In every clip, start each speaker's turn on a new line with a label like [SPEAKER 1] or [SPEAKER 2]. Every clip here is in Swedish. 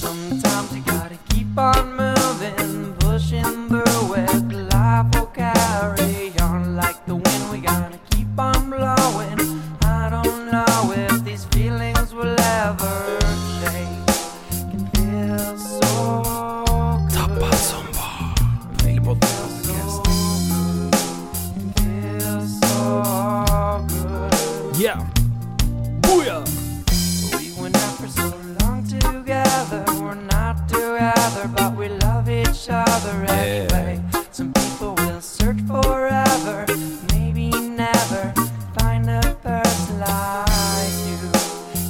[SPEAKER 1] Sometimes you gotta keep on moving, pushing through with life will carry on like the wind. We gotta keep on blowing. I don't know if these feelings will ever change. Can feel so good. Feel so good.
[SPEAKER 2] Yeah! Booyah!
[SPEAKER 1] We went out for so long together. We're not together, but we love each other anyway. Some people will search forever, maybe never find a person like you.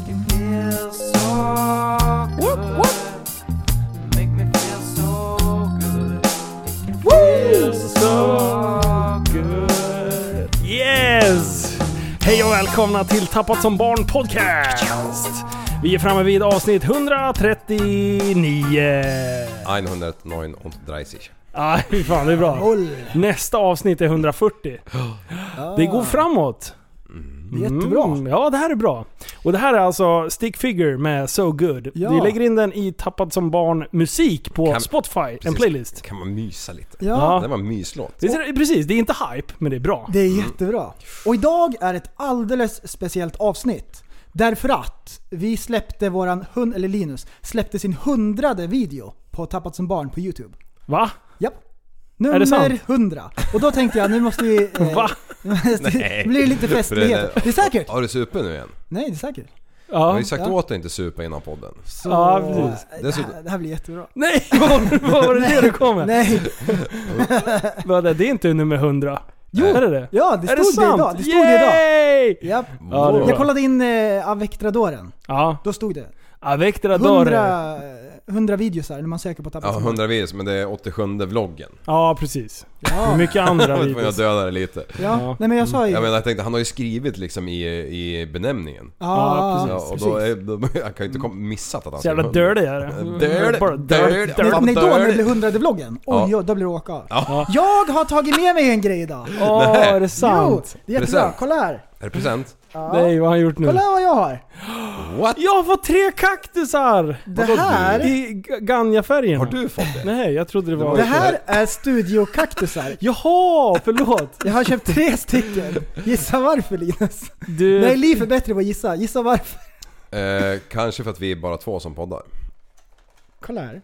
[SPEAKER 1] You feel so
[SPEAKER 2] Whoop,
[SPEAKER 1] good.
[SPEAKER 2] whoop.
[SPEAKER 1] Make me feel so good. It feels so good.
[SPEAKER 2] Yes! Hej och välkomna till Tappat som barn podcast! Vi är framme vid avsnitt 139.
[SPEAKER 3] 139.
[SPEAKER 2] Ja, fy fan det är bra. Nästa avsnitt är 140. Det går framåt.
[SPEAKER 4] Jättebra.
[SPEAKER 2] Mm, ja, det här är bra. Och det här är alltså Stick Figure med So Good.
[SPEAKER 4] Ja.
[SPEAKER 2] Vi lägger in den i Tappad som barn musik på
[SPEAKER 3] Kan-
[SPEAKER 2] Spotify, en
[SPEAKER 3] Precis.
[SPEAKER 2] playlist.
[SPEAKER 3] Kan man mysa lite?
[SPEAKER 4] Ja.
[SPEAKER 3] Det var en myslåt.
[SPEAKER 2] Det är, precis, det är inte hype, men det är bra.
[SPEAKER 4] Det är jättebra. Och idag är ett alldeles speciellt avsnitt. Därför att vi släppte våran hund, eller Linus, släppte sin hundrade video på Tappat som barn på Youtube.
[SPEAKER 2] Va?
[SPEAKER 4] Japp.
[SPEAKER 2] det sant?
[SPEAKER 4] Nummer 100. Och då tänkte jag, nu måste vi... Eh,
[SPEAKER 2] Va?
[SPEAKER 4] det blir lite festligheter. Det är säkert.
[SPEAKER 3] Har du super nu igen?
[SPEAKER 4] Nej, det är säkert.
[SPEAKER 3] Jag har
[SPEAKER 2] Ja.
[SPEAKER 3] ju sagt
[SPEAKER 4] Ja.
[SPEAKER 3] åt dig inte supa innan podden.
[SPEAKER 4] Så,
[SPEAKER 2] Ja, precis.
[SPEAKER 4] det, här, det här blir jättebra.
[SPEAKER 2] Nej, vad vad var det det du kom med?
[SPEAKER 4] Nej,
[SPEAKER 2] Vad är Det Det är inte nummer 100. Jo, är det det?
[SPEAKER 4] ja det
[SPEAKER 2] är det
[SPEAKER 4] stod det, idag. Det stod
[SPEAKER 2] Yay!
[SPEAKER 4] det idag. Japp.
[SPEAKER 2] Ja, det är
[SPEAKER 4] Jag
[SPEAKER 2] bra.
[SPEAKER 4] kollade in eh, Avectradoren.
[SPEAKER 2] Ja,
[SPEAKER 4] Då stod det.
[SPEAKER 2] Avectra Dore.
[SPEAKER 4] 100, 100 videosar när man söker på Tappat
[SPEAKER 3] Ja,
[SPEAKER 4] som
[SPEAKER 3] 100 vis, men det är 87 vloggen.
[SPEAKER 2] Ja, precis.
[SPEAKER 4] Ja.
[SPEAKER 2] Mycket andra
[SPEAKER 3] Jag vet inte om jag
[SPEAKER 2] videos.
[SPEAKER 3] dödade lite.
[SPEAKER 4] Ja,
[SPEAKER 2] Ja.
[SPEAKER 4] nej men jag sa ju...
[SPEAKER 3] Jag menar jag tänkte, han har ju skrivit liksom i, i benämningen.
[SPEAKER 2] Ja,
[SPEAKER 4] ja,
[SPEAKER 2] precis.
[SPEAKER 3] Ja, och då är, då, jag kan ju inte kom, missat att han
[SPEAKER 2] Så jävla
[SPEAKER 3] skrev hundra.
[SPEAKER 2] dirty är det.
[SPEAKER 3] Dirty,
[SPEAKER 2] Bara
[SPEAKER 3] dirty.
[SPEAKER 2] dirty.
[SPEAKER 4] Nej, nej då när det
[SPEAKER 3] Dörr.
[SPEAKER 4] blir hundrade vloggen. Oj,
[SPEAKER 3] Ja.
[SPEAKER 4] ja. då blir det åka av.
[SPEAKER 3] Ja.
[SPEAKER 4] Jag har tagit med mig en grej idag.
[SPEAKER 2] Åh, är det
[SPEAKER 4] Jo,
[SPEAKER 2] sant?
[SPEAKER 4] det är jättebra.
[SPEAKER 3] Present.
[SPEAKER 4] Kolla här.
[SPEAKER 3] Är det present?
[SPEAKER 2] Nej, vad har han gjort nu?
[SPEAKER 4] Kolla vad jag har.
[SPEAKER 3] What?
[SPEAKER 2] Jag har fått tre kaktusar!
[SPEAKER 4] Det här,
[SPEAKER 2] I G- Ganja-färgen.
[SPEAKER 3] Har du fått det?
[SPEAKER 2] Nej, jag trodde det var...
[SPEAKER 4] det här är studiokaktusar.
[SPEAKER 2] Jaha, förlåt!
[SPEAKER 4] Jag har köpt tre stycken. Gissa varför Linus?
[SPEAKER 2] Du...
[SPEAKER 4] Nej, Liv är bättre på att gissa. Gissa varför.
[SPEAKER 3] Eh, kanske för att vi är bara två som poddar.
[SPEAKER 4] Kolla här.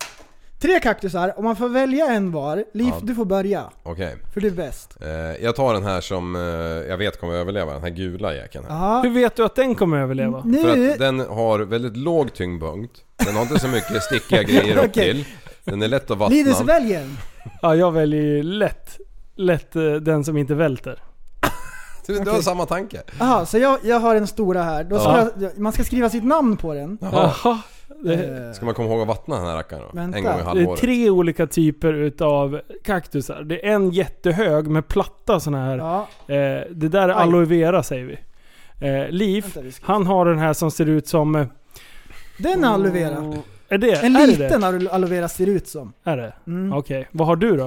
[SPEAKER 4] Tre kaktusar och man får välja en var. Liv,
[SPEAKER 3] Ja.
[SPEAKER 4] du får börja.
[SPEAKER 3] Okej.
[SPEAKER 4] För du är bäst.
[SPEAKER 3] Eh, jag tar den här som eh, jag vet kommer överleva, den här gula jäkeln här.
[SPEAKER 4] Ja.
[SPEAKER 2] Hur vet du att den kommer överleva?
[SPEAKER 4] Mm.
[SPEAKER 3] För att
[SPEAKER 4] Nu...
[SPEAKER 3] den har väldigt låg tyngdpunkt. Den har inte så mycket stickiga grejer upp
[SPEAKER 4] Okej.
[SPEAKER 3] till. Den är lätt att vattna.
[SPEAKER 4] Linus, välj en.
[SPEAKER 2] Ja, jag väljer ju lätt. Lätt eh, den som inte välter.
[SPEAKER 3] Du, du har samma tanke.
[SPEAKER 4] Jaha, så jag, jag har den stora här. Då ska
[SPEAKER 2] Ja.
[SPEAKER 4] jag, man ska skriva sitt namn på den.
[SPEAKER 3] Jaha.
[SPEAKER 2] Jaha. Det,
[SPEAKER 4] Eh,
[SPEAKER 3] Ska man komma ihåg att vattna den här rackaren då?
[SPEAKER 4] Vänta.
[SPEAKER 3] En gång i
[SPEAKER 2] det är
[SPEAKER 3] halvåret.
[SPEAKER 2] tre olika typer utav kaktusar. Det är en jättehög med platta såna här.
[SPEAKER 4] Ja,
[SPEAKER 2] Eh, det där är
[SPEAKER 4] Aj.
[SPEAKER 2] aloe vera säger vi. Eh, Liv,
[SPEAKER 4] vänta vi ska...
[SPEAKER 2] han har den här som ser ut som... eh,
[SPEAKER 4] Den
[SPEAKER 2] Oh.
[SPEAKER 4] är aloe vera.
[SPEAKER 2] Är det?
[SPEAKER 4] En
[SPEAKER 2] är
[SPEAKER 4] liten
[SPEAKER 2] Det?
[SPEAKER 4] aloe- aloe vera ser det ut som.
[SPEAKER 2] Är det?
[SPEAKER 4] Mm.
[SPEAKER 2] Okej. Vad har du då?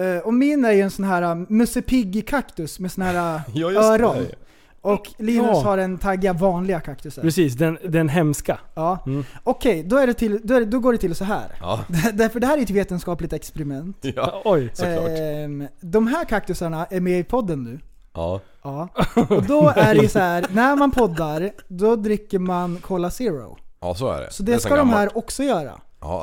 [SPEAKER 4] Eh, och min är ju en sån här uh, Musse Piggy-kaktus med sån här uh,
[SPEAKER 3] Ja, just
[SPEAKER 4] öron.
[SPEAKER 3] det.
[SPEAKER 4] Och Linus
[SPEAKER 2] Ja.
[SPEAKER 4] har en tagga vanliga kaktuser.
[SPEAKER 2] Precis, den, den hemska.
[SPEAKER 4] Ja.
[SPEAKER 2] Mm.
[SPEAKER 4] Okej, då, är det till- då, är det- då går det till så här.
[SPEAKER 3] Ja,
[SPEAKER 4] Därför det här är ett vetenskapligt experiment.
[SPEAKER 3] ja,
[SPEAKER 2] Oj.
[SPEAKER 3] såklart.
[SPEAKER 4] Ehm, de här kaktusarna är med i podden nu.
[SPEAKER 3] Ja.
[SPEAKER 4] Ja. Och då är det ju så här, när man poddar, då dricker man Cola Zero.
[SPEAKER 3] ja, så är det.
[SPEAKER 4] Så
[SPEAKER 3] är
[SPEAKER 4] det
[SPEAKER 3] sen
[SPEAKER 4] ska de
[SPEAKER 3] gammalt.
[SPEAKER 4] här också göra.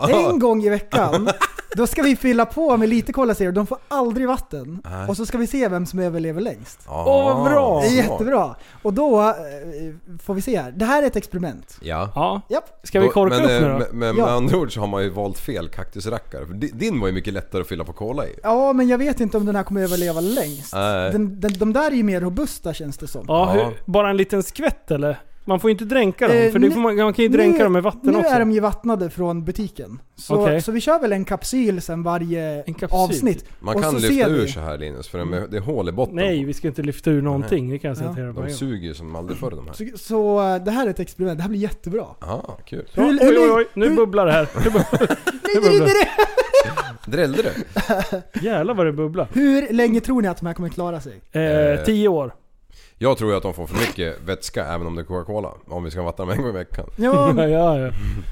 [SPEAKER 4] En gång i veckan. Då ska vi fylla på med lite Cola Zero. De får aldrig vatten.
[SPEAKER 3] Nej.
[SPEAKER 4] Och så ska vi se vem som överlever längst.
[SPEAKER 3] Åh,
[SPEAKER 2] Åh, vad bra.
[SPEAKER 4] Det är jättebra. Och då eh, får vi se här. Det här är ett experiment.
[SPEAKER 3] Ja.
[SPEAKER 2] Ja.
[SPEAKER 4] Japp.
[SPEAKER 2] Ska vi
[SPEAKER 3] Då-
[SPEAKER 2] korka
[SPEAKER 3] men,
[SPEAKER 2] upp
[SPEAKER 3] eh,
[SPEAKER 2] nu då?
[SPEAKER 3] Men, men
[SPEAKER 4] Ja.
[SPEAKER 3] med andra ord så har man ju valt fel kaktusrackare. För di- din var ju mycket lättare att fylla på cola i.
[SPEAKER 4] Ja, men jag vet inte om den här kommer överleva längst.
[SPEAKER 3] Nej.
[SPEAKER 4] Den, den, de där är ju mer robusta känns det som.
[SPEAKER 2] ja,
[SPEAKER 3] Ja.
[SPEAKER 2] hur, bara en liten skvätt eller? Man får ju inte dränka dem,
[SPEAKER 4] Eh,
[SPEAKER 2] för det
[SPEAKER 4] nu-
[SPEAKER 2] får man, man kan ju dränka
[SPEAKER 4] nu-
[SPEAKER 2] dem med vatten
[SPEAKER 4] Nu
[SPEAKER 2] också.
[SPEAKER 4] är de ju vattnade från butiken. Så,
[SPEAKER 2] Okej.
[SPEAKER 4] så vi kör väl en kapsyl sen varje
[SPEAKER 2] En kapsyl?
[SPEAKER 4] avsnitt.
[SPEAKER 3] Man
[SPEAKER 4] Och
[SPEAKER 3] kan
[SPEAKER 4] så
[SPEAKER 3] lyfta
[SPEAKER 4] ser
[SPEAKER 3] ur
[SPEAKER 4] vi.
[SPEAKER 3] så här Linus, för de är- det är hål i botten.
[SPEAKER 2] Nej,
[SPEAKER 3] på.
[SPEAKER 2] vi ska inte lyfta ur någonting. Det kan jag säga
[SPEAKER 4] Ja.
[SPEAKER 2] till er på en
[SPEAKER 3] De
[SPEAKER 2] gång.
[SPEAKER 3] suger ju som aldrig förr de här.
[SPEAKER 4] Så, så eh, det här är ett experiment, det här blir jättebra.
[SPEAKER 3] Ah, kul.
[SPEAKER 2] Ja,
[SPEAKER 4] Hur-
[SPEAKER 2] Oj, oj,
[SPEAKER 4] hur-
[SPEAKER 2] oj. Nu
[SPEAKER 4] hur-
[SPEAKER 2] bubblar det här. Nu bubblar-
[SPEAKER 4] Nej, nej, nej, nej.
[SPEAKER 3] Drällde du?
[SPEAKER 2] Jävlar vad det bubblar.
[SPEAKER 4] Hur länge tror ni att de här kommer klara sig?
[SPEAKER 2] Eh, tio år.
[SPEAKER 3] Jag tror ju att de får för mycket vätska även om det är Coca-Cola. Om vi ska vattna dem en gång i veckan.
[SPEAKER 4] Ja,
[SPEAKER 2] Ja, ja, ja.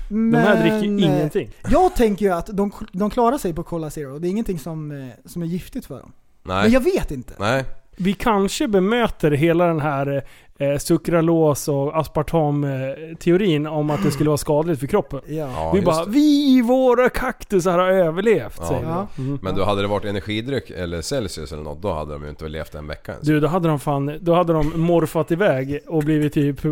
[SPEAKER 4] men,
[SPEAKER 2] De här dricker ju
[SPEAKER 4] eh,
[SPEAKER 2] ingenting.
[SPEAKER 4] Jag tänker ju att de, de klarar sig på Cola Zero. Det är ingenting som, eh, som är giftigt för dem. Men
[SPEAKER 3] Nej.
[SPEAKER 4] jag vet inte.
[SPEAKER 3] Nej.
[SPEAKER 2] Vi kanske bemöter hela den här eh, sukralos och aspartam-teorin om att det skulle vara skadligt för kroppen.
[SPEAKER 4] Ja.
[SPEAKER 3] Ja,
[SPEAKER 2] vi
[SPEAKER 3] just
[SPEAKER 2] bara,
[SPEAKER 3] det.
[SPEAKER 2] vi våra kaktusar har överlevt
[SPEAKER 3] Ja.
[SPEAKER 2] säger vi. Mm.
[SPEAKER 4] Ja.
[SPEAKER 3] Men då hade det varit energidryck eller Celsius eller något, då hade de ju inte levt en vecka ens.
[SPEAKER 2] Du, då hade de fan, då hade de morfat iväg och blivit typ, eh,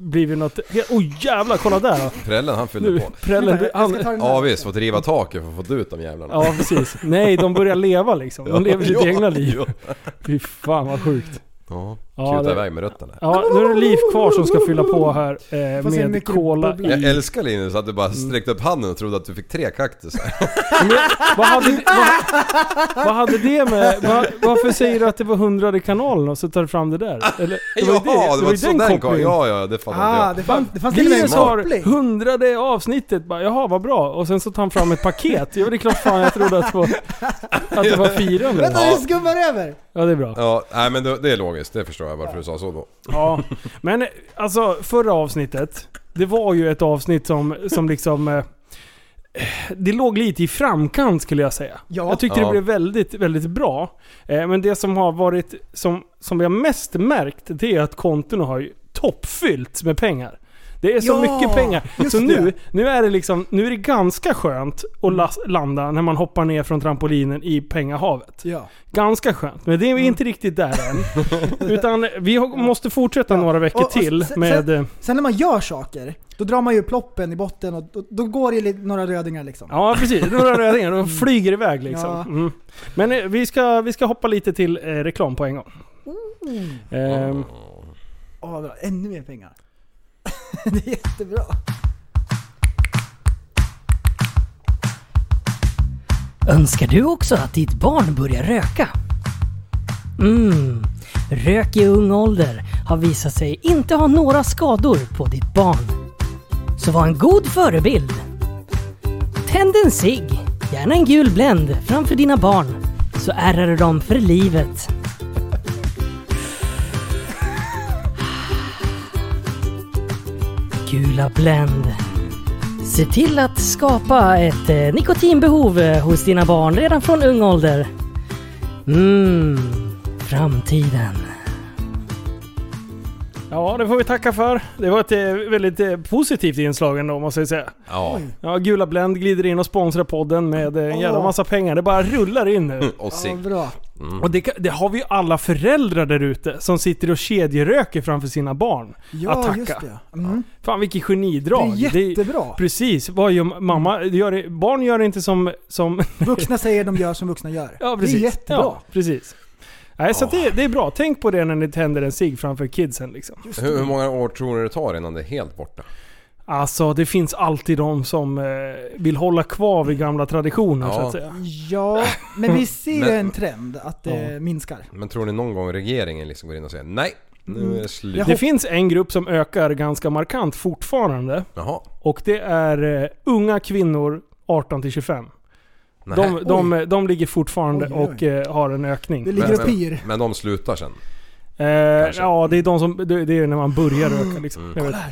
[SPEAKER 2] blivit något, he- oj jävlar kolla där då.
[SPEAKER 3] Prällen han fyllde
[SPEAKER 2] Nu,
[SPEAKER 3] på.
[SPEAKER 2] prällen, du-
[SPEAKER 4] jag ska
[SPEAKER 2] han,
[SPEAKER 4] ta den här.
[SPEAKER 3] Ja visst, fått riva taket för att få få ut de jävlarna.
[SPEAKER 2] ja precis. Nej, de börjar leva liksom. De lever sitt
[SPEAKER 3] Ja,
[SPEAKER 2] egna liv.
[SPEAKER 3] Ja,
[SPEAKER 2] Fy fan vad sjukt.
[SPEAKER 3] ja.
[SPEAKER 2] Ja,
[SPEAKER 3] kuta
[SPEAKER 2] det-
[SPEAKER 3] iväg med rötterna.
[SPEAKER 2] Ja, nu är det Liv kvar som ska fylla på här eh,
[SPEAKER 4] Får se hur
[SPEAKER 2] med
[SPEAKER 4] mycket
[SPEAKER 2] cola
[SPEAKER 4] bubblar.
[SPEAKER 2] i.
[SPEAKER 3] Jag älskar Linus att du bara
[SPEAKER 2] Mm.
[SPEAKER 3] sträckte upp handen och trodde att du fick tre kaktusar.
[SPEAKER 2] Vad hade, vad, vad hade det med... Vad, varför säger du att det var hundrade kanalen och så tar du fram det där? Eller, det ju
[SPEAKER 3] Jaha, det var,
[SPEAKER 2] ju
[SPEAKER 3] så den kom. Ja, ja, det fattar
[SPEAKER 4] Ah,
[SPEAKER 3] inte
[SPEAKER 4] det fanns, det fanns till och med en
[SPEAKER 2] Linus har
[SPEAKER 4] koppling.
[SPEAKER 2] hundrade avsnittet, bara, jaha vad bra. Och sen så tar han fram ett paket. Ja det är klart fan jag trodde att det var, att det var fyra nu.
[SPEAKER 4] Vänta, vi skummar över!
[SPEAKER 2] Ja det är bra.
[SPEAKER 3] jag. Ja, nej men det, det är logiskt. Det förstår jag varför du sa så då.
[SPEAKER 2] Ja. Men eh, alltså förra avsnittet, det var ju ett avsnitt som, som liksom... eh, Det låg lite i framkant skulle jag säga.
[SPEAKER 4] Ja.
[SPEAKER 2] Jag tyckte
[SPEAKER 3] Ja.
[SPEAKER 2] det blev väldigt, väldigt bra. Eh, Men det som har varit, som, som jag mest märkt, det är att kontona har ju toppfyllts med pengar. Det är så
[SPEAKER 4] Ja,
[SPEAKER 2] mycket pengar.
[SPEAKER 4] just
[SPEAKER 2] Så
[SPEAKER 4] det.
[SPEAKER 2] nu, nu är det liksom, nu är det ganska skönt att las- landa när man hoppar ner från trampolinen i pengahavet.
[SPEAKER 4] Ja.
[SPEAKER 2] Ganska skönt, men det
[SPEAKER 4] Mm.
[SPEAKER 2] är vi inte riktigt där än. Utan vi har, måste fortsätta
[SPEAKER 4] Ja.
[SPEAKER 2] några veckor
[SPEAKER 4] Och- och
[SPEAKER 2] till
[SPEAKER 4] sen-
[SPEAKER 2] med... eh,
[SPEAKER 4] Sen när man gör saker, då drar man ju ploppen i botten och då, då går det lite- några rödingar liksom.
[SPEAKER 2] Ja precis, några rödingar. De flyger iväg liksom.
[SPEAKER 4] Mm. Ja.
[SPEAKER 2] Mm. Men eh, vi ska, vi ska hoppa lite till eh, reklam på en gång. Ehm,
[SPEAKER 4] Åh, vad bra. Ännu mer pengar. det är jättebra.
[SPEAKER 5] Önskar du också att ditt barn börjar röka? Mm. Rök i ung ålder har visat sig inte ha några skador på ditt barn. Så var en god förebild. Tänd en cigg, gärna en gul Blend, framför dina barn så ärrar du dem för livet. Gula Blend. Se till att skapa ett eh, nikotinbehov eh, hos dina barn redan från ung ålder. Mmm, framtiden.
[SPEAKER 2] Ja, det får vi tacka för. Det var ett eh, väldigt eh, positivt inslag ändå måste jag säga.
[SPEAKER 3] Ja,
[SPEAKER 2] Ja, Gula Blend glider in och sponsrar podden med eh, en jävla
[SPEAKER 4] Åh.
[SPEAKER 2] massa pengar. Det bara rullar in nu.
[SPEAKER 3] Mm, och
[SPEAKER 4] Ja,
[SPEAKER 3] sig.
[SPEAKER 4] bra.
[SPEAKER 2] Och det, kan- det har vi ju alla föräldrar där ute som sitter och kedjeröker framför sina barn. att
[SPEAKER 4] Ja,
[SPEAKER 2] tacka.
[SPEAKER 4] just det. Mm.
[SPEAKER 2] Fan vilket
[SPEAKER 4] Det
[SPEAKER 2] genidrag.
[SPEAKER 4] är Mm. jättebra.
[SPEAKER 2] precis. Vad gör mamma? Det Gör det, barn gör inte som... som
[SPEAKER 4] Vuxna säger de gör som vuxna gör.
[SPEAKER 2] ja, precis.
[SPEAKER 4] Det är jättebra. Ah.
[SPEAKER 2] Ja, precis. Nej, så att det, det är bra. Tänk på det när ni tänder en cigg framför kidsen liksom.
[SPEAKER 3] Hur, hur många år tror du det tar innan det är helt borta?
[SPEAKER 2] Alltså, det finns alltid de som eh, vill hålla kvar
[SPEAKER 4] Mm.
[SPEAKER 2] vid gamla traditioner
[SPEAKER 3] Ja.
[SPEAKER 2] så att säga.
[SPEAKER 4] Ja, men vi ser ju
[SPEAKER 3] Men-
[SPEAKER 4] en trend att det minskar.
[SPEAKER 3] Men tror ni någon gång regeringen liksom går in och säger nej, nu är det slut.
[SPEAKER 4] Jag
[SPEAKER 2] Det
[SPEAKER 4] hopp-
[SPEAKER 2] finns en grupp som ökar ganska markant fortfarande.
[SPEAKER 3] Jaha.
[SPEAKER 2] Och det är eh, unga kvinnor 18 till 25.
[SPEAKER 3] Nej.
[SPEAKER 2] De, de, de ligger fortfarande
[SPEAKER 4] Oj, oj, oj.
[SPEAKER 2] och eh, har en ökning.
[SPEAKER 4] Det ligger och pyr.
[SPEAKER 3] men, men de slutar sen.
[SPEAKER 2] Eh, ja, det är de som... Det, det är när man börjar
[SPEAKER 3] Mm.
[SPEAKER 2] röka liksom. Jag vet.
[SPEAKER 4] Eh,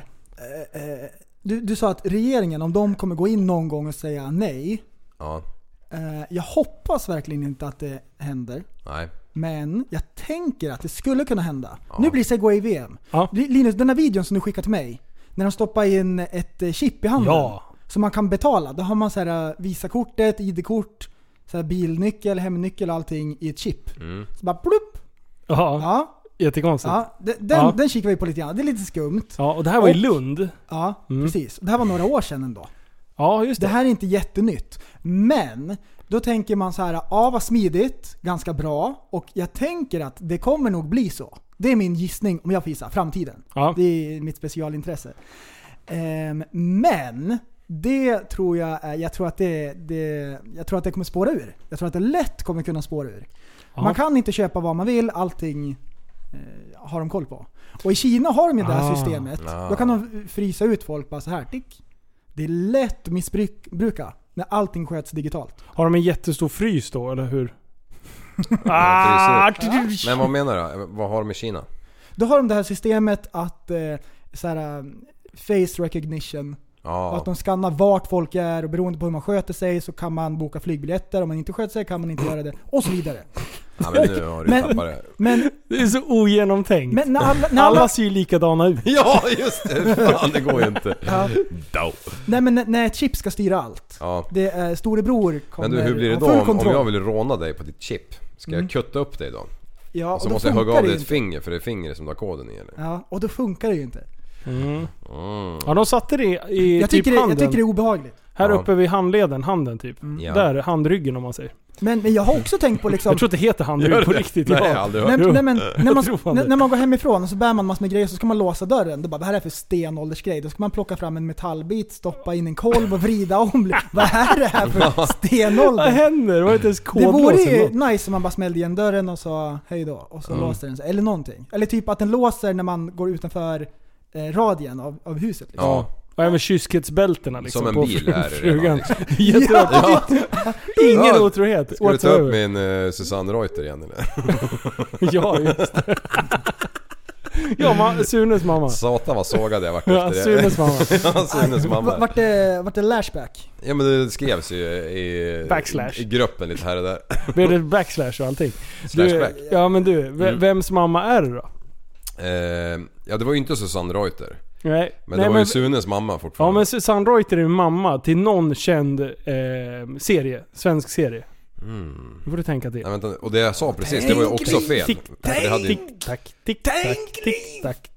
[SPEAKER 4] eh, Du, du sa att regeringen, om de kommer gå in någon gång och säga nej.
[SPEAKER 3] Ja,
[SPEAKER 4] eh, Jag hoppas verkligen inte att det händer.
[SPEAKER 3] nej.
[SPEAKER 4] Men jag tänker att det skulle kunna hända. Nu blir det segway-VM.
[SPEAKER 2] Ja.
[SPEAKER 4] Linus, den här videon som du skickade till mig. När de stoppar in ett eh, chip i handen.
[SPEAKER 2] Ja.
[SPEAKER 4] som man kan betala. Då har man så här, eh, Visakortet, ID-kort, så här bilnyckel, hemnyckel och allting i ett chip.
[SPEAKER 2] Mm.
[SPEAKER 4] Så bara plupp!
[SPEAKER 2] Jaha,
[SPEAKER 4] Ja,
[SPEAKER 2] jättekonstigt. Ja.
[SPEAKER 4] ja. Den, den,
[SPEAKER 2] Ja.
[SPEAKER 4] den kikar vi på lite grann. Det är lite skumt.
[SPEAKER 2] och det här var i Lund.
[SPEAKER 4] Ja,
[SPEAKER 2] Mm.
[SPEAKER 4] precis. Det här var några år sedan ändå.
[SPEAKER 2] Ja, just
[SPEAKER 4] Det
[SPEAKER 2] det.
[SPEAKER 4] här är inte jättenytt. Men då tänker man så här, ja vad smidigt, ganska bra. Och jag tänker att det kommer nog bli så. Det är min gissning om jag får gissa, framtiden.
[SPEAKER 2] Ja.
[SPEAKER 4] Det är mitt specialintresse. Ehm, men det tror jag, är- jag tror att det, det, jag tror att det kommer spåra ur. Jag tror att det lätt kommer kunna spåra ur.
[SPEAKER 2] Ja.
[SPEAKER 4] Man kan inte köpa vad man vill, allting eh, har de koll på. Och i Kina har de ju det här
[SPEAKER 2] Ah,
[SPEAKER 4] systemet. Då kan de frysa ut folk bara så här. Tick. Det är lätt att missbruka när allting sköts digitalt.
[SPEAKER 2] Har de en jättestor frys då, eller hur?
[SPEAKER 3] Ja,
[SPEAKER 2] ah,
[SPEAKER 3] Men vad menar du? Vad har de i Kina?
[SPEAKER 4] Då har de det här systemet att eh, så här, eh, face recognition. Och
[SPEAKER 3] Ja,
[SPEAKER 4] att de skannar vart folk är och beroende på hur man sköter sig så kan man boka flygbiljetter. Om man inte sköter sig kan man inte göra det. Och så vidare.
[SPEAKER 3] ja men nu har du
[SPEAKER 4] Men-
[SPEAKER 3] tappat det.
[SPEAKER 4] Men,
[SPEAKER 2] det är så ogenomtänkt.
[SPEAKER 4] men när alla... När alla
[SPEAKER 2] alla ser ju likadana ut.
[SPEAKER 3] Ja just det! Fan det går ju inte.
[SPEAKER 4] ja,
[SPEAKER 3] Dow.
[SPEAKER 4] nej men när- när ett chip ska styra allt.
[SPEAKER 3] Ja.
[SPEAKER 4] Det är storebror kommer
[SPEAKER 3] Men du hur blir det
[SPEAKER 4] ha
[SPEAKER 3] då
[SPEAKER 4] full
[SPEAKER 3] om, om
[SPEAKER 4] kontroll.
[SPEAKER 3] jag vill råna dig på ditt chip? Ska jag kutta upp dig då?
[SPEAKER 4] Ja,
[SPEAKER 3] Och så
[SPEAKER 4] då
[SPEAKER 3] måste jag hugga
[SPEAKER 4] funkar
[SPEAKER 3] av
[SPEAKER 4] det
[SPEAKER 3] dig
[SPEAKER 4] ju
[SPEAKER 3] ett finger för det är fingret som du har koden i eller?
[SPEAKER 4] Ja, och då funkar det ju inte.
[SPEAKER 3] Mm.
[SPEAKER 2] Ja, de satte det i
[SPEAKER 4] Mm.
[SPEAKER 2] typ
[SPEAKER 4] Jag tycker, det, jag
[SPEAKER 2] handen.
[SPEAKER 4] tycker det är obehagligt.
[SPEAKER 2] Här
[SPEAKER 3] Ja.
[SPEAKER 2] uppe vid handleden, handen typ.
[SPEAKER 3] Ja.
[SPEAKER 2] Där, handryggen om man säger.
[SPEAKER 4] Men, men jag har också tänkt på liksom...
[SPEAKER 2] Jag tror att det heter handrygg
[SPEAKER 3] Gör
[SPEAKER 2] på
[SPEAKER 3] det?
[SPEAKER 2] riktigt.
[SPEAKER 3] Nej,
[SPEAKER 2] ja.
[SPEAKER 3] jag har aldrig hört.
[SPEAKER 4] Nej,
[SPEAKER 2] Jo.
[SPEAKER 4] nej, men, när, man,
[SPEAKER 2] tror fan
[SPEAKER 4] när,
[SPEAKER 2] det.
[SPEAKER 4] när man går hemifrån och så bär man massor med grejer så ska man låsa dörren. Då bara, vad här är för stenåldersgrej? Då ska man plocka fram en metallbit, stoppa in en kolv och vrida om. Vad är det här för
[SPEAKER 2] Vad
[SPEAKER 4] stenålder?
[SPEAKER 2] händer? Var det inte ens
[SPEAKER 4] Det vore ju
[SPEAKER 2] kodlåsen?
[SPEAKER 4] nice om man bara smällde igen dörren och sa hej då och så låser den sig. Eller någonting. Eller typ att den låser när man går utanför eh, radien av, av huset. Liksom.
[SPEAKER 3] Ja.
[SPEAKER 2] Och även kyskhetsbältena liksom.
[SPEAKER 3] Som en
[SPEAKER 2] på
[SPEAKER 3] bil är det
[SPEAKER 2] frugan.
[SPEAKER 3] redan. Liksom.
[SPEAKER 2] Jättebra. Ingen
[SPEAKER 3] Ja.
[SPEAKER 2] otrohet.
[SPEAKER 3] Ska du ta upp
[SPEAKER 2] whatsoever.
[SPEAKER 3] min eh, Susanne Reuter igen eller?
[SPEAKER 2] Ja, just det. Ja, ma- Sunes mamma.
[SPEAKER 3] Satan vad sågad jag vart
[SPEAKER 2] Ja,
[SPEAKER 3] efter det.
[SPEAKER 2] Sunes mamma.
[SPEAKER 3] Ja, Sunes
[SPEAKER 4] Va-
[SPEAKER 3] mamma.
[SPEAKER 4] Vart det, vart det lashback?
[SPEAKER 3] Ja men det skrevs ju i,
[SPEAKER 2] Backslash.
[SPEAKER 3] i gruppen lite här och där.
[SPEAKER 2] Blev det backslash och allting?
[SPEAKER 3] Slashback.
[SPEAKER 2] Du, ja men du, v-
[SPEAKER 3] Mm.
[SPEAKER 2] vems mamma är det då?
[SPEAKER 3] Eh, ja det var ju inte Susanne Reuter.
[SPEAKER 2] Nej,
[SPEAKER 3] Men
[SPEAKER 2] nej,
[SPEAKER 3] det var ju Sunes mamma
[SPEAKER 2] Ja
[SPEAKER 3] fortfarande.
[SPEAKER 2] men Susanne Reuter är ju mamma till någon känd eh, serie, svensk serie.
[SPEAKER 3] Mm.
[SPEAKER 2] Nu får du tänka till.
[SPEAKER 3] Nej, vänta, nu. och det jag sa precis, det var ju också fel.
[SPEAKER 2] Tick,
[SPEAKER 3] För det hade ju...
[SPEAKER 2] Tick, tack, tick, tack, tick, tack, tick, tack,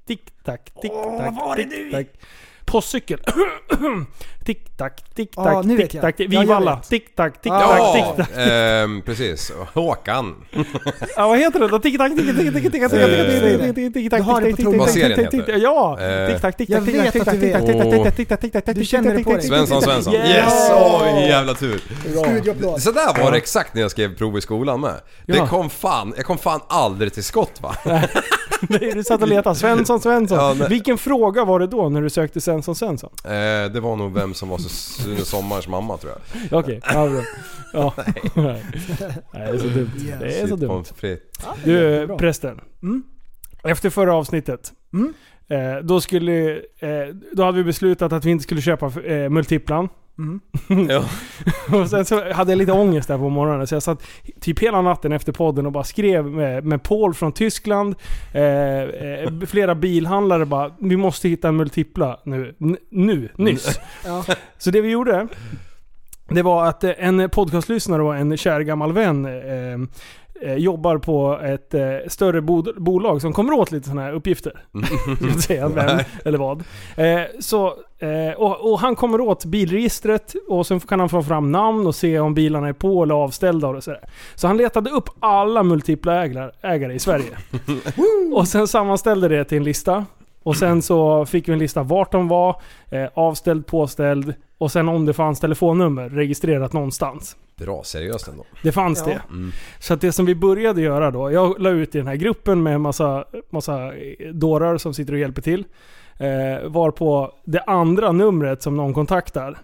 [SPEAKER 2] tick, tack, tick, tack. Postcykel. Tick, tack, tick,
[SPEAKER 4] Ja,
[SPEAKER 2] tack,
[SPEAKER 4] nu vet
[SPEAKER 2] tick,
[SPEAKER 4] jag.
[SPEAKER 2] tack.
[SPEAKER 4] Ja, jag
[SPEAKER 2] Vivalla.
[SPEAKER 4] vet.
[SPEAKER 2] Tick, tack, tick, tack, tick,
[SPEAKER 3] Ja!
[SPEAKER 2] tack.
[SPEAKER 3] Ehm, precis. Håkan.
[SPEAKER 2] Ja, vad heter det då? Tick, tack, tick, tack, tick, tack, tick, tack, tick, tack, tick, tick, tick, tack,
[SPEAKER 4] Du har det
[SPEAKER 2] tick,
[SPEAKER 4] på
[SPEAKER 2] tick,
[SPEAKER 4] tungan.
[SPEAKER 2] tick,
[SPEAKER 3] Vad serien
[SPEAKER 2] tick, tick,
[SPEAKER 3] heter.
[SPEAKER 2] tick, Ja!
[SPEAKER 3] Eh,
[SPEAKER 2] Tick, tack, tick,
[SPEAKER 4] jag
[SPEAKER 2] tack, tick,
[SPEAKER 4] vet
[SPEAKER 2] tack,
[SPEAKER 4] att
[SPEAKER 2] tick,
[SPEAKER 4] du
[SPEAKER 2] tack, tick,
[SPEAKER 3] vet.
[SPEAKER 2] tack, tick, tack, tick, tack, tick,
[SPEAKER 4] Du känner det på dig.
[SPEAKER 2] tick, tick,
[SPEAKER 3] Svensson, Svensson.
[SPEAKER 2] Yeah.
[SPEAKER 3] Yes! Oj, jävla tur.
[SPEAKER 4] Studioapplåd.
[SPEAKER 3] Så där var det exakt när jag skrev prov i skolan med.
[SPEAKER 2] Ja.
[SPEAKER 3] Det kom fan, jag kom fan aldrig till skott va?
[SPEAKER 2] Nej, du satt och letade. Svensson, Svensson.
[SPEAKER 3] Ja, men-
[SPEAKER 2] Vilken fråga var det då när du sökte Svensson, Svensson?
[SPEAKER 3] Eh, det var nog vem som var Sus- Sune Sommars mamma tror jag.
[SPEAKER 2] Ja, Okej, ja bra. Ja. Nej. Nej, det är så dumt. Det är så
[SPEAKER 3] Shit,
[SPEAKER 2] dumt.
[SPEAKER 3] pommes frites.
[SPEAKER 2] Du prästen. Mm. Efter förra avsnittet.
[SPEAKER 4] Mm.
[SPEAKER 2] Eh, då, skulle, eh, då hade vi beslutat att vi inte skulle köpa eh, multiplan.
[SPEAKER 4] Mm.
[SPEAKER 3] Ja.
[SPEAKER 2] och sen så hade jag lite ångest där på morgonen så jag satt typ hela natten efter podden och bara skrev med, med Paul från Tyskland. Eh, eh, flera bilhandlare bara vi måste hitta en multipla nu. N- nu, nyss.
[SPEAKER 4] Ja.
[SPEAKER 2] Så det vi gjorde det var att eh, en podcastlyssnare och en kär gammal vän eh, eh, jobbar på ett eh, större bod- bolag som kommer åt lite sådana här uppgifter. Jag vill säga vem eller vad. Eh, så, eh, och, och han kommer åt bilregistret och sen kan han få fram namn och se om bilarna är på eller avställda och sådär. Så han letade upp alla multipla äglar, ägare i Sverige. och sen sammanställde det till en lista. Och sen så fick vi en lista vart de var, eh, avställd, påställd och sen om det fanns telefonnummer registrerat någonstans.
[SPEAKER 3] Bra, seriöst ändå. Mm.
[SPEAKER 2] Det fanns
[SPEAKER 4] Ja.
[SPEAKER 2] det. Så att det som vi började göra då, jag la ut i den här gruppen med en massa, massa dårar som Eh, sitter och hjälper till. Eh, var på det andra numret som någon kontaktar.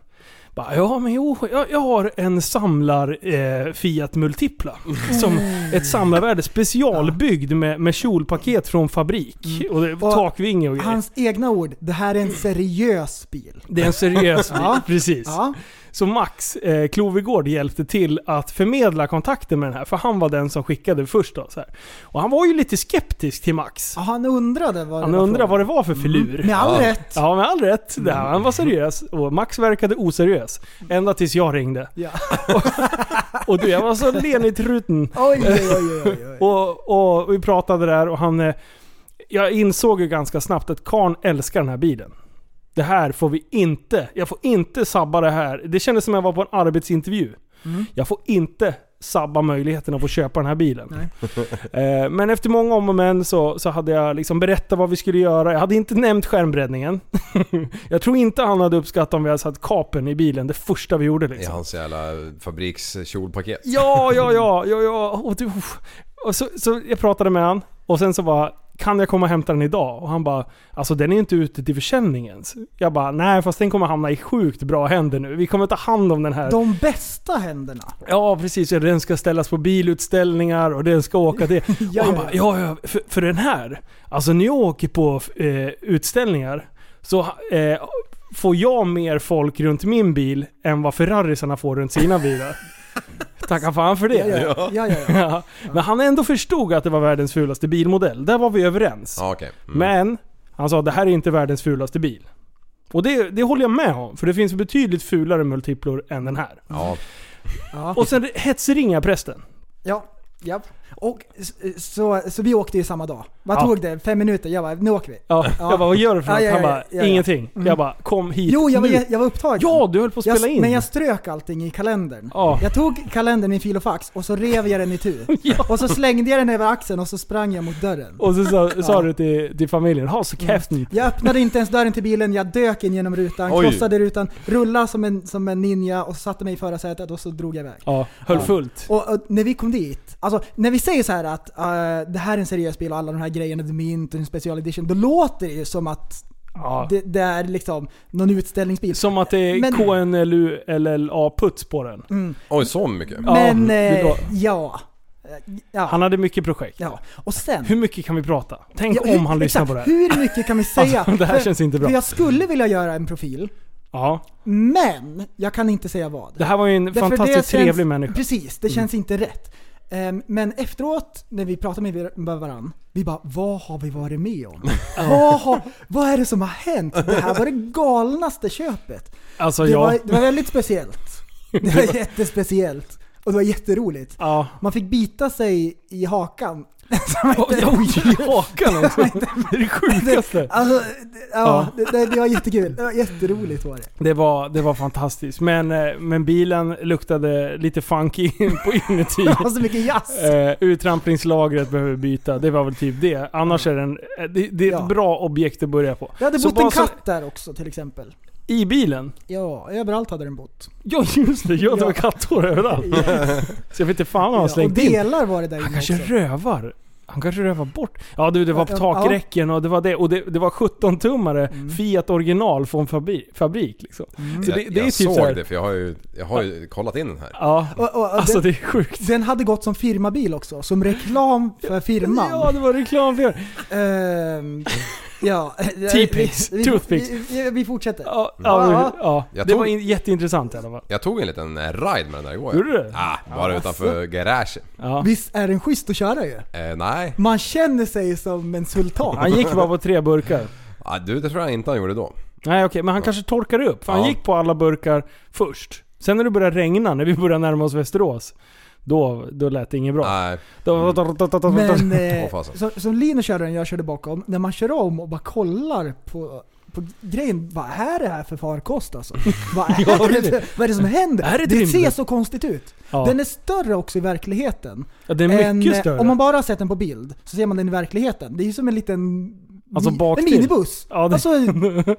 [SPEAKER 2] Bara, ja, men jo, jag, jag har en samlar eh, Fiat Multipla.
[SPEAKER 4] Mm.
[SPEAKER 2] Som ett samlarvärde, specialbyggd med, med kjolpaket från fabrik. Och, det,
[SPEAKER 4] Mm. Och
[SPEAKER 2] takvinge och grejer.
[SPEAKER 4] Hans egna ord, det här är en seriös bil.
[SPEAKER 2] Det är en seriös bil,
[SPEAKER 4] Ja.
[SPEAKER 2] precis.
[SPEAKER 4] Ja,
[SPEAKER 2] Så Max eh, Klovegård hjälpte till att förmedla kontakten med den här, för han var den som skickade först. Då, så här. Och han var ju lite skeptisk till Max.
[SPEAKER 4] Ja, han undrade vad det
[SPEAKER 2] Han undrade
[SPEAKER 4] var frågan. Mm.
[SPEAKER 2] vad det var för filur.
[SPEAKER 4] Med all rätt.
[SPEAKER 2] Ja, med all rätt. Det här, han var seriös och Max verkade oseriös. Ända tills jag ringde.
[SPEAKER 4] Ja.
[SPEAKER 2] Och du, jag var så len i truten.
[SPEAKER 4] Oj, oj, oj, oj, oj.
[SPEAKER 2] Och, och vi pratade där och han... eh, Jag insåg ju ganska snabbt att Karn älskar den här bilen. Det här får vi inte. Jag får inte sabba det här. Det kändes som jag var på en arbetsintervju.
[SPEAKER 4] Mm.
[SPEAKER 2] Jag får inte sabba möjligheten att få köpa den här bilen. Eh, Men efter många om och men så, så hade jag liksom berättat vad vi skulle göra. Jag hade inte nämnt skärmbreddningen. jag tror inte han hade uppskattat om vi hade satt kapen i bilen det första vi gjorde.
[SPEAKER 3] I
[SPEAKER 2] Liksom.
[SPEAKER 3] hans jävla fabrikskjolpaket.
[SPEAKER 2] Ja, ja, ja, ja, ja. Och du, och så, så jag pratade med han och sen så bara kan jag komma och hämta den idag? Och han bara, alltså den är inte ute till försäljning ens. Jag bara, nej fast den kommer hamna i sjukt bra händer nu. Vi kommer ta hand om den här.
[SPEAKER 4] De bästa händerna.
[SPEAKER 2] Ja precis, ja, den ska ställas på bilutställningar och den ska åka till...
[SPEAKER 4] ja,
[SPEAKER 2] och han
[SPEAKER 4] ja.
[SPEAKER 2] bara, ja, ja för, för den här. Alltså när jag åker på eh, utställningar så eh, får jag mer folk runt min bil än vad Ferrarisarna får runt sina bilar. Tacka fan för det.
[SPEAKER 4] Ja, ja, ja. ja, ja.
[SPEAKER 2] Ja. Men han ändå förstod att det var världens fulaste bilmodell. Där var vi överens.
[SPEAKER 3] Ja, okej. Mm.
[SPEAKER 2] Men han sa det här är inte världens fulaste bil. Och det, det håller jag med om. För det finns betydligt fulare multiplor än den här.
[SPEAKER 3] Ja.
[SPEAKER 2] Och sen hetsringer jag prästen.
[SPEAKER 4] ja. ja. Och s- så, så vi åkte ju samma dag. Vad
[SPEAKER 2] Ja.
[SPEAKER 4] tog det? Fem minuter? Jag bara, nu åker vi.
[SPEAKER 2] Ja, Jag bara, vad gör du för
[SPEAKER 4] Ja,
[SPEAKER 2] något?
[SPEAKER 4] ja,
[SPEAKER 2] han
[SPEAKER 4] ja,
[SPEAKER 2] bara,
[SPEAKER 4] ja, ja.
[SPEAKER 2] ingenting. Jag bara, kom hit
[SPEAKER 4] Jo, jag var,
[SPEAKER 2] nu.
[SPEAKER 4] jag var upptagen.
[SPEAKER 2] Ja, du höll på att
[SPEAKER 4] Jag-
[SPEAKER 2] spela in.
[SPEAKER 4] Men jag strök allting i kalendern.
[SPEAKER 2] Ja.
[SPEAKER 4] Jag tog kalendern i fil och fax och så rev jag den i tur.
[SPEAKER 2] Ja.
[SPEAKER 4] Och så slängde jag den över axeln och så sprang jag mot dörren.
[SPEAKER 2] Och så sa, sa du till, till familjen, ha så käften.
[SPEAKER 4] Jag öppnade inte ens dörren till bilen, jag dök in genom rutan,
[SPEAKER 3] Oj.
[SPEAKER 4] krossade rutan, rullade som en, som en ninja och satte mig i förarsätet och så drog jag iväg.
[SPEAKER 2] Ja, höll fullt.
[SPEAKER 4] Och, och när vi kom dit, alltså när vi säger så här att eh, det här är en seriös bil och alla de här grejerna, det är mint och en special edition, då låter det ju som att
[SPEAKER 2] Ja.
[SPEAKER 4] det, det är liksom någon utställningsbil.
[SPEAKER 2] Som att det är
[SPEAKER 4] Men-
[SPEAKER 2] KNLU-LLA-puts på den.
[SPEAKER 3] Oj, så mycket?
[SPEAKER 2] Ja,
[SPEAKER 4] Mm. Men
[SPEAKER 2] det är
[SPEAKER 4] eh,
[SPEAKER 2] bra.
[SPEAKER 4] ja. Ja.
[SPEAKER 2] Han hade mycket projekt.
[SPEAKER 4] ja. Och sen...
[SPEAKER 2] Hur mycket kan vi prata? Tänk
[SPEAKER 4] Ja, hur-
[SPEAKER 2] om han lyssnar
[SPEAKER 4] exakt,
[SPEAKER 2] på det här.
[SPEAKER 4] Hur mycket kan vi säga?
[SPEAKER 2] Alltså, det här
[SPEAKER 4] För-
[SPEAKER 2] känns inte bra.
[SPEAKER 4] För jag skulle vilja göra en profil,
[SPEAKER 2] Ja.
[SPEAKER 4] men jag kan inte säga vad.
[SPEAKER 2] Det här var ju en
[SPEAKER 4] Därför
[SPEAKER 2] fantastiskt
[SPEAKER 4] det känns-
[SPEAKER 2] trevlig människa. Mm.
[SPEAKER 4] Precis, det känns inte rätt. Ehm, men efteråt, när vi pratar med varandra, vi bara vad har vi varit med om? vad, har, vad är det som har hänt? Det här var det galnaste köpet.
[SPEAKER 2] Alltså
[SPEAKER 4] Det
[SPEAKER 2] jag...
[SPEAKER 4] var, det var väldigt speciellt. Det var jättespeciellt. Och det var jätteroligt.
[SPEAKER 2] Ja.
[SPEAKER 4] Man fick bita sig i hakan. Som
[SPEAKER 2] Oj,
[SPEAKER 4] inte-
[SPEAKER 2] oj, i hakan också. Det är det sjukaste.
[SPEAKER 4] Alltså, det, ja, det, det, det var jättekul. Det var jätteroligt var det.
[SPEAKER 2] Det var, det var fantastiskt. Men, eh, men bilen luktade lite funky in på inuti.
[SPEAKER 4] Det var så mycket jazz.
[SPEAKER 2] Uh, uttrampningslagret behöver byta. Det var väl typ det. Annars är den, eh, det, det är ett
[SPEAKER 4] Ja.
[SPEAKER 2] bra objekt att börja på.
[SPEAKER 4] Det hade
[SPEAKER 2] Så
[SPEAKER 4] bott en
[SPEAKER 2] vad som-
[SPEAKER 4] katt där också till exempel.
[SPEAKER 2] I bilen?
[SPEAKER 4] Ja, överallt hade den bott.
[SPEAKER 2] Ja just det, ja, det var
[SPEAKER 4] Ja.
[SPEAKER 2] katthår överallt. Så jag vet inte fan vad han
[SPEAKER 4] Ja, och
[SPEAKER 2] slängt in.
[SPEAKER 4] delar var det där
[SPEAKER 2] Han
[SPEAKER 4] inne också.
[SPEAKER 2] kanske rövar. Han kanske rövar bort. Ja du, det var på
[SPEAKER 4] Ja, Mm. ja.
[SPEAKER 2] takräcken och det var det. Och det, det var 17-tummare Fiat original från fabrik. fabrik liksom. Så det,
[SPEAKER 3] Jag,
[SPEAKER 2] det är typ
[SPEAKER 3] jag
[SPEAKER 2] så här,
[SPEAKER 3] såg det för jag har ju, jag har ju kollat in den här.
[SPEAKER 2] Ja,
[SPEAKER 4] Och, och, och
[SPEAKER 2] alltså
[SPEAKER 4] den,
[SPEAKER 2] det är sjukt.
[SPEAKER 4] den hade gått som firmabil också, som reklam för firman.
[SPEAKER 2] Ja, det var reklam för det.
[SPEAKER 4] Ehm, ja.
[SPEAKER 2] T-pics,
[SPEAKER 4] Vi- vi-
[SPEAKER 2] toothpicks.
[SPEAKER 4] Vi, vi, vi fortsätter.
[SPEAKER 2] Ja, ja,
[SPEAKER 4] Ja.
[SPEAKER 2] ja.
[SPEAKER 3] Jag
[SPEAKER 2] Det
[SPEAKER 3] tog-
[SPEAKER 2] var in, jätteintressant i alla fall.
[SPEAKER 3] Jag tog en liten eh, ride med den där igår.
[SPEAKER 2] Gjorde du? alltså.
[SPEAKER 3] Ah, bara utanför garaget.
[SPEAKER 2] Ja.
[SPEAKER 4] Visst är den schysst att köra ju?
[SPEAKER 3] Eh, nej,
[SPEAKER 4] Man känner sig som en sultan.
[SPEAKER 2] Han gick bara på tre burkar.
[SPEAKER 3] ah, du, det tror jag inte han gjorde då.
[SPEAKER 2] Nej okej, men han kanske torkade upp. För han
[SPEAKER 3] Ja.
[SPEAKER 2] gick på alla burkar först. Sen när det började regna, när vi började närma oss Västerås. Då, då lät det inget bra.
[SPEAKER 3] Nej,
[SPEAKER 2] Då-
[SPEAKER 4] Men
[SPEAKER 3] Åh,
[SPEAKER 4] eh,
[SPEAKER 3] fasen.
[SPEAKER 4] som, som Linus körde den, jag körde bakom, när man kör om och bara kollar på, på grejen, vad är det här för farkost alltså? Vad är,
[SPEAKER 2] Ja, det är
[SPEAKER 4] det,
[SPEAKER 2] det.
[SPEAKER 4] vad är det som händer?
[SPEAKER 2] Är det
[SPEAKER 4] det ser
[SPEAKER 2] rymden?
[SPEAKER 4] så konstigt ut.
[SPEAKER 2] Ja.
[SPEAKER 4] Den är större också i verkligheten.
[SPEAKER 2] Ja, den är
[SPEAKER 4] än,
[SPEAKER 2] mycket
[SPEAKER 4] eh,
[SPEAKER 2] större.
[SPEAKER 4] Om man bara har sett den på bild, så ser man den i verkligheten. Det är ju som en liten
[SPEAKER 2] Alltså
[SPEAKER 4] en
[SPEAKER 2] baktill.
[SPEAKER 4] minibuss.
[SPEAKER 2] Ja, det-
[SPEAKER 4] Alltså, den är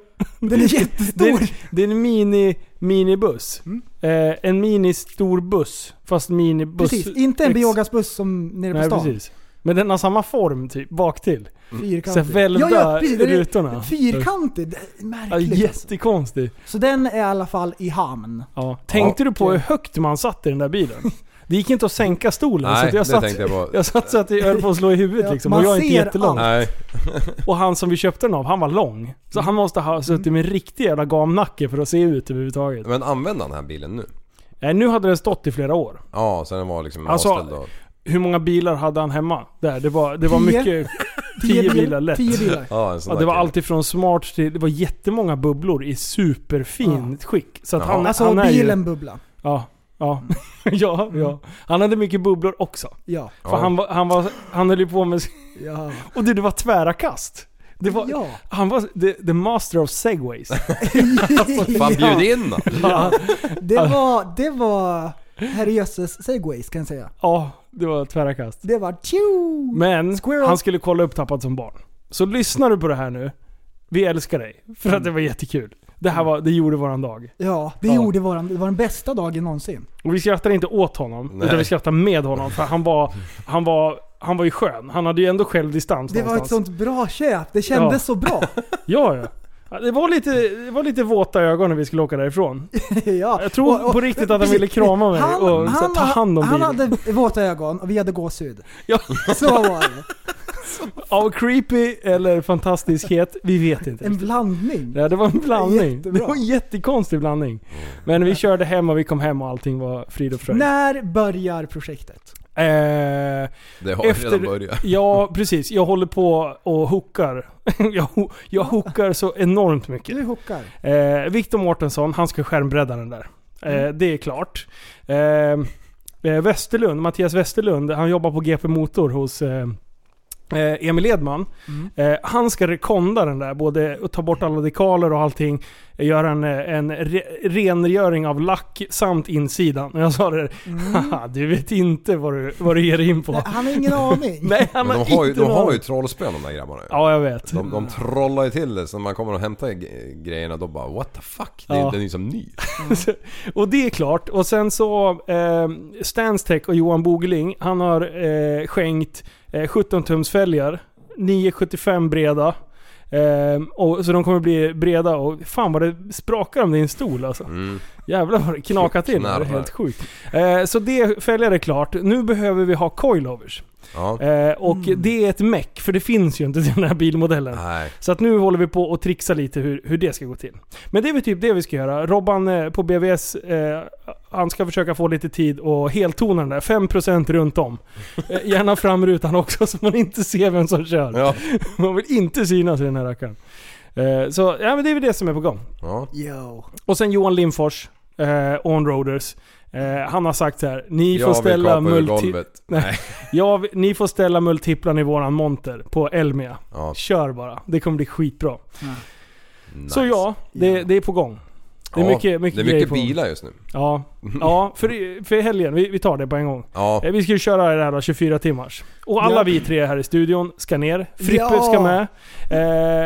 [SPEAKER 2] Det
[SPEAKER 4] jättestor.
[SPEAKER 2] är, det är en mini, minibuss.
[SPEAKER 4] Mm.
[SPEAKER 2] Eh, en mini stor buss. Fast minibuss.
[SPEAKER 4] Precis, inte en
[SPEAKER 2] Ex-
[SPEAKER 4] biogasbuss som nere på
[SPEAKER 2] Nej
[SPEAKER 4] stan.
[SPEAKER 2] precis. Men den har samma form typ, bak till. Så
[SPEAKER 4] Fyrkantig.
[SPEAKER 2] välvda
[SPEAKER 4] det är
[SPEAKER 2] rutorna.
[SPEAKER 4] Fyrkantig. Det är
[SPEAKER 2] Ja,
[SPEAKER 4] Märkligt alltså.
[SPEAKER 2] jättekonstigt.
[SPEAKER 4] Så den är i alla fall i hamn.
[SPEAKER 2] Ja. Tänkte du på hur högt man satt i den där bilen? Det gick inte att sänka stolen. så
[SPEAKER 3] Nej,
[SPEAKER 2] att Alltså, jag,
[SPEAKER 3] det
[SPEAKER 2] satt,
[SPEAKER 3] tänkte jag på.
[SPEAKER 2] jag satt så att jag höll på att slå i huvudet
[SPEAKER 4] Ja,
[SPEAKER 2] liksom.
[SPEAKER 4] man
[SPEAKER 2] Och jag är inte
[SPEAKER 4] ser
[SPEAKER 2] jättelång.
[SPEAKER 3] Nej.
[SPEAKER 2] Och han som vi köpte den av, han var lång.
[SPEAKER 4] Mm.
[SPEAKER 2] Så han måste ha suttit med en riktig jävla gamnacke för att se ut överhuvudtaget.
[SPEAKER 3] Men använder han den här bilen nu?
[SPEAKER 2] Nej, nu hade den stått i flera år.
[SPEAKER 3] Ja, så den var liksom
[SPEAKER 2] Alltså,
[SPEAKER 3] avställd och...
[SPEAKER 2] Hur många bilar hade han hemma? Där, det var, det var
[SPEAKER 4] Tio.
[SPEAKER 2] mycket... Tio bilar lätt.
[SPEAKER 4] Tio bilar.
[SPEAKER 3] Ja, en sån
[SPEAKER 2] Ja,
[SPEAKER 3] där
[SPEAKER 2] det var
[SPEAKER 3] kille.
[SPEAKER 2] allt ifrån smart till... Det var jättemånga bubblor i superfint skick. Så att
[SPEAKER 3] Jaha.
[SPEAKER 2] han,
[SPEAKER 4] Alltså
[SPEAKER 2] han är
[SPEAKER 4] bilen Mm.
[SPEAKER 2] ju...
[SPEAKER 4] bubbla.
[SPEAKER 2] Ja, ja. ja, ja. Han hade mycket bubblor också.
[SPEAKER 4] Ja.
[SPEAKER 2] För
[SPEAKER 3] Ja.
[SPEAKER 2] han, var, han, var, han höll ju på med...
[SPEAKER 4] Ja.
[SPEAKER 2] Och det, det var tvära kast. Det var,
[SPEAKER 4] Ja.
[SPEAKER 2] Han var the, the master of segways.
[SPEAKER 3] Fan bjud in då.
[SPEAKER 2] ja,
[SPEAKER 4] Det var, det var herrejösses segways kan jag säga.
[SPEAKER 2] ja, det var tvära kast.
[SPEAKER 4] Det var tjo!
[SPEAKER 2] Men
[SPEAKER 4] Squirrel.
[SPEAKER 2] han skulle kolla upp Tappat som barn. Så lyssnar du på det här nu, vi älskar dig. För att det var jättekul. Det här var, det gjorde våran dag.
[SPEAKER 4] Ja, det
[SPEAKER 2] Ja.
[SPEAKER 4] gjorde våran, det var den bästa dagen någonsin.
[SPEAKER 2] Och vi skrattade inte åt honom,
[SPEAKER 3] Nej.
[SPEAKER 2] utan vi skrattade med honom. För han var, han var, han var ju skön. Han hade ju ändå självdistans
[SPEAKER 4] Det var ett
[SPEAKER 2] någonstans.
[SPEAKER 4] sånt bra köp, det kändes
[SPEAKER 2] Ja.
[SPEAKER 4] så bra.
[SPEAKER 2] Ja, ja. Ja, Det var, lite, det var lite våta ögon när vi skulle åka därifrån.
[SPEAKER 4] ja.
[SPEAKER 2] Jag tror på riktigt att han ville krama mig
[SPEAKER 4] Han,
[SPEAKER 2] och så,
[SPEAKER 4] han,
[SPEAKER 2] ta hand om
[SPEAKER 4] han
[SPEAKER 2] bilen.
[SPEAKER 4] hade våta ögon och vi hade gåshud.
[SPEAKER 2] Ja.
[SPEAKER 4] Så var det.
[SPEAKER 2] Av creepy eller fantastiskhet, vi vet inte.
[SPEAKER 4] En blandning.
[SPEAKER 2] Ja, det var en blandning.
[SPEAKER 4] Jättebra.
[SPEAKER 2] Det var en jättekonstig blandning. Men vi körde hem och vi kom hem och allting var frid och fröjd.
[SPEAKER 4] När börjar projektet?
[SPEAKER 2] Eh,
[SPEAKER 3] Det har redan
[SPEAKER 2] efter,
[SPEAKER 3] börjat.
[SPEAKER 2] ja, precis. Jag håller på och hookar. jag, ho- jag hookar så enormt mycket.
[SPEAKER 4] Du hockar.
[SPEAKER 2] Eh, Victor Mårtensson, han ska skärmbredda den där. Eh, det är klart. Eh, eh, Westerlund, Mattias Westerlund, han jobbar på GP Motor hos eh, eh, Emil Edman. Eh, han ska rekonda den där, både och ta bort alla dekaler och allting. eh, Göra en, eh, en re, rengöring av lack samt insidan. Och jag sa det, haha, du vet inte vad du, vad du ger dig in på.
[SPEAKER 4] Han har ingen aning.
[SPEAKER 2] Nej, han
[SPEAKER 3] Men
[SPEAKER 2] har
[SPEAKER 3] de har ju,
[SPEAKER 2] inte
[SPEAKER 3] de har
[SPEAKER 2] någon-
[SPEAKER 3] ju trollspön de där grabbarna ju.
[SPEAKER 2] Ja, jag vet.
[SPEAKER 3] De, de trollar ju till det, så när man kommer och hämtar g- grejerna då bara what the fuck? Det,
[SPEAKER 2] Ja.
[SPEAKER 3] Den är ju som ny.
[SPEAKER 2] Och det är klart. Och sen så eh, Stanstech och Johan Bogeling, han har eh, skänkt eh, 17-tumsfälgar. 9,75 breda. Eh, och, så de kommer bli breda och fan vad det sprakar om din stol alltså.
[SPEAKER 3] Mm.
[SPEAKER 2] Jävlar vad det knakar till. Det är
[SPEAKER 3] Knarrar.
[SPEAKER 2] helt sjukt. Eh, så det fälgar är klart. Nu behöver vi ha coilovers.
[SPEAKER 3] Ja.
[SPEAKER 2] Eh, och det är ett meck, för det finns ju inte till den här bilmodellen.
[SPEAKER 3] Nej.
[SPEAKER 2] Så att nu håller vi på och trixar lite hur, hur det ska gå till. Men det är väl typ det vi ska göra. Robban eh, på BVS, eh, han ska försöka få lite tid och heltona den där. 5% runt om. Eh, gärna framrutan också så man inte ser vem som kör.
[SPEAKER 3] Ja.
[SPEAKER 2] Man vill inte synas i den här rackaren. Eh, så ja, men det är väl det som är på gång.
[SPEAKER 3] ja.
[SPEAKER 4] Yo.
[SPEAKER 2] Och sen Johan Lindfors, eh, Onroaders. Eh, han har sagt så här, ni
[SPEAKER 3] Jag
[SPEAKER 2] får
[SPEAKER 3] vill
[SPEAKER 2] ställa
[SPEAKER 3] kapa ur
[SPEAKER 2] multi-
[SPEAKER 3] golvet.
[SPEAKER 2] Nej. Jag, vill- ni får ställa multiplarna i våran monter på Elmia.
[SPEAKER 3] Ja.
[SPEAKER 2] Kör bara. Det kommer bli skitbra.
[SPEAKER 3] Nice.
[SPEAKER 2] Så ja, det, det är på gång. Det är
[SPEAKER 3] Ja,
[SPEAKER 2] mycket, mycket,
[SPEAKER 3] Det är
[SPEAKER 2] grejer
[SPEAKER 3] mycket
[SPEAKER 2] på gång.
[SPEAKER 3] bilar just nu.
[SPEAKER 2] Ja,
[SPEAKER 4] Mhm.
[SPEAKER 2] ja för, för helgen. Vi, vi tar det på en gång.
[SPEAKER 3] Ja.
[SPEAKER 2] Eh, Vi ska ju köra det här då, 24 timmars. Och alla
[SPEAKER 4] Ja.
[SPEAKER 2] vi tre här i studion ska ner. Frippe
[SPEAKER 4] Ja.
[SPEAKER 2] ska med.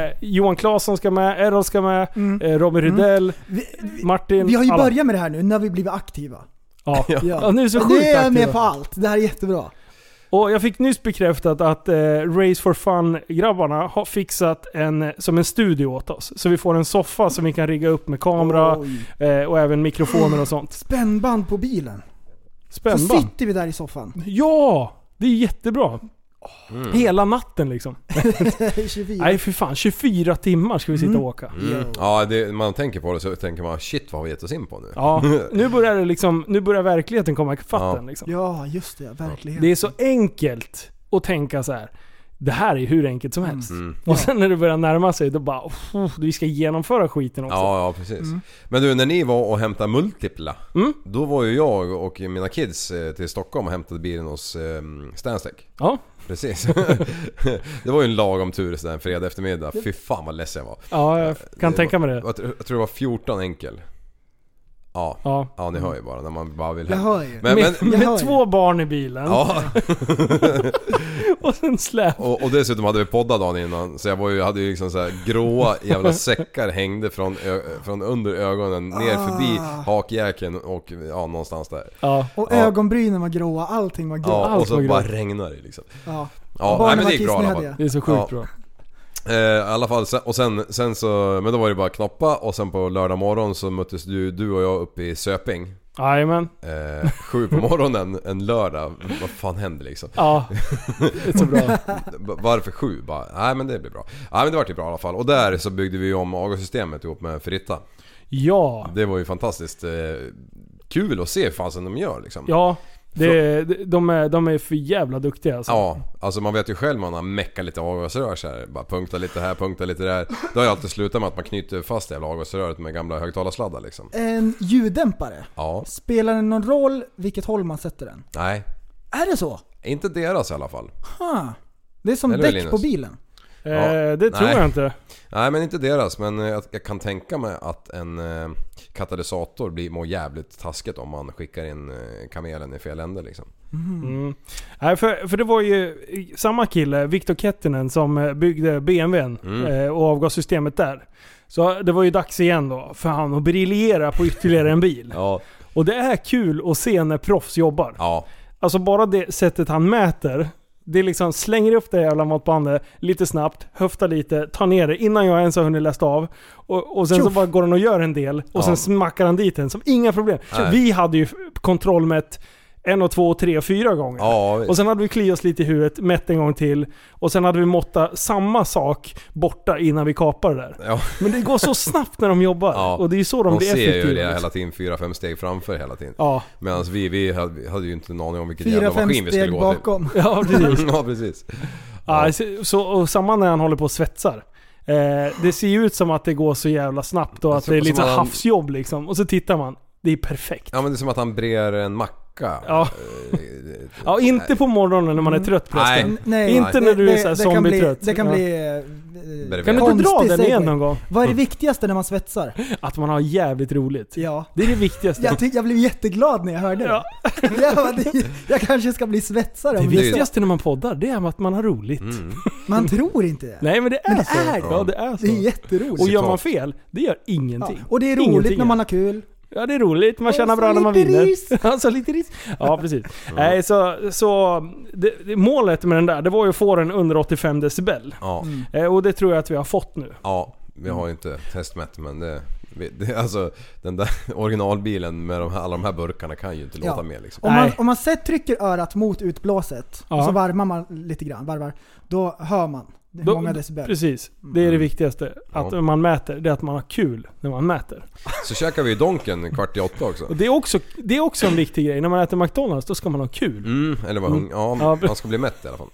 [SPEAKER 2] Eh, Johan Claesson ska med. Errol ska med.
[SPEAKER 4] Mm.
[SPEAKER 2] Eh, Robin Rydell.
[SPEAKER 4] Vi, vi,
[SPEAKER 2] Martin.
[SPEAKER 4] vi har ju
[SPEAKER 2] Eh, alla.
[SPEAKER 4] börjat med det här nu när vi blivit aktiva.
[SPEAKER 2] Ja. Ja. nu är vi så
[SPEAKER 4] Men
[SPEAKER 2] sjukt
[SPEAKER 4] Nu är jag med
[SPEAKER 2] aktiva.
[SPEAKER 4] på allt. Det här är jättebra.
[SPEAKER 2] Och jag fick nyss bekräftat att eh, Race for Fun-grabbarna har fixat en, som en studio åt oss. Så vi får en soffa som vi kan rigga upp med kamera
[SPEAKER 4] Oj.
[SPEAKER 2] eh, och även mikrofoner och sånt.
[SPEAKER 4] Spännband på bilen. Så
[SPEAKER 2] Spännband.
[SPEAKER 4] sitter vi där i soffan.
[SPEAKER 2] Ja! Det är jättebra.
[SPEAKER 3] Mm.
[SPEAKER 2] Hela natten liksom.
[SPEAKER 4] 24.
[SPEAKER 2] Nej för fan, 24 timmar ska vi sitta och åka.
[SPEAKER 3] Mm. Ja, det, man tänker på det så tänker man shit vad har vi gett oss in på nu?
[SPEAKER 2] Ja, nu börjar det liksom, nu börjar verkligheten komma ikafatt
[SPEAKER 3] Ja.
[SPEAKER 2] den liksom.
[SPEAKER 4] Ja, just det. Verkligen.
[SPEAKER 2] Det är så enkelt att tänka så här. Det här är hur enkelt som helst.
[SPEAKER 3] Mm.
[SPEAKER 2] Och sen när det börjar närma sig, då bara "Pff, vi ska genomföra skiten också.
[SPEAKER 3] Ja, ja precis.
[SPEAKER 2] Mm.
[SPEAKER 3] Men du, när ni var och hämtade multipla. Då var ju jag och mina kids eh, till Stockholm och hämtade bilen hos eh, Stanstech.
[SPEAKER 2] Ja.
[SPEAKER 3] Precis. det var ju en lagom tur sådär en fredag eftermiddag. Fy fan vad ledsen jag var.
[SPEAKER 2] Ja, jag kan
[SPEAKER 3] Det
[SPEAKER 2] tänka mig
[SPEAKER 3] var-
[SPEAKER 2] det.
[SPEAKER 3] Jag tror jag tror det var 14 enkel. Ja. ja.
[SPEAKER 2] Ja.
[SPEAKER 3] ni hör ju bara när man bara vill
[SPEAKER 4] Jag
[SPEAKER 3] hem.
[SPEAKER 4] hör ju.
[SPEAKER 3] Men, men,
[SPEAKER 2] med med
[SPEAKER 4] hör ju.
[SPEAKER 2] två barn i bilen
[SPEAKER 3] ja.
[SPEAKER 2] och sen släp.
[SPEAKER 3] Och, och dessutom hade vi poddat dagen innan så jag var ju, hade ju liksom så här gråa jävla säckar hängde från, ö, från under ögonen ner förbi
[SPEAKER 4] Ah.
[SPEAKER 3] hakjäkeln och ja, någonstans där.
[SPEAKER 2] Ja.
[SPEAKER 4] Och
[SPEAKER 3] Ja.
[SPEAKER 4] ögonbrynen var gråa, allting var gråa.
[SPEAKER 3] Ja,
[SPEAKER 2] Allt
[SPEAKER 3] och så
[SPEAKER 2] var
[SPEAKER 3] bara
[SPEAKER 2] grått.
[SPEAKER 3] regnar det liksom.
[SPEAKER 4] Ja.
[SPEAKER 3] Ja, nej,
[SPEAKER 4] Barnen
[SPEAKER 3] men det
[SPEAKER 4] var
[SPEAKER 3] gick bra i alla fall.
[SPEAKER 4] kissnödiga.
[SPEAKER 2] Det är så sjukt
[SPEAKER 3] Ja.
[SPEAKER 2] bra.
[SPEAKER 3] Eh, I alla fall, sen- och sen, sen så, men då var det bara att knoppa och sen på lördag morgon så möttes du, du och jag uppe i Söping.
[SPEAKER 2] Jajamän.
[SPEAKER 3] Eh, sju på morgonen en lördag. Vad fan hände liksom?
[SPEAKER 2] Ja. Det är så bra.
[SPEAKER 3] B- Varför sju? Bara, nej men det blir bra. Nej men det vart ju bra i alla fall. Och där så byggde vi om avgassystemet ihop med Fritta.
[SPEAKER 2] Ja.
[SPEAKER 3] Det var ju fantastiskt eh, kul att se hur fasen de gör liksom.
[SPEAKER 2] Ja. Det, det- de, är, de är för jävla duktiga alltså.
[SPEAKER 3] Ja, alltså man vet ju själv man har meckat lite avgasrör så här. Bara punkta lite här, punkta lite där. Det har ju alltid slutat med att man knyter fast jävla avgasröret med gamla högtalarsladdar liksom.
[SPEAKER 4] En ljuddämpare.
[SPEAKER 3] Ja,
[SPEAKER 4] Spelar det någon roll vilket håll man sätter den?
[SPEAKER 3] nej.
[SPEAKER 4] Är det så?
[SPEAKER 3] Inte deras i alla fall.
[SPEAKER 4] Ha. Det är som
[SPEAKER 3] Eller hur,
[SPEAKER 4] däck på
[SPEAKER 3] Linus?
[SPEAKER 4] bilen.
[SPEAKER 2] Eh,
[SPEAKER 3] Ja.
[SPEAKER 2] Det tror
[SPEAKER 3] Nej.
[SPEAKER 2] jag inte.
[SPEAKER 3] Nej men inte deras men eh, jag, jag kan tänka mig att en eh, katalysator blir, mår jävligt tasket om man skickar in eh, kamelen i fel ände liksom.
[SPEAKER 2] Mm. Nej, för, för det var ju eh, samma kille, Viktor Kettinen, som eh, byggde BMWn
[SPEAKER 3] Mm.
[SPEAKER 2] eh, och avgassystemet där. Så det var ju dags igen då för han att briljera på ytterligare en bil.
[SPEAKER 3] Ja.
[SPEAKER 2] Och det är kul att se när proffs jobbar.
[SPEAKER 3] Ja.
[SPEAKER 2] Alltså bara det sättet han mäter. Det är liksom slänger upp det jävla måttbandet lite snabbt, höftar lite, tar ner det innan jag ens har hunnit läst av. Och, och sen så
[SPEAKER 4] Tjoff!
[SPEAKER 2] bara går han och gör en del och
[SPEAKER 3] Ja.
[SPEAKER 2] sen smackar han dit den som inga problem.
[SPEAKER 3] Nej.
[SPEAKER 2] Vi hade ju kontroll med ett, en och två och tre och fyra gånger.
[SPEAKER 3] Ja, visst.
[SPEAKER 2] Och sen hade vi kliat oss lite i huvudet, mätt en gång till. Och sen hade vi måttat samma sak borta innan vi kapade det där.
[SPEAKER 3] ja.
[SPEAKER 2] Men det går så snabbt när de jobbar.
[SPEAKER 3] Ja.
[SPEAKER 2] Och det är ju så de,
[SPEAKER 3] De
[SPEAKER 2] blir
[SPEAKER 3] ser
[SPEAKER 2] effektiva.
[SPEAKER 3] ju det hela tiden, fyra fem steg framför hela tiden.
[SPEAKER 2] Ja,
[SPEAKER 3] Medan vi, vi hade, vi hade ju inte en aning om vilket
[SPEAKER 4] Fyra,
[SPEAKER 3] jävla
[SPEAKER 4] fem
[SPEAKER 3] maskin vi skulle
[SPEAKER 4] steg
[SPEAKER 3] gå till.
[SPEAKER 4] bakom.
[SPEAKER 2] ja precis.
[SPEAKER 3] ja precis.
[SPEAKER 2] Ja. så- så, och samma när han håller på och svetsar. Eh, det ser ju ut som att det går så jävla snabbt och att
[SPEAKER 3] Som-
[SPEAKER 2] det är lite
[SPEAKER 3] som han-
[SPEAKER 2] havsjobb liksom. Och så tittar man. Det är perfekt.
[SPEAKER 3] Ja men det är som att han brer en macka.
[SPEAKER 2] Ja.
[SPEAKER 3] Eh,
[SPEAKER 2] Ja, inte på morgonen när man är trött
[SPEAKER 3] Nej.
[SPEAKER 2] förresten.
[SPEAKER 4] N- Nej,
[SPEAKER 2] Inte
[SPEAKER 4] det-
[SPEAKER 2] när du är
[SPEAKER 4] det-
[SPEAKER 2] så här
[SPEAKER 4] det kan
[SPEAKER 2] zombietrött.
[SPEAKER 4] bli- Det kan
[SPEAKER 2] Ja.
[SPEAKER 4] bli... eh,
[SPEAKER 3] Bredvid.
[SPEAKER 2] Kan du inte dra
[SPEAKER 4] konstig
[SPEAKER 2] den
[SPEAKER 4] segway.
[SPEAKER 2] igen någon gång?
[SPEAKER 4] Vad är det viktigaste när man svetsar?
[SPEAKER 2] Att man har jävligt roligt.
[SPEAKER 4] Ja.
[SPEAKER 2] Det är det viktigaste.
[SPEAKER 4] Jag, ty- jag blev jätteglad när jag hörde det.
[SPEAKER 2] Ja.
[SPEAKER 4] Jag, bara, det- jag kanske ska bli svetsare
[SPEAKER 2] Det
[SPEAKER 4] om jag-
[SPEAKER 2] viktigaste när man poddar, det är att man har roligt.
[SPEAKER 3] Mm.
[SPEAKER 4] Man tror inte det.
[SPEAKER 2] Nej men det är
[SPEAKER 4] Men det
[SPEAKER 2] så.
[SPEAKER 4] är det.
[SPEAKER 2] ja, det är så.
[SPEAKER 4] Det är jätteroligt.
[SPEAKER 2] och gör man
[SPEAKER 3] Citat.
[SPEAKER 2] fel, det gör ingenting.
[SPEAKER 4] Ja. Och det är roligt
[SPEAKER 2] Ingenting
[SPEAKER 4] när man har kul.
[SPEAKER 2] Ja det är roligt, man
[SPEAKER 4] Och
[SPEAKER 2] tjänar
[SPEAKER 4] så
[SPEAKER 2] bra när man
[SPEAKER 4] lite
[SPEAKER 2] vinner.
[SPEAKER 4] ris.
[SPEAKER 2] alltså lite ris. Ja precis. Nej, så, så det, det, målet med den där, det var ju att få den under 85 decibel.
[SPEAKER 3] Ja.
[SPEAKER 2] Eh, och det tror jag att vi har fått nu.
[SPEAKER 3] Ja, vi har ju inte testmätt men det, vi- det... Alltså den där originalbilen med de här, alla de här burkarna kan ju inte
[SPEAKER 4] Ja.
[SPEAKER 3] låta mer liksom.
[SPEAKER 4] Om man,
[SPEAKER 2] Nej.
[SPEAKER 4] om man sett trycker örat mot utblåset
[SPEAKER 2] Ja.
[SPEAKER 4] och så varvar man lite grann, varvar, då hör man hur
[SPEAKER 2] Då-
[SPEAKER 4] många decibel.
[SPEAKER 2] Precis. Det är det viktigaste. Att
[SPEAKER 3] Ja.
[SPEAKER 2] man mäter, det är att man har kul när man mäter.
[SPEAKER 3] Så käkar vi ju Donken kvart i åtta också.
[SPEAKER 2] Och det är också, det är också en viktig grej. När man äter McDonalds, då ska man ha kul.
[SPEAKER 3] Mm, eller vad hungrig.
[SPEAKER 2] Ja,
[SPEAKER 3] Ja,
[SPEAKER 2] pre-
[SPEAKER 3] man ska bli mätt i alla fall.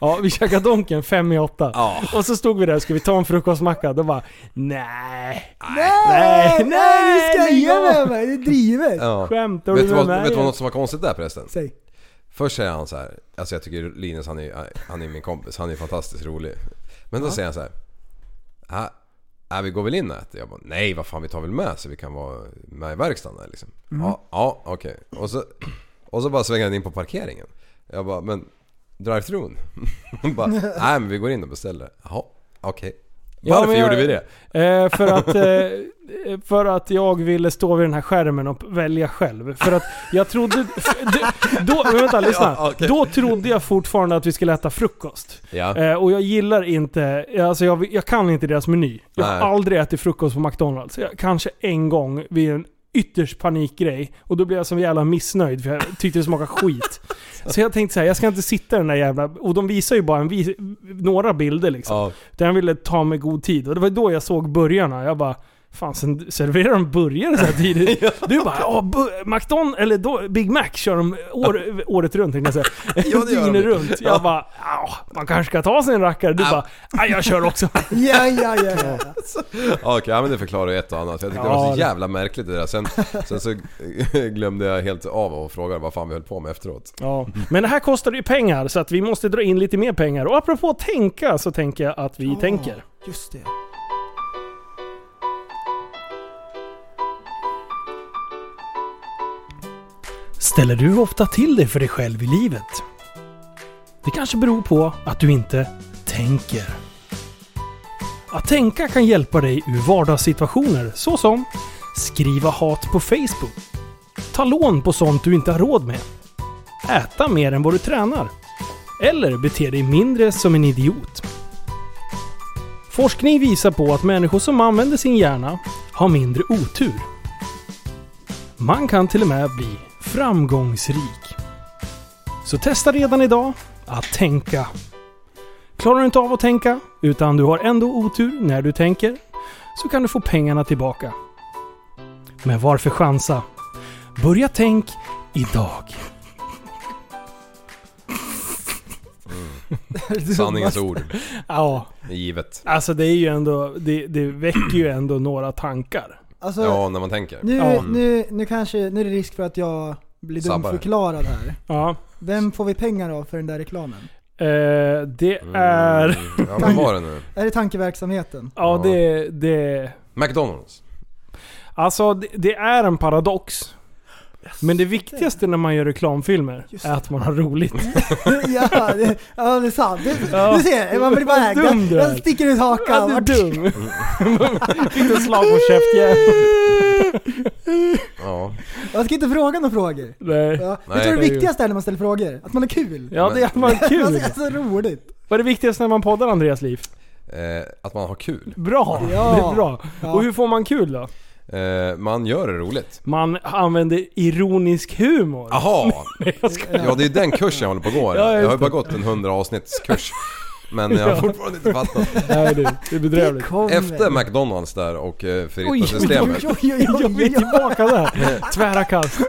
[SPEAKER 2] Ja, vi käkade Donken fem i åtta.
[SPEAKER 3] Ja.
[SPEAKER 2] Och så stod vi där, ska vi ta en frukostmacka? Då bara, nej. Nej,
[SPEAKER 4] Nej, nej,
[SPEAKER 2] nej,
[SPEAKER 4] du ska
[SPEAKER 2] lägg
[SPEAKER 4] ge
[SPEAKER 2] av.
[SPEAKER 4] mig! vad är Det drivet!
[SPEAKER 3] Ja.
[SPEAKER 2] Skämtar du
[SPEAKER 3] Vet du
[SPEAKER 2] med
[SPEAKER 3] vad,
[SPEAKER 2] mig?
[SPEAKER 3] vet du vad något som var konstigt där förresten?
[SPEAKER 4] Säg.
[SPEAKER 3] Först säger han så här. Alltså jag tycker Linus han är, han är min kompis, han är fantastiskt rolig. Men då säger han så här. "Ah, ah, vi går väl in och äter? Jag bara, nej vad fan vi tar väl med så vi kan vara med i verkstaden där liksom.
[SPEAKER 2] Mm.
[SPEAKER 3] Ja, ja okej. Och, så, och så bara svänger han in på parkeringen. Jag bara, men drive-thrun? Hon bara, nej men vi går in och beställer. Jaha, okej.
[SPEAKER 2] Ja,
[SPEAKER 3] Varför
[SPEAKER 2] men jag-
[SPEAKER 3] gjorde vi det?
[SPEAKER 2] Eh, för, att, eh, för att jag ville stå vid den här skärmen och välja själv. För att jag trodde... f- d- Då, men vänta, lyssna.
[SPEAKER 3] Ja, okej.
[SPEAKER 2] Då trodde jag fortfarande att vi skulle äta frukost.
[SPEAKER 3] Ja.
[SPEAKER 2] Eh, och jag gillar inte... Alltså jag, jag kan inte deras meny. Jag har
[SPEAKER 3] Nej.
[SPEAKER 2] aldrig ätit frukost på McDonalds. Jag, kanske en gång vid en ytterst panikgrej. Och då blev jag så jävla missnöjd för jag tyckte det smakade skit. Så jag tänkte så här, jag ska inte sitta i den där jävla... Och de visar ju bara en vis, några bilder liksom.
[SPEAKER 3] Ja,
[SPEAKER 2] Där han ville ta mig god tid. Och det var då jag såg burgarna. Jag bara, fan sen serverar de burgare så här tidigt? Du bara, ja bu- McDonald eller då, Big Mac kör de år, året runt tänkte jag säga.
[SPEAKER 3] Ja, det gör de.
[SPEAKER 2] Dygnet runt. Jag
[SPEAKER 3] Ja.
[SPEAKER 2] bara, ja man kanske ska ta sig en rackare. Du
[SPEAKER 3] Ja.
[SPEAKER 2] bara, nej jag kör också.
[SPEAKER 4] Ja, ja, ja. ja.
[SPEAKER 3] Ja, Okej, ja, men det förklarar ju ett och annat. Jag tyckte det
[SPEAKER 2] Ja,
[SPEAKER 3] var så
[SPEAKER 2] det-
[SPEAKER 3] jävla märkligt det där. Sen, sen så glömde jag helt av och frågade vad fan vi höll på med efteråt.
[SPEAKER 2] Ja. Men det här kostar ju pengar så att vi måste dra in lite mer pengar. Och apropå att tänka så tänker jag att vi tänker.
[SPEAKER 4] Just det.
[SPEAKER 5] Ställer du ofta till dig för dig själv i livet? Det kanske beror på att du inte tänker. Att tänka kan hjälpa dig ur vardagssituationer såsom skriva hat på Facebook, ta lån på sånt du inte har råd med, äta mer än vad du tränar,
[SPEAKER 2] Eller bete dig mindre som en idiot. Forskning visar på att människor som använder sin hjärna har mindre otur. Man kan till och med bli framgångsrik. Så testa redan idag att tänka. Klarar du inte av att tänka, utan du har ändå otur när du tänker, så kan du få pengarna tillbaka. Men varför chansa? Börja tänk idag.
[SPEAKER 3] Sanningens ord.
[SPEAKER 2] Ja,
[SPEAKER 3] Givet.
[SPEAKER 2] alltså det är ju ändå... Det, det väcker ju ändå några tankar.
[SPEAKER 4] Alltså,
[SPEAKER 3] Ja, när man tänker.
[SPEAKER 4] nu,
[SPEAKER 2] Ja.
[SPEAKER 4] nu, nu kanske, nu är det risk för att jag blir
[SPEAKER 3] Sabbar.
[SPEAKER 4] dumförklarad här.
[SPEAKER 2] Ja.
[SPEAKER 4] Vem får vi pengar av för den där reklamen?
[SPEAKER 2] Eh, det
[SPEAKER 3] Mm.
[SPEAKER 2] är...
[SPEAKER 3] Ja, vad var det nu?
[SPEAKER 4] Är det tankeverksamheten?
[SPEAKER 2] Ja, det... det
[SPEAKER 3] McDonalds.
[SPEAKER 2] alltså, det, det är en paradox. Men det viktigaste när man gör reklamfilmer
[SPEAKER 4] Just
[SPEAKER 2] är att man har roligt.
[SPEAKER 4] ja, det, ja, det är sant. Du,
[SPEAKER 2] Ja.
[SPEAKER 4] du ser, man blir bara
[SPEAKER 2] Vad
[SPEAKER 4] ägd.
[SPEAKER 2] dum
[SPEAKER 4] Jag,
[SPEAKER 2] du är.
[SPEAKER 4] jag sticker ut hakan.
[SPEAKER 2] Ja, du är dum. Fick du slag på käftjäveln?
[SPEAKER 3] Ja.
[SPEAKER 4] Jag ska inte fråga några frågor.
[SPEAKER 2] Nej.
[SPEAKER 4] Ja,
[SPEAKER 3] Nej.
[SPEAKER 4] jag tror det viktigaste är när man ställer frågor, att man har kul.
[SPEAKER 2] Ja, det är att man har
[SPEAKER 4] Man
[SPEAKER 2] kul.
[SPEAKER 4] ska ha så roligt.
[SPEAKER 2] Vad är det viktigaste när man poddar Andreas liv?
[SPEAKER 3] Eh, att man har kul.
[SPEAKER 2] Bra!
[SPEAKER 4] Ja.
[SPEAKER 2] Det är bra.
[SPEAKER 4] Ja.
[SPEAKER 2] Och hur får man kul då?
[SPEAKER 3] Eh, man gör det roligt.
[SPEAKER 2] Man använder ironisk humor.
[SPEAKER 3] Aha!
[SPEAKER 2] Jag ska...
[SPEAKER 3] Ja, det är ju den kursen jag håller på att gå.
[SPEAKER 2] Ja, just
[SPEAKER 3] Jag har ju
[SPEAKER 2] det.
[SPEAKER 3] bara gått en 100 avsnittskurs. Men jag
[SPEAKER 2] Ja. Oh,
[SPEAKER 3] har fortfarande inte fattat.
[SPEAKER 2] Nej, det det är
[SPEAKER 4] Det
[SPEAKER 2] bedrövligt.
[SPEAKER 4] kommer.
[SPEAKER 3] Efter McDonalds där och eh, Fritta-systemet.
[SPEAKER 4] Oj, oj, oj,
[SPEAKER 2] Jag
[SPEAKER 4] oj,
[SPEAKER 2] vill
[SPEAKER 4] oj.
[SPEAKER 2] tillbaka där. Tvära kast.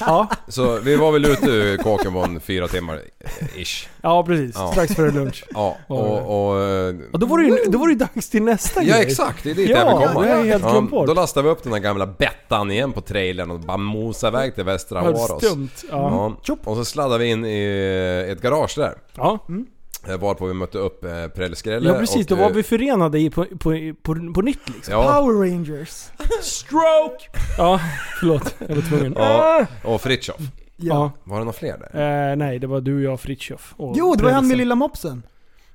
[SPEAKER 2] Ja,
[SPEAKER 3] Så vi var väl ute ur Kåkenbon fyra timmar, eh, ish.
[SPEAKER 2] ja precis.
[SPEAKER 3] Ja.
[SPEAKER 2] Strax före lunch.
[SPEAKER 3] Ja, och... och eh,
[SPEAKER 2] Ja, då, var det ju, då var det ju dags till nästa
[SPEAKER 3] ja
[SPEAKER 2] grej.
[SPEAKER 3] exakt, det är dit
[SPEAKER 2] Ja,
[SPEAKER 3] jag vill komma.
[SPEAKER 2] det har jag helt glömt bort.
[SPEAKER 3] då lastade vi upp den där gamla Bettan igen på trailern och bara mosade iväg till västra
[SPEAKER 2] Vad
[SPEAKER 3] Åros.
[SPEAKER 2] Stumt. Ja.
[SPEAKER 3] Ja. Och så sladdade vi in i eh, ett garage där.
[SPEAKER 2] Ja. Mm.
[SPEAKER 3] eh, Varpå vi mötte upp eh, Präll Skrelle
[SPEAKER 2] ja, precis.
[SPEAKER 3] och,
[SPEAKER 2] Då var
[SPEAKER 3] eh,
[SPEAKER 2] vi förenade i på, på, på, på nytt liksom.
[SPEAKER 3] Ja,
[SPEAKER 4] Power Rangers.
[SPEAKER 2] Stroke! Ja, förlåt. Jag var tvungen.
[SPEAKER 3] Ja. och Fritiof.
[SPEAKER 2] Ja.
[SPEAKER 3] Var det några fler där?
[SPEAKER 2] Eh, nej, det var du, jag, Fritiof och
[SPEAKER 4] Jo, det var han
[SPEAKER 2] Bredesen.
[SPEAKER 4] med lilla mopsen.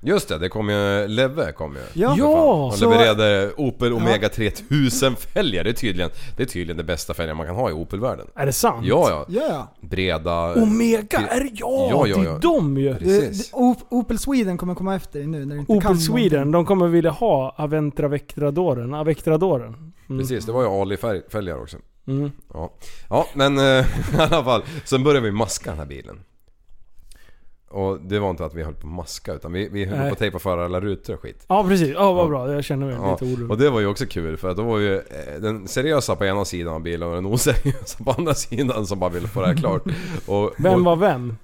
[SPEAKER 3] Just det, det kom ju... Leve kom ju.
[SPEAKER 4] Ja.
[SPEAKER 3] För
[SPEAKER 2] Ja,
[SPEAKER 3] fan. Han
[SPEAKER 2] så-
[SPEAKER 3] levererade Opel Omega 3000 fälgar. Det är tydligen, det är tydligen det bästa fälgar man kan ha i Opel-världen.
[SPEAKER 2] Är det sant?
[SPEAKER 3] Ja, ja.
[SPEAKER 4] Ja, ja.
[SPEAKER 3] Breda...
[SPEAKER 2] Omega är det ja,
[SPEAKER 3] Ja, ja,
[SPEAKER 2] Det
[SPEAKER 3] ja.
[SPEAKER 2] är de ju.
[SPEAKER 4] Det-
[SPEAKER 3] Precis.
[SPEAKER 4] det- Op- Opel Sweden kommer komma efter dig nu när du inte kan
[SPEAKER 2] Opel
[SPEAKER 4] någonting.
[SPEAKER 2] Sweden, de kommer vilja ha Aventra Vectradoren. Avectradoren. Mm.
[SPEAKER 3] Precis, det var ju Ali-fälgar också.
[SPEAKER 2] Mm.
[SPEAKER 3] Ja, ja men eh, i alla fall. Sen började vi maska den här bilen. Och det var inte att vi höll på att maska utan vi, vi höll
[SPEAKER 2] Nej.
[SPEAKER 3] på att tejpa för alla rutor och skit.
[SPEAKER 2] Ja, precis. Ja, vad
[SPEAKER 3] Ja.
[SPEAKER 2] bra. Jag känner mig
[SPEAKER 3] Ja,
[SPEAKER 2] lite orolig.
[SPEAKER 3] och det var ju också kul för att då var ju eh, den seriösa på ena sidan av bilen och den oseriösa på andra sidan som bara ville få det här klart. Och,
[SPEAKER 2] Vem
[SPEAKER 3] och,
[SPEAKER 2] var vem?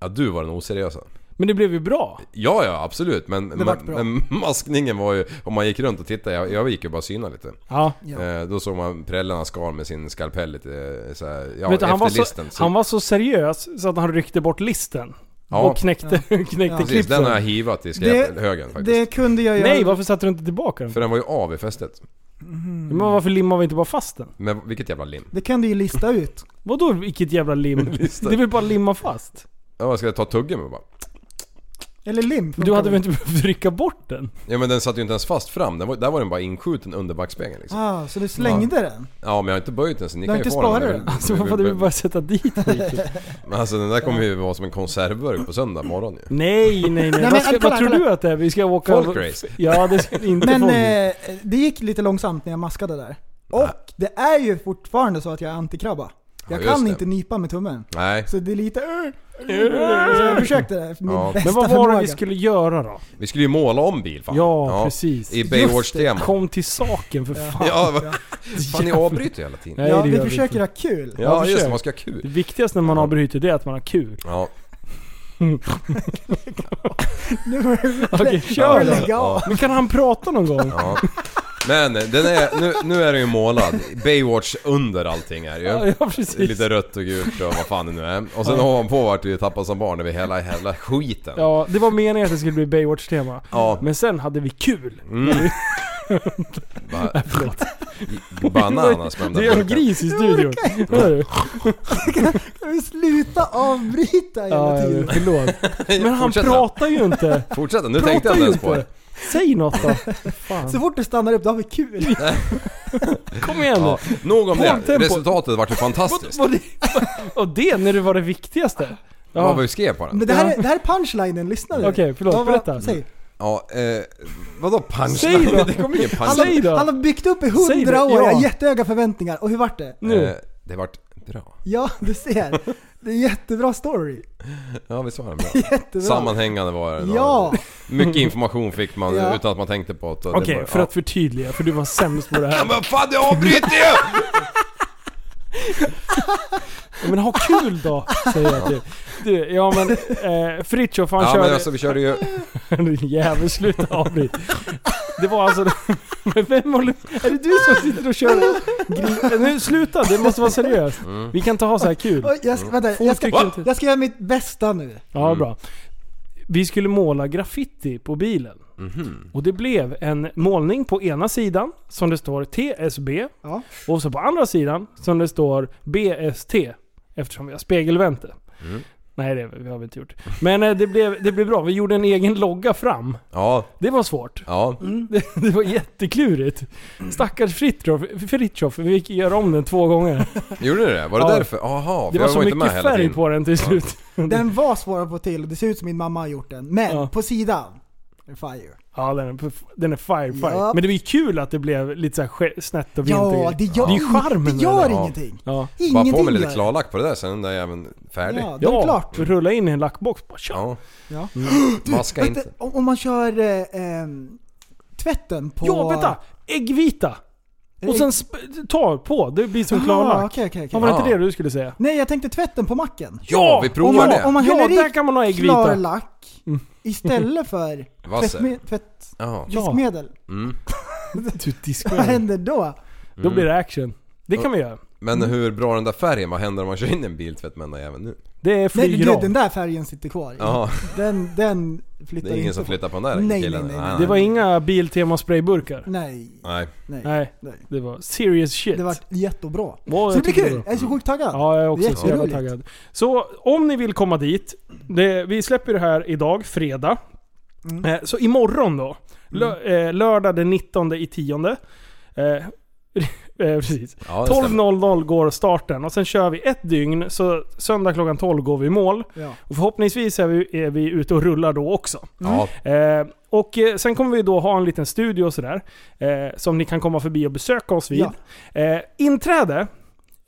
[SPEAKER 3] Ja, du var den oseriösa.
[SPEAKER 2] Men det blev ju bra.
[SPEAKER 3] Ja, ja absolut. Men, men,
[SPEAKER 4] vart bra.
[SPEAKER 3] men maskningen var ju... Om man gick runt och tittade, jag, jag gick ju bara och synade lite.
[SPEAKER 2] Ja.
[SPEAKER 4] Ja.
[SPEAKER 3] Eh, då såg man prällarna skar med sin skalpell lite eh, så här, ja,
[SPEAKER 2] Vet du, han, var
[SPEAKER 3] efter
[SPEAKER 2] så,
[SPEAKER 3] listen. så-
[SPEAKER 2] han var så seriös så att han ryckte bort listen.
[SPEAKER 3] Ja.
[SPEAKER 2] Och knäckte, knäckte
[SPEAKER 3] Precis,
[SPEAKER 4] Ja.
[SPEAKER 3] den
[SPEAKER 2] klipsen.
[SPEAKER 3] har jag hivat i
[SPEAKER 4] Det-
[SPEAKER 3] skräphögen faktiskt.
[SPEAKER 4] Det kunde jag göra.
[SPEAKER 2] Nej, varför satte du inte tillbaka den?
[SPEAKER 3] För den var ju av i fästet.
[SPEAKER 2] Men varför limmade vi inte bara fast den?
[SPEAKER 3] Men vilket jävla lim.
[SPEAKER 4] Det kan du ju lista ut.
[SPEAKER 2] Vadå vilket jävla lim? det är väl bara limma fast?
[SPEAKER 3] Ja, ska jag ta tuggen med bara?
[SPEAKER 4] Eller lim.
[SPEAKER 2] Du hade väl inte behövt rycka bort den?
[SPEAKER 3] Ja men den satt ju inte ens fast fram. Den var, där var den bara inskjuten under backspegeln liksom.
[SPEAKER 4] Ah, så du slängde den?
[SPEAKER 3] Ja men jag har inte böjt den så ni
[SPEAKER 4] Du har
[SPEAKER 3] kan ju
[SPEAKER 4] inte
[SPEAKER 3] få
[SPEAKER 4] sparat
[SPEAKER 3] den.
[SPEAKER 4] den?
[SPEAKER 2] Alltså varför hade vi bara sätta dit skiten?
[SPEAKER 3] Men Alltså den där kommer ju vara som en konservburk på söndag morgon ju.
[SPEAKER 2] Nej, nej, nej.
[SPEAKER 4] men,
[SPEAKER 2] vad, ska,
[SPEAKER 4] kolla,
[SPEAKER 2] vad tror
[SPEAKER 4] kolla.
[SPEAKER 2] du att det är? Vi ska åka...
[SPEAKER 3] Folkrace.
[SPEAKER 2] Ja, det ska inte
[SPEAKER 4] Men
[SPEAKER 2] folk.
[SPEAKER 4] eh, det gick lite långsamt när jag maskade där. Och det är ju fortfarande så att jag är antikrabba. Jag
[SPEAKER 3] Ja, just
[SPEAKER 4] kan
[SPEAKER 3] det.
[SPEAKER 4] inte nypa med tummen.
[SPEAKER 3] Nej,
[SPEAKER 4] Så det är lite... Så
[SPEAKER 2] Ah!
[SPEAKER 4] jag försökte det med min
[SPEAKER 3] Ja.
[SPEAKER 4] eh, bästa
[SPEAKER 2] Men vad var det
[SPEAKER 4] förmåga.
[SPEAKER 2] vi skulle göra då?
[SPEAKER 3] vi skulle ju måla om bil fan.
[SPEAKER 2] Ja, precis.
[SPEAKER 3] I
[SPEAKER 2] Just
[SPEAKER 3] Baywatch-tema.
[SPEAKER 2] Kom till saken för fan.
[SPEAKER 3] Ja, va? fan ni avbryter ju hela tiden.
[SPEAKER 2] Nej,
[SPEAKER 4] Ja,
[SPEAKER 2] det gör
[SPEAKER 4] vi
[SPEAKER 2] vi
[SPEAKER 4] försöker
[SPEAKER 2] inte.
[SPEAKER 4] ha kul.
[SPEAKER 3] Ja,
[SPEAKER 2] Ja,
[SPEAKER 3] just
[SPEAKER 2] försök.
[SPEAKER 3] det, man ska ha
[SPEAKER 2] Det
[SPEAKER 3] kul.
[SPEAKER 2] viktigaste när man avbryter det är att man har kul.
[SPEAKER 3] Ja.
[SPEAKER 4] Nu får du
[SPEAKER 2] Okej,
[SPEAKER 4] ja,
[SPEAKER 2] kör då.
[SPEAKER 4] lägga av.
[SPEAKER 2] Men kan han prata någon gång?
[SPEAKER 3] Ja. Men den är, nu, nu är den ju målad. Baywatch under allting är ju.
[SPEAKER 2] Ja, ja
[SPEAKER 3] Det är
[SPEAKER 2] precis.
[SPEAKER 3] Lite rött och gult och vad fan det nu är. Och sen ovanpå vart vi tappade som barn över hela, hela skiten. Ja.
[SPEAKER 2] Ja, det var meningen att det skulle bli Baywatch-tema.
[SPEAKER 3] Ja.
[SPEAKER 2] Men sen hade vi kul.
[SPEAKER 3] Mm. Bara, bananas med
[SPEAKER 2] Det
[SPEAKER 3] de
[SPEAKER 2] är
[SPEAKER 3] där
[SPEAKER 2] en
[SPEAKER 3] burkarna.
[SPEAKER 2] gris i studion. Hör du?
[SPEAKER 4] Kan vi sluta avbryta hela
[SPEAKER 2] Ja, jag
[SPEAKER 4] tiden?
[SPEAKER 2] vet. förlåt. Men han
[SPEAKER 3] Fortsätt
[SPEAKER 2] pratar ju inte.
[SPEAKER 3] Fortsätt nu tänkte
[SPEAKER 2] Pratar
[SPEAKER 3] jag
[SPEAKER 2] ju
[SPEAKER 3] inte ens på det.
[SPEAKER 2] inte. Säg något då. Fan.
[SPEAKER 4] Så fort du stannar upp, då har vi kul.
[SPEAKER 2] Kom igen nu.
[SPEAKER 3] Ja, nog
[SPEAKER 2] Håll
[SPEAKER 3] om det.
[SPEAKER 2] tempo.
[SPEAKER 3] Resultatet vart ju fantastiskt.
[SPEAKER 2] Var det, och det när det var det viktigaste?
[SPEAKER 3] Vad var vi skrev på den?
[SPEAKER 4] Men det här, är- det här är punchlinen, lyssna nu.
[SPEAKER 2] Okej, förlåt,
[SPEAKER 4] Vad var-
[SPEAKER 2] berätta.
[SPEAKER 4] Säg.
[SPEAKER 3] Ja, eh, vadå
[SPEAKER 2] Säg
[SPEAKER 3] punchline?
[SPEAKER 2] då!
[SPEAKER 3] Det kom ingen
[SPEAKER 4] Han,
[SPEAKER 3] punchline.
[SPEAKER 2] Säg då!
[SPEAKER 4] har- han har byggt upp i
[SPEAKER 2] Säg det,
[SPEAKER 4] hundra år,
[SPEAKER 2] ja.
[SPEAKER 4] jag har jättehöga förväntningar. Och hur vart det?
[SPEAKER 2] Nu.
[SPEAKER 3] Eh, det vart bra.
[SPEAKER 4] Ja, du ser. Det är jättebra story.
[SPEAKER 3] Ja, vi svarade bra.
[SPEAKER 4] Jättebra.
[SPEAKER 3] Sammanhängande var den. och
[SPEAKER 4] Ja.
[SPEAKER 3] Mycket information fick man
[SPEAKER 4] Ja.
[SPEAKER 3] utan att man tänkte på det.
[SPEAKER 2] Okej,
[SPEAKER 3] Det var-
[SPEAKER 2] för att förtydliga, för du var sämst på det
[SPEAKER 3] Ja,
[SPEAKER 2] här.
[SPEAKER 3] men fan du avbryter ju!
[SPEAKER 2] Men ha kul då, säger jag till. Du, ja men eh, Fritiof han
[SPEAKER 3] Ja
[SPEAKER 2] körde...
[SPEAKER 3] men alltså vi körde ju...
[SPEAKER 2] Din jävel, sluta avbryt. Det var alltså... Men vem håller... Är det du som sitter och kör? Gri- Nu sluta, det måste vara seriöst.
[SPEAKER 3] Mm.
[SPEAKER 2] Vi kan inte ha så här kul.
[SPEAKER 4] Oj, jag, ska- vänta, jag, ska,
[SPEAKER 2] tycker inte-
[SPEAKER 4] jag ska göra mitt bästa nu.
[SPEAKER 2] Ja,
[SPEAKER 3] Mm.
[SPEAKER 2] bra. Vi skulle måla graffiti på bilen.
[SPEAKER 3] Mhm.
[SPEAKER 2] Och det blev en målning på ena sidan som det står TSB.
[SPEAKER 4] Ja.
[SPEAKER 2] Och så på andra sidan som det står BST. Eftersom vi har spegelvänt det.
[SPEAKER 3] Mm.
[SPEAKER 2] Nej, det har vi inte gjort. Men eh, det blev, det blev bra. Vi gjorde en egen logga fram.
[SPEAKER 3] Ja,
[SPEAKER 2] Det var svårt.
[SPEAKER 3] ja.
[SPEAKER 4] Mm.
[SPEAKER 2] Det, det var jätteklurigt. Stackars Fritjof, Fritjof, vi fick göra om den två gånger.
[SPEAKER 3] Gjorde ni det? Var det
[SPEAKER 2] Ja.
[SPEAKER 3] därför? Jaha, för
[SPEAKER 2] Det
[SPEAKER 3] jag
[SPEAKER 2] var så
[SPEAKER 3] inte med
[SPEAKER 2] mycket
[SPEAKER 3] hela
[SPEAKER 2] färg
[SPEAKER 3] tiden.
[SPEAKER 2] på den till slut.
[SPEAKER 4] Den var svår att få till och det ser ut som min mamma har gjort den. Men
[SPEAKER 2] Ja.
[SPEAKER 4] på sidan. Fire.
[SPEAKER 2] Ja, den är, den är fire, fire.
[SPEAKER 4] Ja.
[SPEAKER 2] Men det var ju kul att det blev lite så här ske- snett och vint och
[SPEAKER 4] Ja,
[SPEAKER 2] grejer.
[SPEAKER 4] det gör,
[SPEAKER 2] Det är ju charmen med
[SPEAKER 4] det gör
[SPEAKER 2] det.
[SPEAKER 4] ingenting.
[SPEAKER 2] Ja.
[SPEAKER 3] Bara
[SPEAKER 4] Ingenting
[SPEAKER 3] på med
[SPEAKER 4] gör
[SPEAKER 3] lite
[SPEAKER 4] det.
[SPEAKER 3] klarlack på det där sen är även färdig.
[SPEAKER 4] Ja, det är
[SPEAKER 2] Ja,
[SPEAKER 4] klart.
[SPEAKER 2] rulla in i en lackbox bara tja.
[SPEAKER 3] Ja. Mm.
[SPEAKER 4] Ja.
[SPEAKER 3] Maska
[SPEAKER 4] Vänta,
[SPEAKER 3] inte.
[SPEAKER 4] om, om man kör eh, ehm, tvätten på...
[SPEAKER 2] Ja, vänta! Äggvita! Och sen sp- ta på, det blir som
[SPEAKER 4] Aha,
[SPEAKER 2] klarlack.
[SPEAKER 4] okej, okej, okej.
[SPEAKER 2] Ja, var det inte
[SPEAKER 3] Ja.
[SPEAKER 2] det du skulle säga?
[SPEAKER 4] Nej, jag tänkte tvätten på macken.
[SPEAKER 3] Ja, vi
[SPEAKER 4] Om
[SPEAKER 3] provar
[SPEAKER 4] man,
[SPEAKER 3] det!
[SPEAKER 4] om man
[SPEAKER 2] Ja,
[SPEAKER 4] häller
[SPEAKER 2] där
[SPEAKER 4] i
[SPEAKER 2] kan man ha äggvita.
[SPEAKER 4] klarlack
[SPEAKER 2] Mm.
[SPEAKER 4] istället för
[SPEAKER 3] Vasser.
[SPEAKER 4] tvättme- tvätt,
[SPEAKER 3] Ja. Mm.
[SPEAKER 4] diskmedel.
[SPEAKER 2] Du diskar.
[SPEAKER 4] Vad händer då?
[SPEAKER 2] Då blir det action. Det kan vi göra.
[SPEAKER 3] Men hur bra den där färgen, vad händer om man kör in en biltvätt med den där jäveln nu?
[SPEAKER 2] Det är
[SPEAKER 4] Nej,
[SPEAKER 2] flyger
[SPEAKER 4] gud, den
[SPEAKER 2] av.
[SPEAKER 4] där färgen sitter kvar.
[SPEAKER 3] Ja,
[SPEAKER 4] Den, den flyttar
[SPEAKER 3] det är ingen
[SPEAKER 4] inte
[SPEAKER 3] som
[SPEAKER 4] på.
[SPEAKER 3] flyttar på den där
[SPEAKER 4] Nej,
[SPEAKER 3] killen.
[SPEAKER 4] nej, nej, nej.
[SPEAKER 2] Det var inga Biltema sprayburkar.
[SPEAKER 4] Nej,
[SPEAKER 3] Nej.
[SPEAKER 4] nej.
[SPEAKER 2] Nej,
[SPEAKER 4] nej.
[SPEAKER 2] det var serious shit.
[SPEAKER 4] Det vart jättebra.
[SPEAKER 2] Ja,
[SPEAKER 4] Så det
[SPEAKER 2] jag
[SPEAKER 4] blir
[SPEAKER 2] tycker
[SPEAKER 4] kul.
[SPEAKER 2] var-
[SPEAKER 4] Jag är så sjukt taggad.
[SPEAKER 2] Ja, jag är också så jävla
[SPEAKER 4] Jätteroligt.
[SPEAKER 2] taggad. Så om ni vill komma dit, det, vi släpper det här idag, fredag. Eh, så imorgon då, lö, eh, lördag den 19 i tionde. Eh, eh, precis.
[SPEAKER 3] Ja, det stämmer.
[SPEAKER 2] 12.00 går starten och sen kör vi ett dygn, så söndag klockan 12 går vi i mål.
[SPEAKER 4] Ja.
[SPEAKER 2] Och förhoppningsvis är vi, är vi ute och rullar då också.
[SPEAKER 3] Ja,
[SPEAKER 2] Eh, och eh, sen kommer vi då ha en liten studio och sådär. Eh, som ni kan komma förbi och besöka oss vid. Eh, inträde. Eh,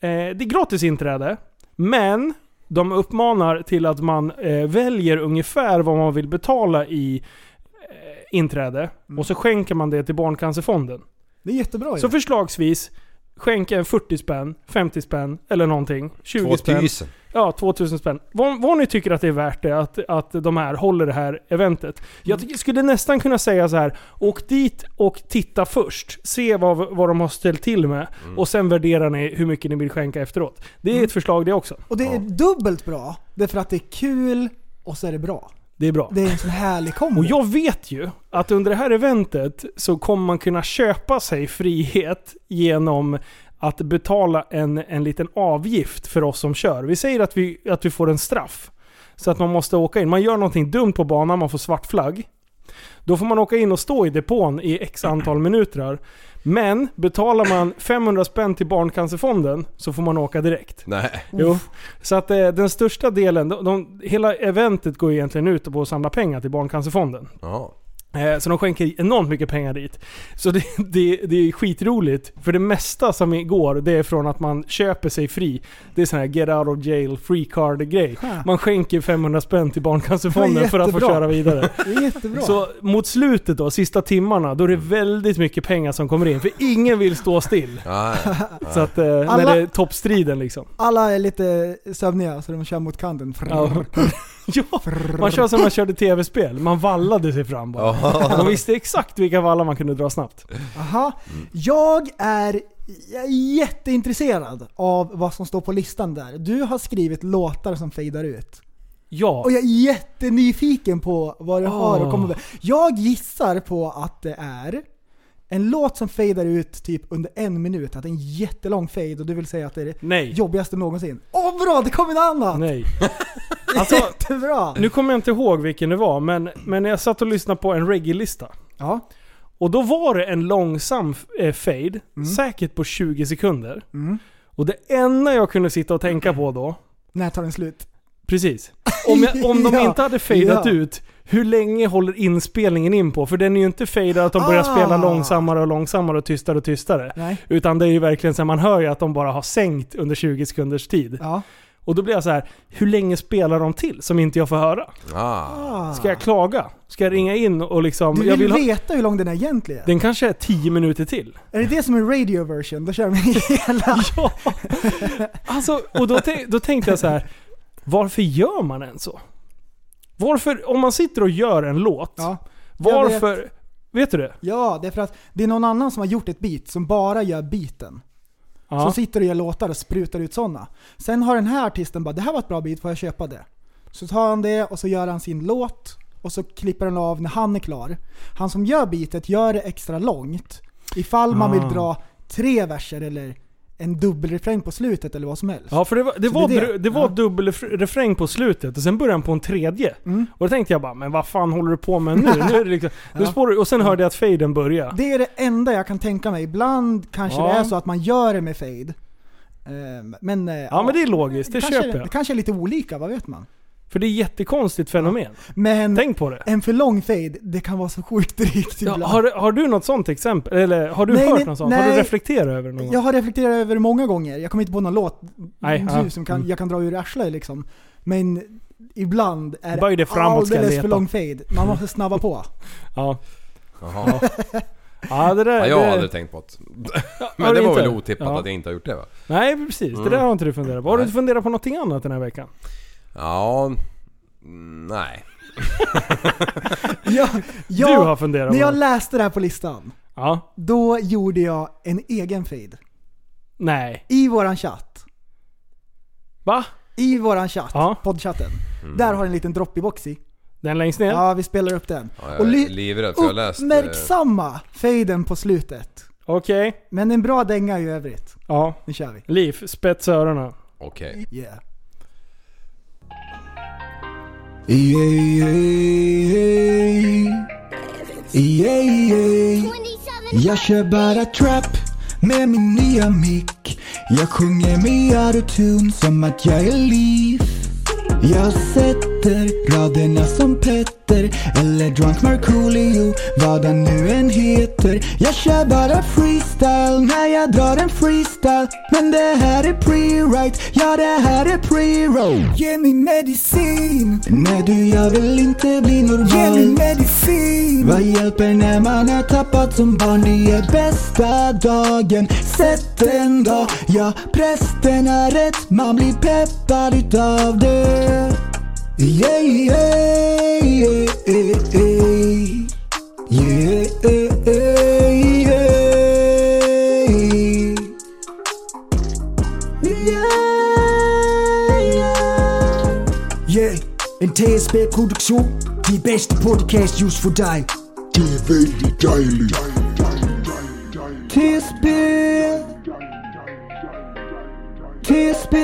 [SPEAKER 2] det är gratis inträde. Men de uppmanar till att man eh, väljer ungefär vad man vill betala i eh, inträde. Och så skänker man det till Barncancerfonden.
[SPEAKER 4] Det är jättebra
[SPEAKER 2] Så
[SPEAKER 4] ju.
[SPEAKER 2] förslagsvis skänk en 40 spänn, 50 spänn eller någonting. 20 spänn.
[SPEAKER 3] 2000.
[SPEAKER 2] Ja, 2000 spänn. Vad, vad ni tycker att det är värt det, att, att de här håller det här eventet. Jag tycker- skulle nästan kunna säga så här, åk dit och titta först. Se vad, vad de har ställt till med. Och sen värderar ni hur mycket ni vill skänka efteråt. Det är ett förslag det också.
[SPEAKER 4] Och det är dubbelt bra, därför att det är kul och så är det bra.
[SPEAKER 2] Det är bra.
[SPEAKER 4] Det är en sån härlig kombo.
[SPEAKER 2] Och jag vet ju att under det här eventet så kommer man kunna köpa sig frihet genom att betala en, en liten avgift för oss som kör. Vi säger att vi, att vi får en straff. Så att man måste åka in. Man gör någonting dumt på banan, man får svart flagg. Då får man åka in och stå i depån i x antal minuter. Men betalar man 500 spänn till Barncancerfonden så får man åka direkt.
[SPEAKER 3] Nej.
[SPEAKER 2] Jo. Så att eh, den största delen, de, de, hela eventet går ju egentligen ut på att samla pengar till Barncancerfonden.
[SPEAKER 3] Ja.
[SPEAKER 2] Eh, Så de skänker enormt mycket pengar dit. Så det, det, det är skitroligt. För det mesta som går, det är från att man köper sig fri. Det är sån här get out of jail free card grej.
[SPEAKER 4] Ha.
[SPEAKER 2] Man skänker 500 spänn till
[SPEAKER 4] Det
[SPEAKER 2] Barncancerfonden
[SPEAKER 4] är
[SPEAKER 2] för att få
[SPEAKER 4] jättebra.
[SPEAKER 2] köra vidare.
[SPEAKER 4] Det är jättebra.
[SPEAKER 2] Så mot slutet då, sista timmarna, då är det
[SPEAKER 4] Mm.
[SPEAKER 2] väldigt mycket pengar som kommer in. För ingen vill stå still.
[SPEAKER 3] Nej.
[SPEAKER 2] Så att, eh, när
[SPEAKER 4] Alla-
[SPEAKER 2] det är toppstriden liksom.
[SPEAKER 4] Alla är lite sömniga så de kör mot kanten.
[SPEAKER 2] Ja. ja, man kör som man körde tv-spel. Man vallade sig fram bara. Man visste exakt vilka vallar man kunde dra snabbt.
[SPEAKER 4] Aha. Jag är jag är jätteintresserad av vad som står på listan där. Du har skrivit låtar som fejdar ut.
[SPEAKER 2] Ja.
[SPEAKER 4] Och jag är jättenyfiken på vad du har
[SPEAKER 2] Ah.
[SPEAKER 4] att komma med. Jag gissar på att det är en låt som fejdar ut typ under en minut. Att det är en jättelång fade och du vill säga att det är det
[SPEAKER 2] Nej.
[SPEAKER 4] jobbigaste någonsin. Åh bra, det kom en annan!
[SPEAKER 2] Nej. Alltså,
[SPEAKER 4] Jättebra!
[SPEAKER 2] nu kommer jag inte ihåg vilken det var, men, men jag satt och lyssnade på en reggae-lista.
[SPEAKER 4] Ja.
[SPEAKER 2] Och då var det en långsam eh, fade,
[SPEAKER 4] Mm.
[SPEAKER 2] säkert på 20 sekunder. Och det enda jag kunde sitta och tänka på då,
[SPEAKER 4] När tar den slut?
[SPEAKER 2] Precis. Om, jag, om de
[SPEAKER 4] Ja,
[SPEAKER 2] inte hade fejdat
[SPEAKER 4] ja.
[SPEAKER 2] ut, hur länge håller inspelningen in på? För den är ju inte fejdad att de börjar spela
[SPEAKER 4] Ah.
[SPEAKER 2] långsammare och långsammare och tystare och tystare.
[SPEAKER 4] Nej.
[SPEAKER 2] Utan det är ju verkligen så här, man hör ju att de bara har sänkt under 20 sekunders tid.
[SPEAKER 4] Ja.
[SPEAKER 2] Och då blir jag så här, hur länge spelar de till som inte jag får höra?
[SPEAKER 3] Ah.
[SPEAKER 4] Ah.
[SPEAKER 2] Ska jag klaga? Ska jag ringa in och liksom...
[SPEAKER 4] Du vill,
[SPEAKER 2] jag vill ha,
[SPEAKER 4] veta hur lång den är egentligen?
[SPEAKER 2] den kanske är 10 minuter till.
[SPEAKER 4] Är det det som är radio version? Då kör de hela.
[SPEAKER 2] Ja. Alltså, och då, tän- då tänkte jag så här. Varför gör man än så? Varför, om man sitter och gör en låt,
[SPEAKER 4] Ja. jag vet.
[SPEAKER 2] varför... Vet. du det?
[SPEAKER 4] ja, det är för att det är någon annan som har gjort ett beat som bara gör beaten.
[SPEAKER 2] Ja.
[SPEAKER 4] Som sitter och gör låtar och sprutar ut sådana. Sen har den här artisten bara, det här var ett bra beat, får jag köpa det? Så tar han det och så gör han sin låt och så klipper han av när han är klar. Han som gör beatet gör det extra långt ifall man
[SPEAKER 2] Ah.
[SPEAKER 4] vill dra tre verser eller en dubbelrefräng på slutet eller vad som helst.
[SPEAKER 2] Ja, för det var, det
[SPEAKER 4] Så
[SPEAKER 2] var,
[SPEAKER 4] det är det.
[SPEAKER 2] dr- det var
[SPEAKER 4] Ja.
[SPEAKER 2] dubbel refr- refräng på slutet och sen började han på en tredje.
[SPEAKER 4] Mm.
[SPEAKER 2] Och då tänkte jag bara, men vad fan håller du på med nu? nu är det liksom, nu
[SPEAKER 4] Ja.
[SPEAKER 2] spår du, och sen hörde jag att faden började.
[SPEAKER 4] Det är det enda jag kan tänka mig. Ibland kanske
[SPEAKER 2] Ja.
[SPEAKER 4] det är så att man gör det med fade. Ehm, Men, eh,
[SPEAKER 2] Ja men det är logiskt, det
[SPEAKER 4] kanske,
[SPEAKER 2] köper
[SPEAKER 4] Det
[SPEAKER 2] jag.
[SPEAKER 4] kanske är lite olika, vad vet man?
[SPEAKER 2] För det är ett jättekonstigt fenomen.
[SPEAKER 4] Men
[SPEAKER 2] Tänk på det.
[SPEAKER 4] en för lång fade, det kan vara så sjukt drygt
[SPEAKER 2] Ja,
[SPEAKER 4] ibland.
[SPEAKER 2] har, har du något sånt exempel? Eller har du
[SPEAKER 4] Nej,
[SPEAKER 2] hört
[SPEAKER 4] nej,
[SPEAKER 2] något sånt? Har du
[SPEAKER 4] nej.
[SPEAKER 2] reflekterat över det någon gång?
[SPEAKER 4] Jag har reflekterat över det många gånger. Jag kommer inte på någon låt
[SPEAKER 2] Nej,
[SPEAKER 4] nu
[SPEAKER 2] ja.
[SPEAKER 4] som kan,
[SPEAKER 2] Mm.
[SPEAKER 4] jag kan dra ur arslet liksom. Men ibland är
[SPEAKER 2] Böj dig framåt ska jag
[SPEAKER 4] alldeles för
[SPEAKER 2] leta.
[SPEAKER 4] lång fade. Man måste snabba på.
[SPEAKER 2] Ja.
[SPEAKER 3] Jaha.
[SPEAKER 2] Ja, det där,
[SPEAKER 3] Ja, jag har
[SPEAKER 2] det-
[SPEAKER 3] aldrig tänkt på det.
[SPEAKER 2] har
[SPEAKER 3] Men
[SPEAKER 2] du
[SPEAKER 3] det var
[SPEAKER 2] inte?
[SPEAKER 3] väl otippat
[SPEAKER 2] Ja.
[SPEAKER 3] att jag inte har gjort det va?
[SPEAKER 2] Nej precis, det där har inte du funderat på. Har du
[SPEAKER 3] Mm. Nej.
[SPEAKER 2] inte funderat på någonting annat den här veckan?
[SPEAKER 3] Ja... mm, Nej.
[SPEAKER 4] Jag, jag,
[SPEAKER 2] du har funderat på
[SPEAKER 4] när jag
[SPEAKER 2] något.
[SPEAKER 4] läste det här på listan,
[SPEAKER 2] Ja.
[SPEAKER 4] då gjorde jag en egen fade.
[SPEAKER 2] Nej.
[SPEAKER 4] I våran chatt.
[SPEAKER 2] Va?
[SPEAKER 4] I våran chatt,
[SPEAKER 2] Ja.
[SPEAKER 4] poddchatten.
[SPEAKER 3] Mm.
[SPEAKER 4] Där har en liten dropp i boxy.
[SPEAKER 2] Den längst ner?
[SPEAKER 4] Ja, vi spelar upp den.
[SPEAKER 3] Ja, jag är livrädd för jag har läst... eh,
[SPEAKER 4] uppmärksamma faden på slutet.
[SPEAKER 2] Okej.
[SPEAKER 4] Men en bra dänga i övrigt.
[SPEAKER 2] Ja.
[SPEAKER 4] Nu kör vi.
[SPEAKER 2] Liv, spetsa öronen.
[SPEAKER 3] Okej.
[SPEAKER 4] Yeah.
[SPEAKER 6] Jag kör bara trap med min nya mick Jag sjunger med autotune som att jag är Leaf Jag sätter raderna som Petter eller Drunk Markoolio, vad han nu än heter Jag kör bara freestyle när jag drar en freestyle Men det här är pre-write, ja det här är pre-roll Ge mig medicin Nej du, jag vill inte bli normal Ge mig medicin Vad hjälper när man är tappad som barn? Det är bästa dagen, sätt en dag Ja, prästen har rätt, man blir peppad utav det Yeah, yeah, yeah, yeah, yeah. Yeah, yeah, yeah. Yeah, en TSB-produktion. De bedste podcast just for dig. Det er vældig dejligt. TSB. TSB.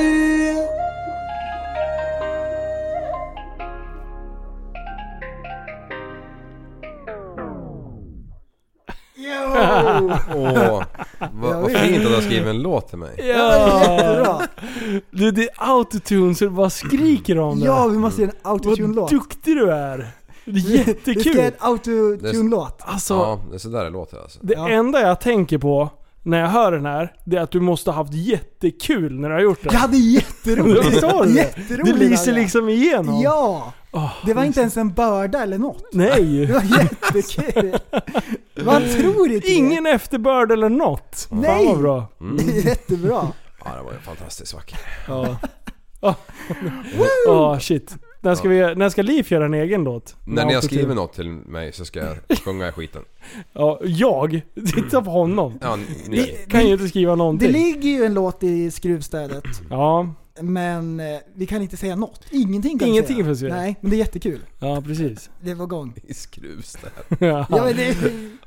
[SPEAKER 3] Åh, vad, vad fint att du har skrivit en låt till mig.
[SPEAKER 2] Ja!
[SPEAKER 4] Bra.
[SPEAKER 2] Du, det är autotune så du bara skriker om det.
[SPEAKER 4] Ja, vi måste göra en
[SPEAKER 2] Vad
[SPEAKER 4] autotune-låt.
[SPEAKER 2] duktig du är! Det er är
[SPEAKER 4] Vi ska göra
[SPEAKER 2] jättekul!
[SPEAKER 4] en autotune-låt.
[SPEAKER 2] Alltså,
[SPEAKER 3] Ja, det är sådär det låter alltså.
[SPEAKER 2] det
[SPEAKER 4] Ja.
[SPEAKER 2] enda jag tänker på när jag hör den här, det är att du måste ha haft jättekul när du har gjort
[SPEAKER 4] Jag
[SPEAKER 2] det.
[SPEAKER 4] hade jätteroligt.
[SPEAKER 2] Visst har du det? Det
[SPEAKER 4] Jätteroligt
[SPEAKER 2] lyser
[SPEAKER 4] hade jag.
[SPEAKER 2] liksom igenom.
[SPEAKER 4] Ja!
[SPEAKER 2] Åh,
[SPEAKER 4] Det var inte ens en börda eller något.
[SPEAKER 2] Nej!
[SPEAKER 4] Det var jättekul. Man tror inte det.
[SPEAKER 2] Ingen efterbörd eller något. Fan
[SPEAKER 4] Nej.
[SPEAKER 2] vad bra.
[SPEAKER 4] Det är jättebra.
[SPEAKER 3] Mm. Ja, det var ju fantastiskt vackert.
[SPEAKER 2] Ja. Ja, shit. När ska, vi, när ska Liv göra en egen låt?
[SPEAKER 3] När ni har skrivit något till mig så ska jag sjunga i skiten.
[SPEAKER 2] Ja, jag? Titta på honom.
[SPEAKER 3] Ja, ni.
[SPEAKER 2] Kan ju inte skriva
[SPEAKER 4] Det
[SPEAKER 2] någonting.
[SPEAKER 4] ligger ju en låt i skruvstädet,
[SPEAKER 2] Ja,
[SPEAKER 4] men eh, vi kan inte säga något. Ingenting kan
[SPEAKER 2] Ingenting
[SPEAKER 4] vi säga.
[SPEAKER 2] finns ju.
[SPEAKER 4] Nej, men det är jättekul.
[SPEAKER 2] ja precis.
[SPEAKER 4] Det var igång.
[SPEAKER 3] I skruvstäd.
[SPEAKER 4] Ja, men det,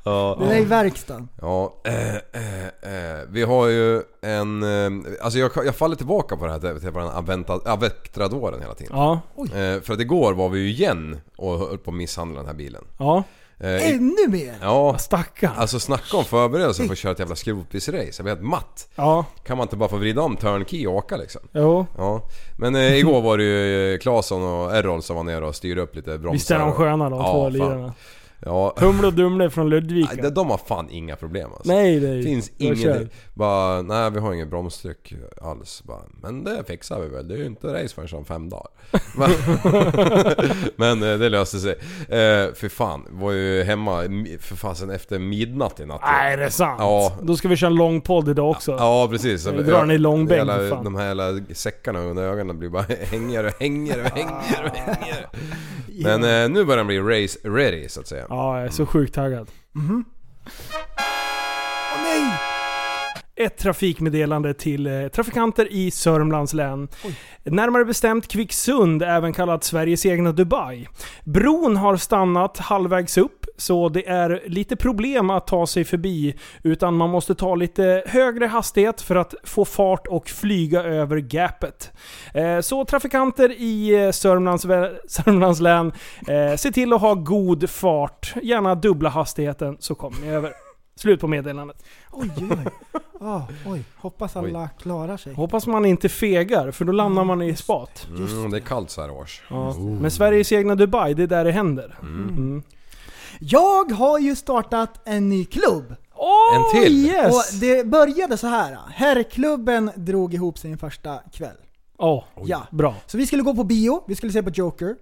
[SPEAKER 3] Ja.
[SPEAKER 4] det är i verkstaden.
[SPEAKER 3] Ja, eh, eh, eh. vi har ju en... Eh, alltså jag, jag faller tillbaka på det här på den här Aventa- Avectradoren hela tiden.
[SPEAKER 2] Ja,
[SPEAKER 3] Eh, för att igår var vi ju igen och höll på att misshandla den här bilen.
[SPEAKER 2] ja.
[SPEAKER 3] Eh, Eh, i-
[SPEAKER 4] Ännu mer!
[SPEAKER 3] Ja,
[SPEAKER 2] Stackarn.
[SPEAKER 3] alltså snacka om förberedelse för att köra ett jävla skrotbilsrace. Jag blir helt matt.
[SPEAKER 2] Ja,
[SPEAKER 3] Kan man inte bara få vrida om turnkey och åka liksom?
[SPEAKER 2] jo.
[SPEAKER 3] Ja, men eh, igår var det ju eh, Claesson och Errol som var nere och styrde upp lite bromsar.
[SPEAKER 2] Visst är de
[SPEAKER 3] och-
[SPEAKER 2] sköna de
[SPEAKER 3] Ja,
[SPEAKER 2] två
[SPEAKER 3] fan.
[SPEAKER 2] lirarna?
[SPEAKER 3] Ja,
[SPEAKER 2] Humle och Dumle från Ludvika.
[SPEAKER 3] Nej, de- de har fan inga problem alltså.
[SPEAKER 2] Nej, det är-
[SPEAKER 3] Det finns
[SPEAKER 2] jag kör.
[SPEAKER 3] ingenting. Bara, nej vi har ingen bromstryck alls. Bara, men det fixar vi väl. Det är ju inte race förrän om fem dagar. men eh, det löste sig. Eh, för fan, var ju hemma mi- för fasen efter midnatt i natt.
[SPEAKER 2] Nej, det är sant.
[SPEAKER 3] Ja.
[SPEAKER 2] Då ska vi köra en lång podd idag också.
[SPEAKER 3] Ja precis.
[SPEAKER 2] Vi drar den i långbänk,
[SPEAKER 3] Hela-
[SPEAKER 2] för fan.
[SPEAKER 3] De här jävla säckarna under ögonen blir bara hängigare och hängigare och hängigare och
[SPEAKER 2] Ah.
[SPEAKER 3] hängigare. Men eh, nu börjar den bli race ready så att säga.
[SPEAKER 2] Ja, jag är så sjukt taggad.
[SPEAKER 4] Åh nej!
[SPEAKER 2] Ett trafikmeddelande till eh, trafikanter i Sörmlands län. Närmare bestämt Kvicksund, även kallat Sveriges egna Dubai. Bron har stannat halvvägs upp, så det är lite problem att ta sig förbi. Utan man måste ta lite högre hastighet för att få fart och flyga över gapet. Eh, Så trafikanter i eh, Sörmlands, vä- Sörmlands län, eh, se till att ha god fart. Gärna dubbla hastigheten så kommer ni över. Slut på meddelandet.
[SPEAKER 4] Oj, oj, oj. Ah, oj. Hoppas alla klarar sig.
[SPEAKER 2] Hoppas man inte fegar, för då landar man i spat.
[SPEAKER 3] Mm, det är kallt så här års.
[SPEAKER 2] Ja. Men Sveriges egna Dubai, det är där det händer. Mm.
[SPEAKER 4] Jag har ju startat en ny klubb.
[SPEAKER 3] En till!
[SPEAKER 4] Och det började så här. Herrklubben drog ihop sin första kväll.
[SPEAKER 2] Ja,
[SPEAKER 4] Ja.
[SPEAKER 2] bra.
[SPEAKER 4] Så vi skulle gå på bio, vi skulle se på Joker.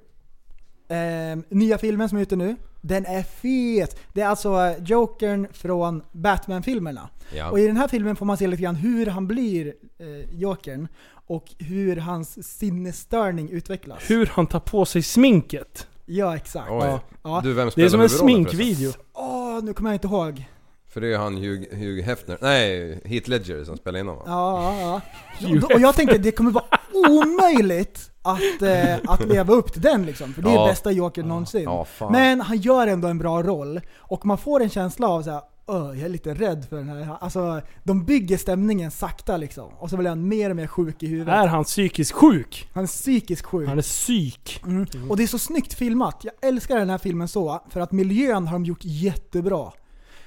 [SPEAKER 4] Ehm, nya filmen som är ute nu. Den är fet! Det är alltså Jokern från Batman-filmerna.
[SPEAKER 3] Ja.
[SPEAKER 4] Och i den här filmen får man se lite grann hur han blir eh, Jokern. Och hur hans sinnesstörning utvecklas.
[SPEAKER 2] Hur han tar på sig sminket.
[SPEAKER 4] Ja, exakt.
[SPEAKER 3] Oj.
[SPEAKER 4] Ja.
[SPEAKER 3] Du, vem
[SPEAKER 2] Det är
[SPEAKER 3] spelar
[SPEAKER 2] som en
[SPEAKER 3] huvudrollen förresten?
[SPEAKER 2] sminkvideo.
[SPEAKER 4] Åh, nu kommer jag inte ihåg.
[SPEAKER 3] För det är ju han Hugh, Hugh Hefner, nej Heath Ledger som spelar in honom va?
[SPEAKER 4] Ja, ja, ja. Och- Och jag tänker det kommer vara omöjligt att, eh, att leva upp till den liksom. För det är
[SPEAKER 3] Ja.
[SPEAKER 4] bästa Joker någonsin.
[SPEAKER 3] Ja, fan.
[SPEAKER 4] Men han gör ändå en bra roll. Och man får en känsla av såhär, jag är lite rädd för den här. Alltså, de bygger stämningen sakta liksom. Och så blir han mer och mer sjuk i huvudet.
[SPEAKER 2] Är han psykiskt sjuk?
[SPEAKER 4] Han är psykiskt sjuk.
[SPEAKER 2] Han är psyk.
[SPEAKER 4] Och det är så snyggt filmat. Jag älskar den här filmen så, för att miljön har de gjort jättebra.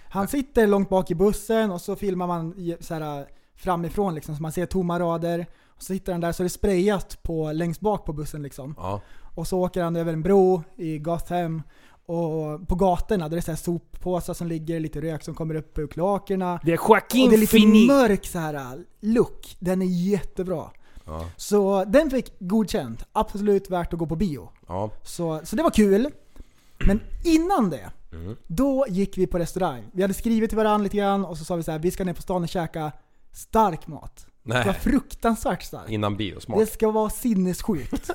[SPEAKER 4] Han sitter långt bak i bussen och så filmar man i- så här, framifrån liksom, så man ser tomma rader. Och så sitter han där så är det sprayat på, längst bak på bussen liksom.
[SPEAKER 3] Ja.
[SPEAKER 4] Och så åker han över en bro i Gotham. Och på gatorna där det är så här soppåsar som ligger, lite rök som kommer upp ur kloakerna.
[SPEAKER 2] Det är
[SPEAKER 4] Och
[SPEAKER 2] Joaquin
[SPEAKER 4] det är lite
[SPEAKER 2] Phoenix.
[SPEAKER 4] mörk så här äh, look. Den är jättebra.
[SPEAKER 3] Ja.
[SPEAKER 4] Så den fick godkänt. Absolut värt att gå på bio.
[SPEAKER 3] Ja.
[SPEAKER 4] Så, så det var kul. Men innan det,
[SPEAKER 3] Mm.
[SPEAKER 4] då gick vi på restaurang. Vi hade skrivit till varandra lite grann och så sa vi så här: vi ska ner på stan och käka stark mat. Det var
[SPEAKER 3] Nej.
[SPEAKER 4] fruktansvärt starkt.
[SPEAKER 3] Innan biosmak.
[SPEAKER 4] Det ska vara sinnessjukt.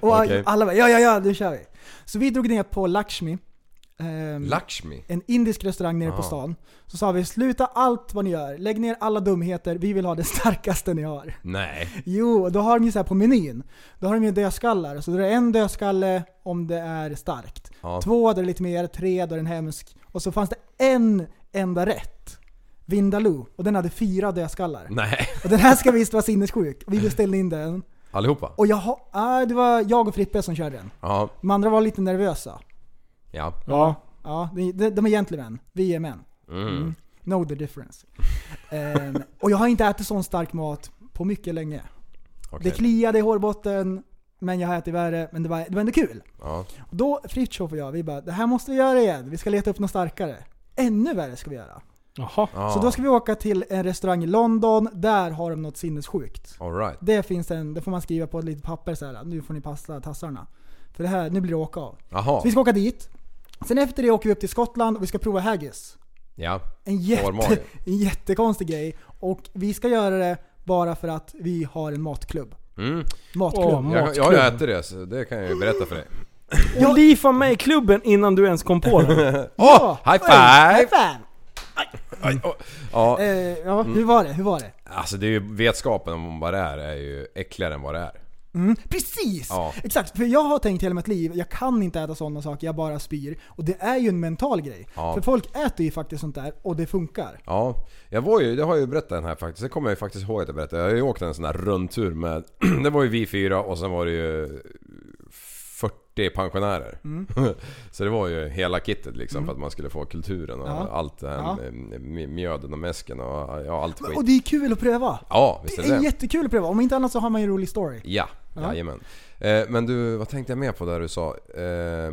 [SPEAKER 4] och
[SPEAKER 3] Okej.
[SPEAKER 4] alla bara, ja ja ja, nu kör vi. Så vi drog ner på Lakshmi. ehm,
[SPEAKER 3] Lakshmi?
[SPEAKER 4] en indisk restaurang nere på
[SPEAKER 3] Aha.
[SPEAKER 4] stan. Så sa vi, sluta allt vad ni gör. Lägg ner alla dumheter. Vi vill ha det starkaste ni har.
[SPEAKER 3] Nej.
[SPEAKER 4] Jo, och då har de ju så här på menyn. Då har de ju dödskallar. Så då är det en dödskalle om det är starkt.
[SPEAKER 3] Ja.
[SPEAKER 4] Två, då är det lite mer. Tre, då är den hemsk. Och så fanns det en enda rätt. Vindaloo. Och den hade fyra dödskallar.
[SPEAKER 3] Nej.
[SPEAKER 4] Och den här ska visst vara sinnessjuk. Vi beställde in den.
[SPEAKER 3] Allihopa?
[SPEAKER 4] Och jag har, ah, det var jag och Frippe som körde den.
[SPEAKER 3] Ja.
[SPEAKER 4] De andra var lite nervösa.
[SPEAKER 3] Ja.
[SPEAKER 2] Ja.
[SPEAKER 4] Ja, de, de, de är gentlemän. Vi är män.
[SPEAKER 3] Mm.
[SPEAKER 4] Know the difference. Ehm, och jag har inte ätit sån stark mat på mycket länge.
[SPEAKER 3] Okej.
[SPEAKER 4] Det kliade i hårbotten, men jag har ätit värre. Men det var, det var ändå kul.
[SPEAKER 3] Ja.
[SPEAKER 4] Och Då Fritiof och jag, vi bara det här måste vi göra igen. Vi ska leta upp något starkare. Ännu värre ska vi göra.
[SPEAKER 2] Jaha.
[SPEAKER 3] ja.
[SPEAKER 4] Så då ska vi åka till en restaurang i London. Där har de något sinnessjukt.
[SPEAKER 3] All right.
[SPEAKER 4] Det finns en, det får man skriva på ett litet papper så här. Nu får ni passa tassarna. För det här, nu blir det åka av.
[SPEAKER 3] Jaha.
[SPEAKER 4] Så vi ska åka dit. Sen efter det åker vi upp till Skottland och vi ska prova haggis.
[SPEAKER 3] Ja.
[SPEAKER 4] En,
[SPEAKER 3] Formage.
[SPEAKER 4] jätte, en jättekonstig grej. Och vi ska göra det bara för att vi har en matklubb.
[SPEAKER 3] Mm.
[SPEAKER 4] Matklubb.
[SPEAKER 2] Åh,
[SPEAKER 3] Jag, jag har ju
[SPEAKER 2] matklubb.
[SPEAKER 3] ätit det så det kan jag ju berätta för dig.
[SPEAKER 2] Jag lifade med i klubben innan du ens kom på det.
[SPEAKER 3] Åh! high
[SPEAKER 4] High
[SPEAKER 3] five!
[SPEAKER 4] five!
[SPEAKER 3] Aj, åh. Ja.
[SPEAKER 4] Eh, ja, hur var det? Hur var det?
[SPEAKER 3] Alltså det är ju vetskapen om vad det är är ju äckligare än vad det är.
[SPEAKER 4] Precis!
[SPEAKER 3] Ja.
[SPEAKER 4] Exakt, för jag har tänkt hela mitt liv, jag kan inte äta sådana saker, jag bara spyr. Och det är ju en mental grej.
[SPEAKER 3] Ja.
[SPEAKER 4] För folk äter ju faktiskt sånt där och det funkar.
[SPEAKER 3] Ja, jag var ju, det har jag ju berättat den här faktiskt. Det kommer jag ju faktiskt ihåg att jag berättade. Jag har ju åkt en sån här rundtur med... det var ju vi fyra och sen var det ju 40 40 pensionärer.
[SPEAKER 4] Mm.
[SPEAKER 3] så det var ju hela kittet liksom för att man skulle få kulturen och
[SPEAKER 4] Ja.
[SPEAKER 3] allt det här
[SPEAKER 4] Ja.
[SPEAKER 3] med med mjöden och mäsken och ja, allt skit.
[SPEAKER 4] Och det är kul att pröva.
[SPEAKER 3] Ja, visst
[SPEAKER 4] Det
[SPEAKER 3] är det
[SPEAKER 4] är
[SPEAKER 3] det.
[SPEAKER 4] jättekul att pröva. Om inte annat så har man ju en rolig story.
[SPEAKER 3] Ja,
[SPEAKER 4] Ja.
[SPEAKER 3] jajamän. Eh, men du, vad tänkte jag mer på där du sa? Eh, eh,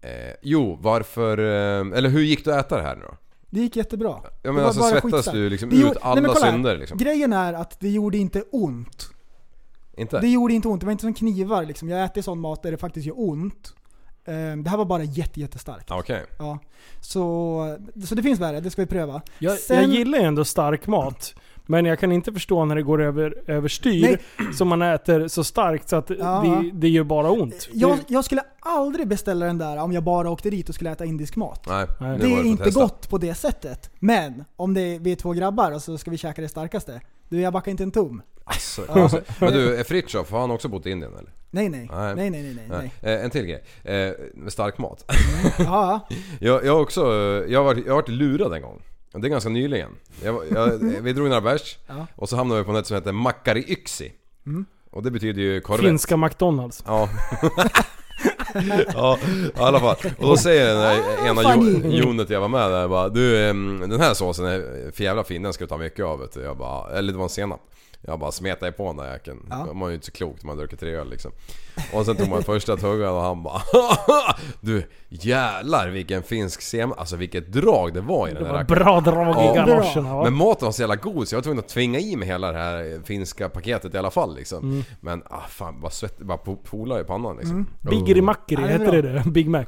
[SPEAKER 3] eh, jo, varför... Eh, eller hur gick du att äta det här nu då?
[SPEAKER 4] Det gick jättebra.
[SPEAKER 3] Ja
[SPEAKER 4] Det var
[SPEAKER 3] men alltså
[SPEAKER 4] bara
[SPEAKER 3] svettas
[SPEAKER 4] skitsnack.
[SPEAKER 3] du liksom
[SPEAKER 4] Det
[SPEAKER 3] ut
[SPEAKER 4] gjorde-
[SPEAKER 3] alla
[SPEAKER 4] Nej, men kolla här.
[SPEAKER 3] synder liksom?
[SPEAKER 4] Grejen är att det gjorde inte ont.
[SPEAKER 3] Inte?
[SPEAKER 4] Det gjorde inte ont. Det var inte som knivar liksom. Jag äter sån mat där det faktiskt gör ont. Ehm, Det här var bara jätte, jättestarkt.
[SPEAKER 3] Ah, Okej.
[SPEAKER 4] Ja. Så, så det finns värre, det ska vi pröva.
[SPEAKER 2] Jag, jag
[SPEAKER 4] Sen-
[SPEAKER 2] gillar ju ändå stark mat. Men jag kan inte förstå när det går över, överstyr. Så man äter så starkt så att
[SPEAKER 4] Ja.
[SPEAKER 2] det, det gör bara ont.
[SPEAKER 4] Jag,
[SPEAKER 2] Det-
[SPEAKER 4] jag skulle aldrig beställa den där om jag bara åkte dit och skulle äta indisk mat.
[SPEAKER 3] Nej,
[SPEAKER 2] Nej.
[SPEAKER 3] nu
[SPEAKER 4] Det
[SPEAKER 3] var
[SPEAKER 4] är
[SPEAKER 3] på att
[SPEAKER 4] inte
[SPEAKER 3] testa.
[SPEAKER 4] gott på det sättet. Men om det är, vi är två grabbar och så ska vi käka det starkaste. Du, jag backar inte en tum.
[SPEAKER 3] Alltså, konstigt. Men du, är Fritiof, har han också bott i Indien eller?
[SPEAKER 4] Nej, nej.
[SPEAKER 3] Nej.
[SPEAKER 4] Nej, nej, nej, nej. nej.
[SPEAKER 3] Eh, en till grej. Eh, med stark mat.
[SPEAKER 4] Ja, ja.
[SPEAKER 3] Jag, jag har också, jag har, varit, jag har varit lurad en gång. Det är ganska nyligen. Jag, var- jag, vi drog några bärs
[SPEAKER 4] Ja. Mm.
[SPEAKER 3] och så hamnade vi på något som heter Makari Yksi. Och det betyder ju korvett.
[SPEAKER 2] Finska McDonalds.
[SPEAKER 3] Ja. ja, i alla fall. Och då säger den
[SPEAKER 2] Ah,
[SPEAKER 3] där ena jo,
[SPEAKER 4] funny.
[SPEAKER 3] jonet jag var med där bara Du, ehm, den här såsen är för jävla fin, den ska du ta mycket av vet du. Jag bara, eller det var en senap. Jag bara smetade på den där jäkeln.
[SPEAKER 4] Ja.
[SPEAKER 3] Man är ju inte så klok när man dricker tre öl liksom. Och sen tog man första tuggan och han bara Du jävlar vilken finsk senap. Alltså vilket drag det var i den
[SPEAKER 2] Det
[SPEAKER 3] där
[SPEAKER 2] var
[SPEAKER 3] rackaren.
[SPEAKER 2] bra drag i
[SPEAKER 3] Ja.
[SPEAKER 2] galoscherna va?
[SPEAKER 3] Men maten var så jävla god så jag var tvungen att tvinga i mig hela det här eh, finska paketet i alla fall liksom.
[SPEAKER 4] Mm.
[SPEAKER 3] Men ah, fan vad svett, bara po- polar i pannan liksom.
[SPEAKER 4] Mm.
[SPEAKER 2] Biggeri Mackeri,
[SPEAKER 4] Ja, det är
[SPEAKER 2] hette det det? Big Mac.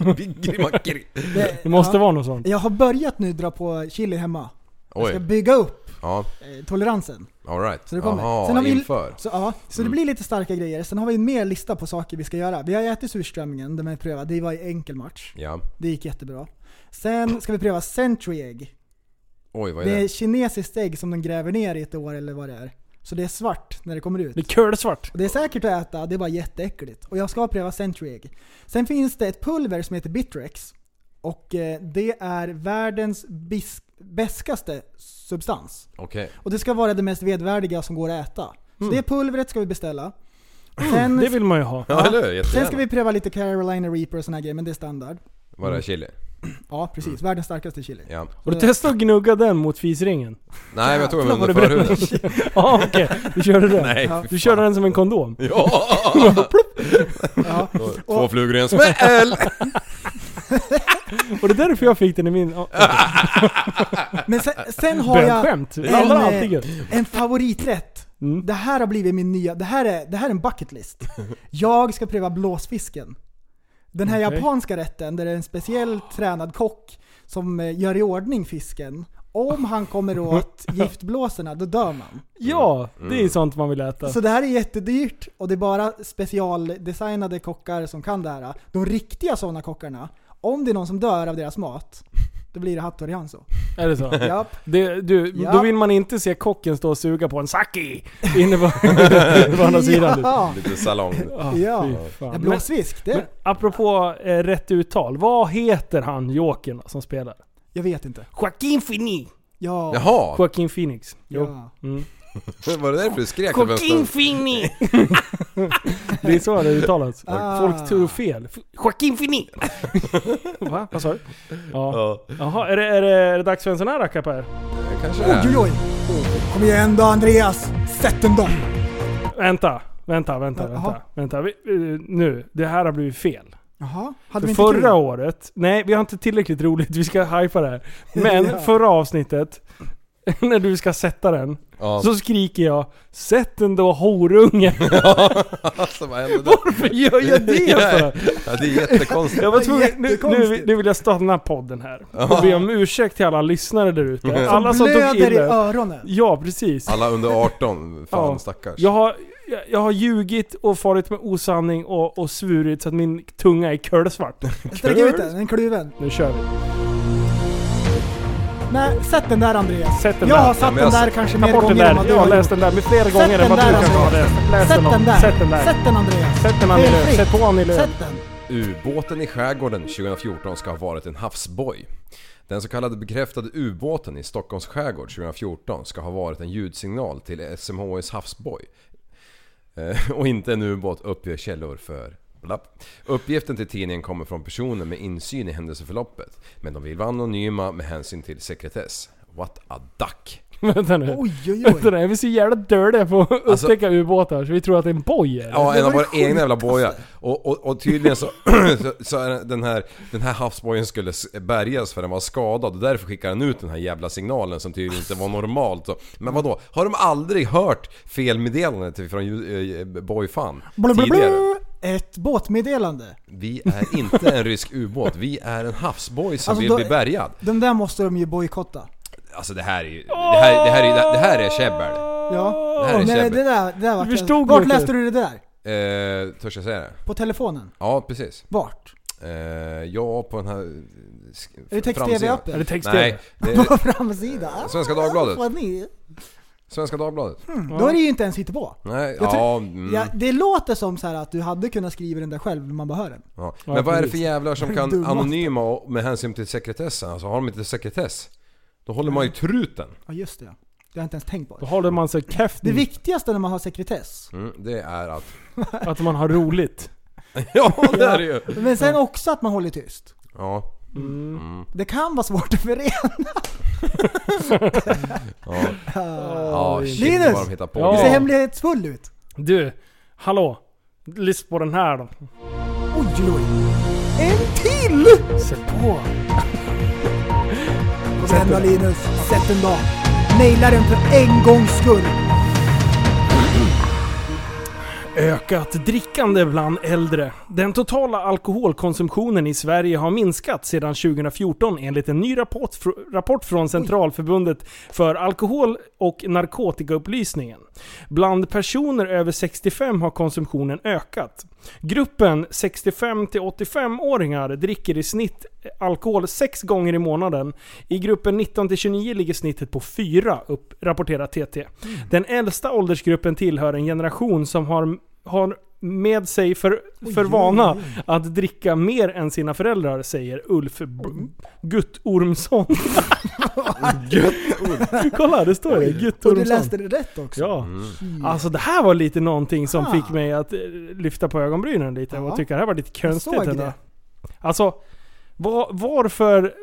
[SPEAKER 3] Biggeri Mackeri.
[SPEAKER 4] Det,
[SPEAKER 2] Det måste
[SPEAKER 4] ja.
[SPEAKER 2] vara något sånt.
[SPEAKER 4] Jag har börjat nu dra på chili hemma. Jag ska
[SPEAKER 3] Oj,
[SPEAKER 4] bygga upp
[SPEAKER 3] ja
[SPEAKER 4] eh, toleransen.
[SPEAKER 3] alright.
[SPEAKER 4] Så det kommer.
[SPEAKER 3] Jaha,
[SPEAKER 4] Sen har vi-
[SPEAKER 3] inför. Mm.
[SPEAKER 4] Så, ja, så det blir lite starka grejer. Sen har vi en mer lista på saker vi ska göra. Vi har ätit surströmmingen, den har vi prövat. Det var i enkel match.
[SPEAKER 3] Ja.
[SPEAKER 4] Det gick jättebra. Sen ska vi pröva century egg.
[SPEAKER 3] Oj, vad är
[SPEAKER 4] Det
[SPEAKER 3] det?
[SPEAKER 4] är kinesiskt ägg som de gräver ner i ett år eller vad det är. Så det är svart när det kommer ut.
[SPEAKER 2] Det är kölsvart.
[SPEAKER 4] Och Det är säkert att äta, det är bara jätteäckligt. Och jag ska pröva Century Egg. Sen finns det ett pulver som heter Bitrex. Och eh, det är världens bis- beskaste substans.
[SPEAKER 3] Okej.
[SPEAKER 4] Och det ska vara det mest vedvärdiga som går att äta. Så
[SPEAKER 3] Mm.
[SPEAKER 4] det pulvret ska vi beställa. Sen,
[SPEAKER 2] Det vill man ju ha.
[SPEAKER 3] Ja, eller hur?
[SPEAKER 4] sen
[SPEAKER 3] Jättegärna.
[SPEAKER 4] ska vi pröva lite Carolina Reaper och såna här grejer, men det är standard.
[SPEAKER 3] Var det chili?
[SPEAKER 4] Ja, precis.
[SPEAKER 3] Mm.
[SPEAKER 4] Världens starkaste chili.
[SPEAKER 3] Ja.
[SPEAKER 2] Har du testat att gnugga den mot fisringen?
[SPEAKER 3] Nej, men jag tog
[SPEAKER 2] Förlåt,
[SPEAKER 3] mig
[SPEAKER 2] var
[SPEAKER 3] under
[SPEAKER 2] det
[SPEAKER 3] förhuden.
[SPEAKER 2] Ja ah, okej, du körde den?
[SPEAKER 3] Nej, fy
[SPEAKER 2] Du
[SPEAKER 3] fan.
[SPEAKER 2] körde den som en kondom?
[SPEAKER 3] Ja!
[SPEAKER 4] Ja.
[SPEAKER 3] Två flugor i en smäll!
[SPEAKER 2] Och det är därför jag fick den i min... Oh,
[SPEAKER 4] Men sen, sen har jag...
[SPEAKER 2] Bögskämt! Det var
[SPEAKER 4] eh,
[SPEAKER 2] alltid gött.
[SPEAKER 4] En favoriträtt.
[SPEAKER 2] Mm.
[SPEAKER 4] Det här har blivit min nya, det här är, det här är en bucket list. Jag ska pröva blåsfisken. Den här
[SPEAKER 2] Okej.
[SPEAKER 4] japanska rätten där det är en speciell tränad kock som eh, gör i ordning fisken. Om han kommer åt giftblåsorna, då dör man.
[SPEAKER 2] Ja, det
[SPEAKER 3] Mm.
[SPEAKER 2] är sånt man vill äta.
[SPEAKER 4] Så det här är jättedyrt och det är bara specialdesignade kockar som kan det här. De riktiga sådana kockarna, om det är någon som dör av deras mat, då blir det Hattori Hanzo.
[SPEAKER 2] Är det så?
[SPEAKER 4] Japp.
[SPEAKER 2] Det, du,
[SPEAKER 4] Ja.
[SPEAKER 2] Då vill man inte se kocken stå och suga på en saki inne på, inne på andra sidan. Ja.
[SPEAKER 4] Ja,
[SPEAKER 3] Lite salong.
[SPEAKER 2] Ah,
[SPEAKER 4] Ja.
[SPEAKER 2] fy fan.
[SPEAKER 4] ja,
[SPEAKER 2] Men,
[SPEAKER 4] blåsfisk,
[SPEAKER 2] men
[SPEAKER 4] det...
[SPEAKER 2] apropå eh, rätt uttal. Vad heter han jokern som spelar?
[SPEAKER 4] Jag vet inte.
[SPEAKER 2] Joaquin Phoenix.
[SPEAKER 4] Ja.
[SPEAKER 3] Jaha!
[SPEAKER 2] Joaquin Phoenix. Jo.
[SPEAKER 4] ja.
[SPEAKER 2] Mm.
[SPEAKER 3] Var det därför du skrek? över en stund?
[SPEAKER 7] Fini!
[SPEAKER 2] Det är så det uttalas.
[SPEAKER 4] Ah.
[SPEAKER 2] Folk tror fel. F- Joaquin Phoenix. Va? Vad sa du? Ja.
[SPEAKER 3] Ja,
[SPEAKER 2] Jaha, är det, är, det, är det dags för en sån här rackapär?
[SPEAKER 3] det kanske
[SPEAKER 4] Oj,
[SPEAKER 3] är.
[SPEAKER 4] oj, oj. Kom igen då Andreas! Sätt den då!
[SPEAKER 2] Vänta, vänta, vänta,
[SPEAKER 4] Jaha.
[SPEAKER 2] vänta. vänta. Vi, eh, nu, det här har blivit fel.
[SPEAKER 4] Jaha,
[SPEAKER 2] För
[SPEAKER 4] hade vi inte
[SPEAKER 2] förra
[SPEAKER 4] kul?
[SPEAKER 2] året, nej vi har inte tillräckligt roligt, vi ska hypa det här. Men
[SPEAKER 4] Ja.
[SPEAKER 2] förra avsnittet, när du ska sätta den,
[SPEAKER 3] Ja.
[SPEAKER 2] så skriker jag 'Sätt den då horunge!'
[SPEAKER 3] Alltså vad hände där?
[SPEAKER 2] Varför gör jag det för?
[SPEAKER 3] Ja, det är jättekonstigt.
[SPEAKER 2] Jag var tvungen, nu, nu,
[SPEAKER 4] Jättekonstigt.
[SPEAKER 2] nu vill jag stanna podden här. Och be om ursäkt till alla lyssnare där ute. Alla som tog
[SPEAKER 4] Blöder i
[SPEAKER 2] illa
[SPEAKER 4] öronen.
[SPEAKER 2] Ja, precis.
[SPEAKER 3] Alla under 18, fan
[SPEAKER 2] Ja.
[SPEAKER 3] stackars.
[SPEAKER 2] Jag har, jag, jag har ljugit och farit med osanning och, och svurit så att min tunga är kölsvart.
[SPEAKER 4] Sträck ut den, den är kluven.
[SPEAKER 2] Nu kör vi.
[SPEAKER 4] Nej, sätt den där Andreas.
[SPEAKER 2] Sätt den
[SPEAKER 4] jag
[SPEAKER 2] där.
[SPEAKER 4] har satt
[SPEAKER 3] men
[SPEAKER 4] den
[SPEAKER 3] jag-
[SPEAKER 4] där kanske
[SPEAKER 2] Ta
[SPEAKER 4] mer
[SPEAKER 2] bort den
[SPEAKER 4] gånger än vad
[SPEAKER 2] där.
[SPEAKER 4] du
[SPEAKER 2] Jag har
[SPEAKER 4] har gjort.
[SPEAKER 2] läst den där med fler
[SPEAKER 4] Sätt
[SPEAKER 2] gånger än
[SPEAKER 4] den
[SPEAKER 2] vad du
[SPEAKER 4] där
[SPEAKER 2] kanske har
[SPEAKER 4] Andreas.
[SPEAKER 2] läst. Läs
[SPEAKER 4] Sätt
[SPEAKER 2] den
[SPEAKER 4] den
[SPEAKER 2] om-
[SPEAKER 4] där.
[SPEAKER 2] Sätt den där.
[SPEAKER 4] Sätt den Andreas.
[SPEAKER 2] Sätt den Annie Lööf.
[SPEAKER 4] Felfritt.
[SPEAKER 2] Sätt på Annie Lööf.
[SPEAKER 4] Sätt den.
[SPEAKER 3] Ubåten i skärgården 2014 ska ha varit en havsboj. Den så kallade bekräftade ubåten i Stockholms skärgård 2014 ska ha varit en ljudsignal till SMHIs havsboj. Eh, och inte en ubåt uppger källor för Blapp. Uppgiften till tidningen kommer från personer med insyn i händelseförloppet. Men de vill vara anonyma med hänsyn till sekretess. What a duck!
[SPEAKER 2] Vänta nu.
[SPEAKER 4] Oj, oj,
[SPEAKER 2] Vänta
[SPEAKER 4] oj.
[SPEAKER 2] nu, vi är så jävla dirty på att
[SPEAKER 3] Alltså-
[SPEAKER 2] upptäcka ubåtar så vi tror att det är en boj eller?
[SPEAKER 3] Ja,
[SPEAKER 4] Det
[SPEAKER 3] en av
[SPEAKER 4] var
[SPEAKER 3] våra
[SPEAKER 4] ju sjukt,
[SPEAKER 3] egna jävla bojar. Och, och, och tydligen så, så, så är den här, den här havsbojen skulle s- bärgas för den var skadad och därför skickar den ut den här jävla signalen som tydligen inte var normalt. Så, men vadå? Har de aldrig hört felmeddelandet från ju- eh, Boyfan tidigare?
[SPEAKER 4] Blablabla. Ett båtmeddelande.
[SPEAKER 3] Vi är inte en rysk ubåt, vi är en havsboj som
[SPEAKER 4] Alltså,
[SPEAKER 3] vill
[SPEAKER 4] då-
[SPEAKER 3] bli bärgad.
[SPEAKER 4] De där måste de ju bojkotta.
[SPEAKER 3] Alltså det här är ju... Det här, det här, är, det här är käbbel.
[SPEAKER 4] Ja.
[SPEAKER 3] Det här är
[SPEAKER 4] Nej,
[SPEAKER 3] käbbel.
[SPEAKER 4] det där, det där var
[SPEAKER 2] förstod
[SPEAKER 4] Vart
[SPEAKER 2] inte.
[SPEAKER 4] läste du det där?
[SPEAKER 3] Eh, törs jag säga det?
[SPEAKER 4] På telefonen?
[SPEAKER 3] Ja, precis.
[SPEAKER 4] Vart?
[SPEAKER 3] Eh, ja, på den här...
[SPEAKER 4] Är det
[SPEAKER 3] framsidan.
[SPEAKER 4] text-tv-appen?
[SPEAKER 2] Är det text
[SPEAKER 3] Nej, det
[SPEAKER 4] På
[SPEAKER 3] är
[SPEAKER 4] framsidan?
[SPEAKER 3] Svenska Dagbladet.
[SPEAKER 4] Vad ni-
[SPEAKER 3] Svenska Dagbladet.
[SPEAKER 2] Hmm.
[SPEAKER 4] Då är det ju inte ens hittepå.
[SPEAKER 3] Nej,
[SPEAKER 4] Jag tror-
[SPEAKER 3] ja, mm,
[SPEAKER 4] Ja,
[SPEAKER 3] ja.
[SPEAKER 4] det låter som så här att du hade kunnat skriva den där själv när man bara hör den.
[SPEAKER 3] Men vad är det för jävlar som kan
[SPEAKER 4] Dummaste.
[SPEAKER 3] anonyma och med hänsyn till sekretessen? Alltså har de inte sekretess? Då håller man ju
[SPEAKER 2] Mm.
[SPEAKER 3] truten.
[SPEAKER 4] Ja just det. Det har jag inte ens tänkt
[SPEAKER 2] Då
[SPEAKER 4] på.
[SPEAKER 2] håller man sig käft
[SPEAKER 4] Det viktigaste när man har sekretess,
[SPEAKER 3] Mm, det är att...
[SPEAKER 2] att man har roligt.
[SPEAKER 3] ja, det är det ju!
[SPEAKER 4] men sen också att man håller tyst.
[SPEAKER 3] Ja, Mm.
[SPEAKER 4] Det kan vara svårt att förena.
[SPEAKER 3] ja. ja shit,
[SPEAKER 4] Linus!
[SPEAKER 3] vad de hittar på.
[SPEAKER 2] Ja.
[SPEAKER 4] Det ser
[SPEAKER 3] grejer.
[SPEAKER 4] hemlighetsfull ut.
[SPEAKER 2] Du, hallå. Lyssna på den här då.
[SPEAKER 4] Oj, oj, oj. En till!
[SPEAKER 2] Sätt på.
[SPEAKER 4] Sätt den Linus, sätt den då. Naila den för en gångs skull.
[SPEAKER 2] Ökat drickande bland äldre. Den totala alkoholkonsumtionen i Sverige har minskat sedan 2014 enligt en ny rapport, fr- rapport från Centralförbundet för alkohol och narkotikaupplysningen. Bland personer över 65 har konsumtionen ökat. Gruppen 65-85-åringar dricker i snitt alkohol sex gånger i månaden. I gruppen 19-29 ligger snittet på fyra, upp, rapporterar TT.
[SPEAKER 4] Mm.
[SPEAKER 2] Den äldsta åldersgruppen tillhör en generation som har, har med sig för, för vana att dricka mer än sina föräldrar, säger Ulf B- Guttormsson. Kolla, det står det.
[SPEAKER 4] Och du
[SPEAKER 2] Guttormsson.
[SPEAKER 4] läste det rätt också. Mm.
[SPEAKER 2] Ja.
[SPEAKER 3] Mm,
[SPEAKER 2] Alltså det här var lite någonting som
[SPEAKER 4] Ah.
[SPEAKER 2] fick mig att eh, lyfta på ögonbrynen lite och
[SPEAKER 4] Ja.
[SPEAKER 2] tycka det här var lite
[SPEAKER 4] Jag
[SPEAKER 2] konstigt.
[SPEAKER 4] såg
[SPEAKER 2] ändå.
[SPEAKER 4] det.
[SPEAKER 2] Alltså, var, varför...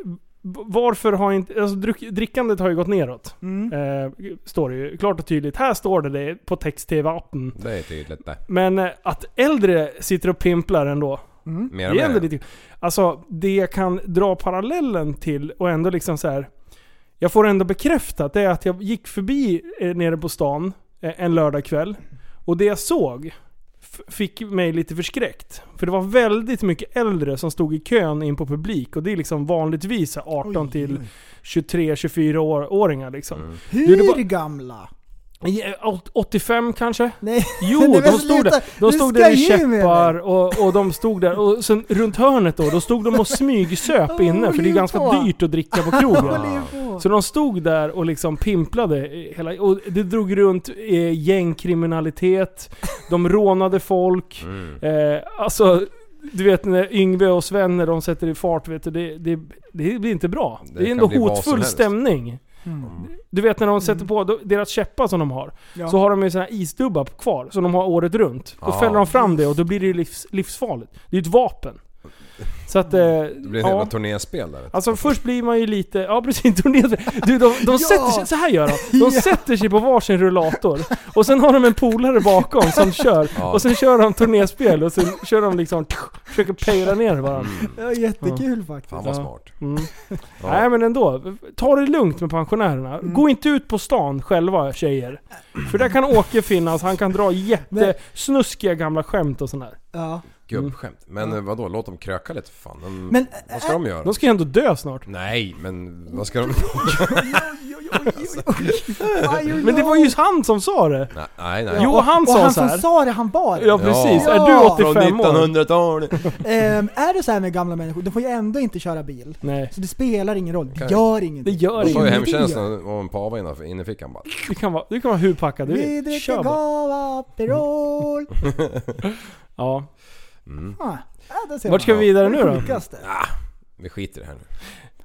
[SPEAKER 2] Varför har inte... Alltså dryck, drickandet har ju gått neråt.
[SPEAKER 4] Mm.
[SPEAKER 2] Eh, står det ju klart och tydligt. Här står det, det på text-tv-appen.
[SPEAKER 3] Det är tydligt det.
[SPEAKER 2] Men eh, att äldre sitter och pimplar ändå.
[SPEAKER 3] Mer och
[SPEAKER 2] Mm. Det är ändå
[SPEAKER 3] mer.
[SPEAKER 2] lite... Alltså, det jag kan dra parallellen till och ändå liksom så här. Jag får ändå bekräftat det är att jag gick förbi eh, nere på stan eh, en lördagkväll och det jag såg f- fick mig lite förskräckt. För det var väldigt mycket äldre som stod i kön in på publik och det är liksom vanligtvis så här 18
[SPEAKER 4] Oj,
[SPEAKER 2] till
[SPEAKER 4] oj.
[SPEAKER 2] 23-24 år, åringar liksom.
[SPEAKER 4] Hur
[SPEAKER 2] Du, det var-
[SPEAKER 4] gamla?
[SPEAKER 2] Ja, åt- 85 kanske?
[SPEAKER 4] Nej. Nej,
[SPEAKER 2] Jo,
[SPEAKER 4] men
[SPEAKER 2] de
[SPEAKER 4] sluta.
[SPEAKER 2] stod där, de
[SPEAKER 4] Du
[SPEAKER 2] stod där i
[SPEAKER 4] skojar med
[SPEAKER 2] käppar
[SPEAKER 4] mig.
[SPEAKER 2] och, och de stod där. Och sen runt hörnet då, då stod de och smygsöp
[SPEAKER 4] Åh,
[SPEAKER 2] inne för det är
[SPEAKER 4] liv
[SPEAKER 2] ganska
[SPEAKER 4] på.
[SPEAKER 2] dyrt att dricka på krogen.
[SPEAKER 4] Håller ju på.
[SPEAKER 2] Så de stod där och liksom pimplade eh, hela, och det drog runt eh, gängkriminalitet, de rånade folk.
[SPEAKER 3] Mm.
[SPEAKER 2] Eh, alltså, du vet när Yngve och Sven när de sätter i fart, vet du, det, det, det blir inte bra.
[SPEAKER 3] Det
[SPEAKER 2] Det är
[SPEAKER 3] kan
[SPEAKER 2] ändå
[SPEAKER 3] bli vad som
[SPEAKER 2] hotfull
[SPEAKER 3] helst. Mm.
[SPEAKER 2] stämning.
[SPEAKER 4] Mm.
[SPEAKER 2] Du vet när de sätter på då- deras käppar som de har.
[SPEAKER 4] Ja.
[SPEAKER 2] Så har de ju såna här isdubbar kvar som de har året runt. Då
[SPEAKER 3] Ja.
[SPEAKER 2] fäller de fram det och då blir det ju livs, livsfarligt. Det är ju ett vapen. Så att... Eh,
[SPEAKER 3] Det blir ett
[SPEAKER 2] ja.
[SPEAKER 3] jävla turnéspel där.
[SPEAKER 2] Alltså först blir man ju lite, ja precis, turnéspel. Du, de, de
[SPEAKER 4] Ja.
[SPEAKER 2] sätter sig, så här gör de. De sätter sig på varsin rullator. Och sen har de en polare bakom som kör.
[SPEAKER 3] Ja.
[SPEAKER 2] Och sen kör de turnéspel och sen kör de liksom, försöker pejla ner varandra.
[SPEAKER 4] Ja, jättekul faktiskt.
[SPEAKER 3] Fan vad
[SPEAKER 2] Ja.
[SPEAKER 3] smart.
[SPEAKER 2] Mm.
[SPEAKER 3] Ja.
[SPEAKER 2] Nej men ändå, ta det lugnt med pensionärerna.
[SPEAKER 4] Mm.
[SPEAKER 2] Gå inte ut på stan själva tjejer. För där kan Åke finnas, han kan dra jättesnuskiga gamla skämt och sådär.
[SPEAKER 4] Ja.
[SPEAKER 3] Gubbskämt. Men eh, vadå, låt dem kröka lite för fan. De,
[SPEAKER 4] Men-
[SPEAKER 3] vad ska de göra?
[SPEAKER 2] äh, De ska ju ändå dö snart.
[SPEAKER 3] Nej, men vad ska de...
[SPEAKER 2] Men det var ju han som sa det!
[SPEAKER 3] Nej, nej. nej.
[SPEAKER 2] Jo, han
[SPEAKER 4] Och
[SPEAKER 2] sa
[SPEAKER 4] han
[SPEAKER 2] så här.
[SPEAKER 4] som sa det, han var det.
[SPEAKER 2] Ja precis,
[SPEAKER 4] Ja.
[SPEAKER 2] är du
[SPEAKER 3] Från
[SPEAKER 2] 85 år?
[SPEAKER 3] 1900-talet.
[SPEAKER 4] Ehm, är det så här med gamla människor, de får ju ändå inte köra bil.
[SPEAKER 2] Nej,
[SPEAKER 4] Så det spelar ingen roll. Det
[SPEAKER 3] Okej.
[SPEAKER 4] gör ingenting.
[SPEAKER 2] Det gör
[SPEAKER 3] Då tar ju
[SPEAKER 2] ingenting.
[SPEAKER 3] hemtjänsten och en pava innanför- inne i fickan bara.
[SPEAKER 2] du kan vara, du kan vara hur packad du
[SPEAKER 4] Vi
[SPEAKER 2] vill.
[SPEAKER 4] dricker
[SPEAKER 2] Kör bara.
[SPEAKER 4] gava, Aperol.
[SPEAKER 2] Ja.
[SPEAKER 3] Mm,
[SPEAKER 4] Ah, ja, där ser
[SPEAKER 2] Vart ska
[SPEAKER 4] man.
[SPEAKER 2] vi vidare nu
[SPEAKER 4] Det
[SPEAKER 2] då?
[SPEAKER 4] sjukaste.
[SPEAKER 3] Vi skiter i det här nu.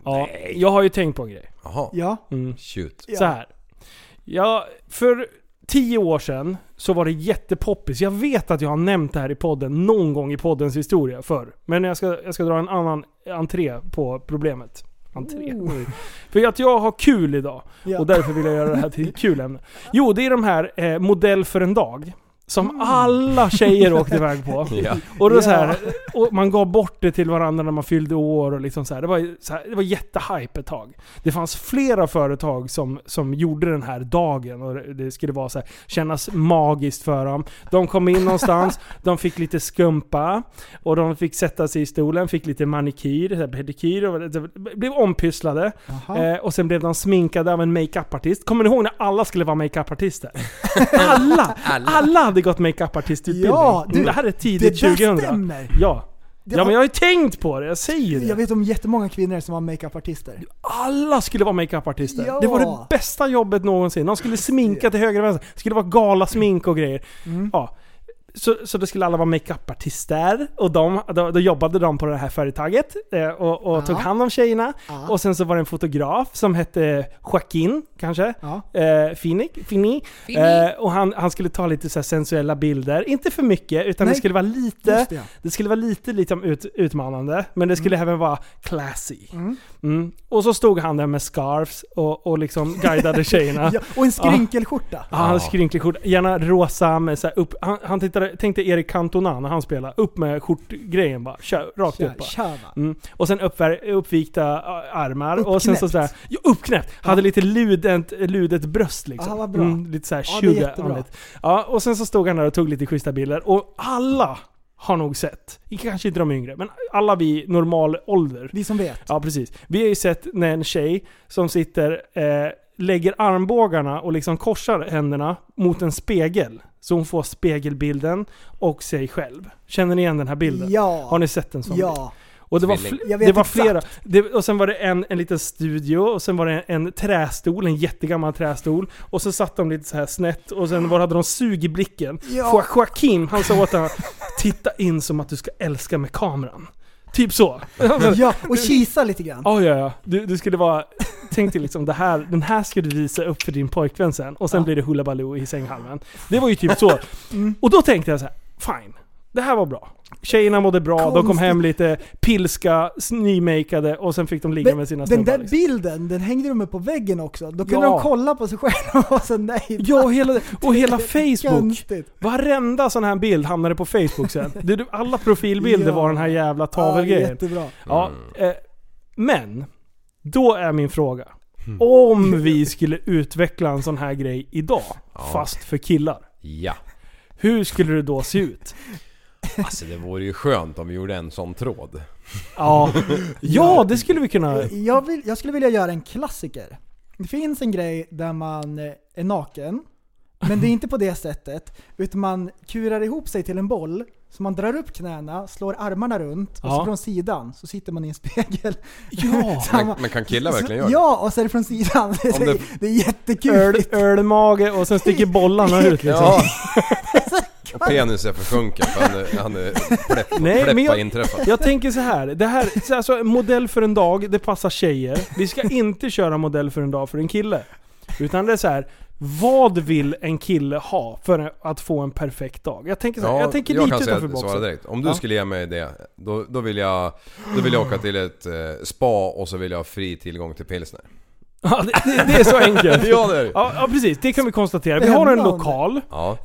[SPEAKER 2] Ja, jag har ju tänkt på en grej.
[SPEAKER 3] Jaha,
[SPEAKER 4] Ja.
[SPEAKER 2] Mm.
[SPEAKER 3] shoot.
[SPEAKER 2] Så här. Ja, för tio år sedan så var det jättepoppis. Jag vet att jag har nämnt det här i podden någon gång i poddens historia förr. Men jag ska, jag ska dra en annan entré på problemet. Entré. För att jag har kul idag.
[SPEAKER 4] Oh. Ja.
[SPEAKER 2] Och därför vill jag göra det här till ett kul ämne. Jo, det är de här eh, modell för en dag. Som
[SPEAKER 4] Mm.
[SPEAKER 2] alla tjejer åkte iväg på.
[SPEAKER 3] Ja.
[SPEAKER 2] Och, då
[SPEAKER 4] Ja.
[SPEAKER 2] så här, och man gav bort det till varandra när man fyllde år och liksom så här. Det var, ju så här, det var jättehype ett tag. Det fanns flera företag som, som gjorde den här dagen och det- det skulle vara så här, kännas magiskt för dem. De kom in någonstans, de fick lite skumpa och de fick sätta sig i stolen, fick lite manikyr, så här pedikyr och det blev ompysslade.
[SPEAKER 4] Jaha.
[SPEAKER 2] Eh, och sen blev de sminkade av en makeup-artist. Kommer ni ihåg när alla skulle vara makeup-artister? alla, alla! hade gått makeup-artistutbildning. Mm.
[SPEAKER 4] Ja, du,
[SPEAKER 2] typ det här är tidigt
[SPEAKER 4] Det
[SPEAKER 2] 2000.
[SPEAKER 4] där stämmer!
[SPEAKER 2] Ja.
[SPEAKER 4] Det
[SPEAKER 2] ja,
[SPEAKER 4] har-
[SPEAKER 2] men jag har ju tänkt på det. Jag säger det.
[SPEAKER 4] Jag vet om jättemånga kvinnor som var makeupartister.
[SPEAKER 2] Alla skulle vara makeup-artister.
[SPEAKER 4] Ja.
[SPEAKER 2] Det var det bästa jobbet någonsin. De skulle sminka till höger och vänster. Det skulle vara galasmink och grejer.
[SPEAKER 4] Mm.
[SPEAKER 2] Ja. Så, så då skulle alla vara makeup-artister. Och de, då, då jobbade de på det här företaget eh, och, och
[SPEAKER 4] Ja.
[SPEAKER 2] tog hand om tjejerna.
[SPEAKER 4] Ja.
[SPEAKER 2] Och sen så var det en fotograf som hette Joaquin, kanske.
[SPEAKER 4] Ja.
[SPEAKER 2] Eh, Fini. Fini. Eh, och han, han skulle ta lite så här sensuella bilder. Inte för mycket, utan
[SPEAKER 4] Nej.
[SPEAKER 2] det skulle vara lite...
[SPEAKER 4] Just det. Mm.
[SPEAKER 2] Det skulle vara lite liksom ut, utmanande, men det skulle även vara classy. Mm. Och så stod han där med scarves och, och liksom guidade tjejerna.
[SPEAKER 4] Ja, och en skrinkelskjorta.
[SPEAKER 2] Ja, han hade skrynklig skjorta. Gärna rosa med så här upp. Han, han tittade, tänkte Erik Cantona när han spelade. Upp med skjortgrejen bara. Kör, rakt
[SPEAKER 4] Tja,
[SPEAKER 2] upp bara.
[SPEAKER 4] tja, va.
[SPEAKER 2] Mm. Och sen uppvär, uppvikta ä, armar och sen så
[SPEAKER 4] Uppknäppt.
[SPEAKER 2] sådär, jo, uppknäppt! Hade lite ludent, ludet bröst liksom.
[SPEAKER 4] Ja, vad bra.
[SPEAKER 2] lite såhär
[SPEAKER 4] Ja, det är jättebra.
[SPEAKER 2] sugar ja, Och sen så stod han där och tog lite schyssta bilder och alla har nog sett, kanske inte de yngre, men alla vi normal ålder.
[SPEAKER 4] Vi som vet.
[SPEAKER 2] Ja precis. Vi har ju sett när en tjej som sitter, eh, lägger armbågarna och liksom korsar händerna mot en spegel. Så hon får spegelbilden och sig själv. Känner ni igen den här bilden?
[SPEAKER 4] Ja.
[SPEAKER 2] Har ni sett en sån bild?
[SPEAKER 4] Ja.
[SPEAKER 2] Och det var,
[SPEAKER 3] Tvilling.
[SPEAKER 2] fl-
[SPEAKER 4] Jag vet
[SPEAKER 2] det var
[SPEAKER 4] exakt.
[SPEAKER 2] flera. Det, och sen var det en, en liten studio, och sen var det en, en trästol, en jättegammal trästol. Och så satt de lite så här snett, och sen var, hade de sug i blicken.
[SPEAKER 4] Ja.
[SPEAKER 2] Jo- Joaquin, han sa åt henne titta in som att du ska älska med kameran. Typ så.
[SPEAKER 4] Ja, och kisa lite grann.
[SPEAKER 2] Ja, ja, ja. Du, du skulle vara... Tänk dig liksom, det här, den här ska du visa upp för din pojkvän sen. Och sen blir det Hoola Baloo i sänghalmen. Det var ju typ så.
[SPEAKER 4] Mm.
[SPEAKER 2] Och då tänkte jag så här: fine. Det här var bra. Tjejerna mådde bra, de kom
[SPEAKER 4] Konstigt.
[SPEAKER 2] hem lite pilska, s- nymakeade och sen fick de ligga
[SPEAKER 4] Men
[SPEAKER 2] med sina
[SPEAKER 4] den
[SPEAKER 2] snubbar.
[SPEAKER 4] där
[SPEAKER 2] Liksom.
[SPEAKER 4] bilden, den hängde de upp på väggen också. Då kunde
[SPEAKER 2] Ja.
[SPEAKER 4] de kolla på sig själva och så nej.
[SPEAKER 2] Ja, och hela, och hela Facebook.
[SPEAKER 4] Konstigt.
[SPEAKER 2] Varenda sån här bild hamnade på Facebook sen. Du, du, alla profilbilder
[SPEAKER 4] Ja.
[SPEAKER 2] var den här jävla
[SPEAKER 4] Ja,
[SPEAKER 2] tavelgrejen.
[SPEAKER 4] jättebra.
[SPEAKER 2] Ja, eh, men då är min fråga. Om vi skulle utveckla en sån här grej idag, fast för killar.
[SPEAKER 3] ja.
[SPEAKER 2] Hur skulle det då se ut?
[SPEAKER 3] Alltså det vore ju skönt om vi gjorde en sån tråd.
[SPEAKER 2] Ja, ja det skulle vi kunna...
[SPEAKER 4] Jag, vill, jag skulle vilja göra en klassiker. Det finns en grej där man eh, är naken, men det är inte på det sättet. Utan man kurar ihop sig till en boll, så man drar upp knäna, slår armarna runt och
[SPEAKER 2] Ja.
[SPEAKER 4] så från sidan så sitter man i en spegel.
[SPEAKER 2] Ja!
[SPEAKER 4] Samma-
[SPEAKER 3] Men kan killar verkligen göra det?
[SPEAKER 4] Ja, och så är det från sidan. Det är,
[SPEAKER 3] det-
[SPEAKER 4] det är jättekul.
[SPEAKER 2] Öl, ölmage och sen sticker bollarna ut liksom.
[SPEAKER 3] Ja. Och penis är försjunken för han är, han är pläpp,
[SPEAKER 2] Nej, men
[SPEAKER 3] pläppa
[SPEAKER 2] jag-
[SPEAKER 3] inträffat.
[SPEAKER 2] Jag tänker så här, det här, så alltså, modell för en dag, det passar tjejer. Vi ska inte köra modell för en dag för en kille. Utan det är så här, vad vill en kille ha för att få en perfekt dag? Jag tänker så här, jag tänker lite
[SPEAKER 3] kan säga-
[SPEAKER 2] utanför
[SPEAKER 3] svara
[SPEAKER 2] boxen.
[SPEAKER 3] direkt. Om du
[SPEAKER 2] Ja.
[SPEAKER 3] skulle ge mig det, då, då, vill jag, då vill jag åka till ett eh, spa och så vill jag ha fri tillgång till pilsner.
[SPEAKER 2] Ja, det, det, det är så enkelt.
[SPEAKER 3] Ja, det är det.
[SPEAKER 2] Ja, ja, precis. Det kan vi konstatera. Vi har en
[SPEAKER 4] Spännande.
[SPEAKER 2] lokal.
[SPEAKER 3] Ja,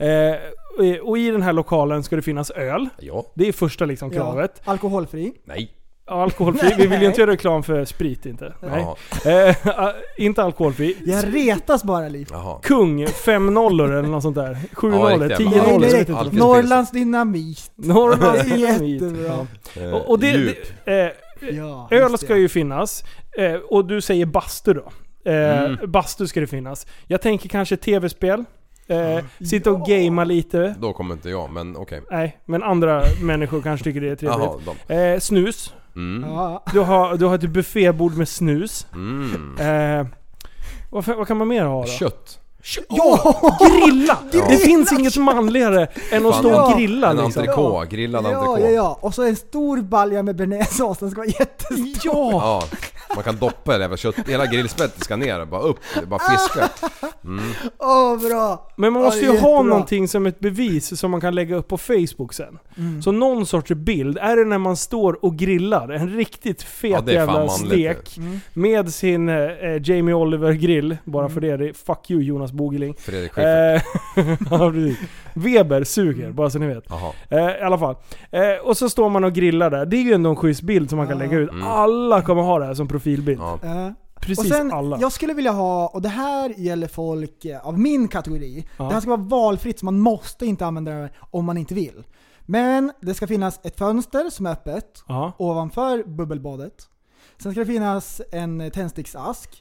[SPEAKER 2] Eh, och i den här lokalen ska det finnas öl.
[SPEAKER 3] ja,
[SPEAKER 2] Det är första liksom
[SPEAKER 4] Ja,
[SPEAKER 2] kravet.
[SPEAKER 4] Alkoholfri.
[SPEAKER 3] nej.
[SPEAKER 2] Ja. Alkoholfri. Vi vill ju inte göra reklam för sprit inte. Nej.
[SPEAKER 3] Jaha,
[SPEAKER 2] Eh, inte alkoholfri.
[SPEAKER 4] Jag retas bara liv.
[SPEAKER 3] jaha.
[SPEAKER 2] Kung, 5 nollor eller något sånt där. 7
[SPEAKER 3] Ja,
[SPEAKER 2] nollor,
[SPEAKER 3] riktigt
[SPEAKER 2] 10
[SPEAKER 3] jävla-
[SPEAKER 2] nollor.
[SPEAKER 4] Nej,
[SPEAKER 2] jag vet
[SPEAKER 4] nej,
[SPEAKER 2] inte.
[SPEAKER 3] Alkoholfri.
[SPEAKER 4] Norrlands dynamit.
[SPEAKER 2] Norrlands
[SPEAKER 4] Det är
[SPEAKER 2] dynamit.
[SPEAKER 4] jättebra.
[SPEAKER 3] Eh,
[SPEAKER 2] Och, och det,
[SPEAKER 3] djup.
[SPEAKER 2] det, eh,
[SPEAKER 4] Ja,
[SPEAKER 2] Öl
[SPEAKER 4] just det.
[SPEAKER 2] ska ju finnas. Eh, och du säger bastu då. Eh,
[SPEAKER 3] Mm.
[SPEAKER 2] Bastu ska det finnas. Jag tänker kanske tv-spel. Eh, sitta och gamea lite.
[SPEAKER 3] Då kommer inte jag, men okej.
[SPEAKER 2] Nej, men andra människor kanske tycker det är
[SPEAKER 3] Jaha,
[SPEAKER 2] trevligt.
[SPEAKER 3] de.
[SPEAKER 2] Eh, snus.
[SPEAKER 3] Mm,
[SPEAKER 4] Ja,
[SPEAKER 2] Du har, du har ett buffébord med snus.
[SPEAKER 3] mm.
[SPEAKER 2] Eh, vad, fan- vad kan man mer ha då?
[SPEAKER 3] Kött.
[SPEAKER 2] Ja! Grilla! Det finns inget manligare än att stå och
[SPEAKER 4] Ja.
[SPEAKER 2] grilla
[SPEAKER 3] En
[SPEAKER 2] liksom.
[SPEAKER 3] entrecote, grillad
[SPEAKER 4] ja, ja,
[SPEAKER 3] entrecote.
[SPEAKER 4] ja. Och så en stor balja med bearnaisesås. Den ska vara jättestor.
[SPEAKER 2] Ja!
[SPEAKER 3] Ja, Man kan doppa det jävla kött, hela grillspettet ska ner och bara upp, det bara fiska.
[SPEAKER 4] Åh bra!
[SPEAKER 2] Men man
[SPEAKER 4] Ja,
[SPEAKER 2] måste ju ha
[SPEAKER 4] jättebra.
[SPEAKER 2] någonting som ett bevis som man kan lägga upp på Facebook sen.
[SPEAKER 4] Mm.
[SPEAKER 2] Så någon sorts bild. Är det när man står och grillar en riktigt fet
[SPEAKER 3] Ja, det är fan
[SPEAKER 2] jävla
[SPEAKER 3] manligt det.
[SPEAKER 2] stek
[SPEAKER 4] Mm.
[SPEAKER 2] med sin eh, Jamie Oliver-grill. Bara för
[SPEAKER 4] Mm.
[SPEAKER 2] det, det är fuck you Jonas Bogeling.
[SPEAKER 3] Fredrik Schyffert.
[SPEAKER 2] Eh, ja, precis. Weber
[SPEAKER 4] Mm.
[SPEAKER 2] suger, bara så ni vet.
[SPEAKER 3] Jaha.
[SPEAKER 2] Eh, I alla fall. Eh, och så står man och grillar där. Det är ju ändå en schysst bild som man kan lägga ut. Alla kommer ha det här som profilbild.
[SPEAKER 3] Mm. Ja.
[SPEAKER 4] Ja.
[SPEAKER 2] Precis
[SPEAKER 4] Och sen,
[SPEAKER 2] alla.
[SPEAKER 4] jag skulle vilja ha, och det här gäller folk eh, av min kategori.
[SPEAKER 2] Ja.
[SPEAKER 4] Det här ska vara valfritt så man måste inte använda det om man inte vill. Men det ska finnas ett fönster som är öppet
[SPEAKER 2] Ja.
[SPEAKER 4] ovanför bubbelbadet. Sen ska det finnas en eh, tändsticksask.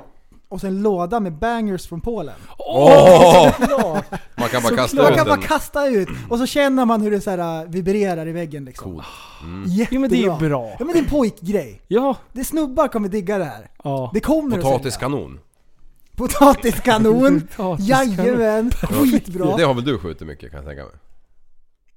[SPEAKER 4] Och sen en låda med bangers från Polen.
[SPEAKER 3] Åh! Man kan bara kasta
[SPEAKER 4] Man
[SPEAKER 3] ut
[SPEAKER 4] kan bara
[SPEAKER 3] den.
[SPEAKER 4] kasta ut och så känner man hur det så här eh, vibrerar i väggen liksom.
[SPEAKER 3] Coolt. Mm.
[SPEAKER 4] Jättebra.
[SPEAKER 2] Jo men det är ju bra.
[SPEAKER 4] Ja men det är en pojkgrej.
[SPEAKER 2] Ja.
[SPEAKER 4] Det är snubbar kommer digga det här.
[SPEAKER 2] ja.
[SPEAKER 4] Det kommer att sälja.
[SPEAKER 3] Potatiskanon.
[SPEAKER 4] Potatiskanon. Jajamän, skitbra.
[SPEAKER 3] Det har väl du skjutit mycket kan jag tänka mig?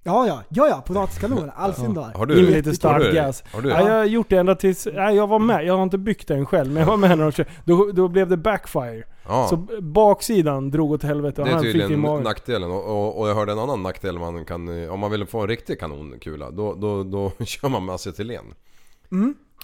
[SPEAKER 4] Ja, ja, ja, ja, potatiskanon. All sin dag.
[SPEAKER 3] Har
[SPEAKER 2] Ge
[SPEAKER 3] du
[SPEAKER 2] mig lite stark
[SPEAKER 4] Mm.
[SPEAKER 3] har du-
[SPEAKER 2] gas.
[SPEAKER 3] Har du
[SPEAKER 2] Nej, jag har gjort det ända tills... Nej, jag var med. Jag har inte byggt den själv, men jag var med när de körde. Då, då blev det backfire.
[SPEAKER 3] Ja.
[SPEAKER 2] Så baksidan drog åt helvete och
[SPEAKER 3] Det är
[SPEAKER 2] han fick i
[SPEAKER 3] tydligen
[SPEAKER 2] magen.
[SPEAKER 3] nackdelen och, och, och jag hörde en annan nackdel man kan, eh, om man vill få en riktig kanonkula då, då, då kör man med acetylen.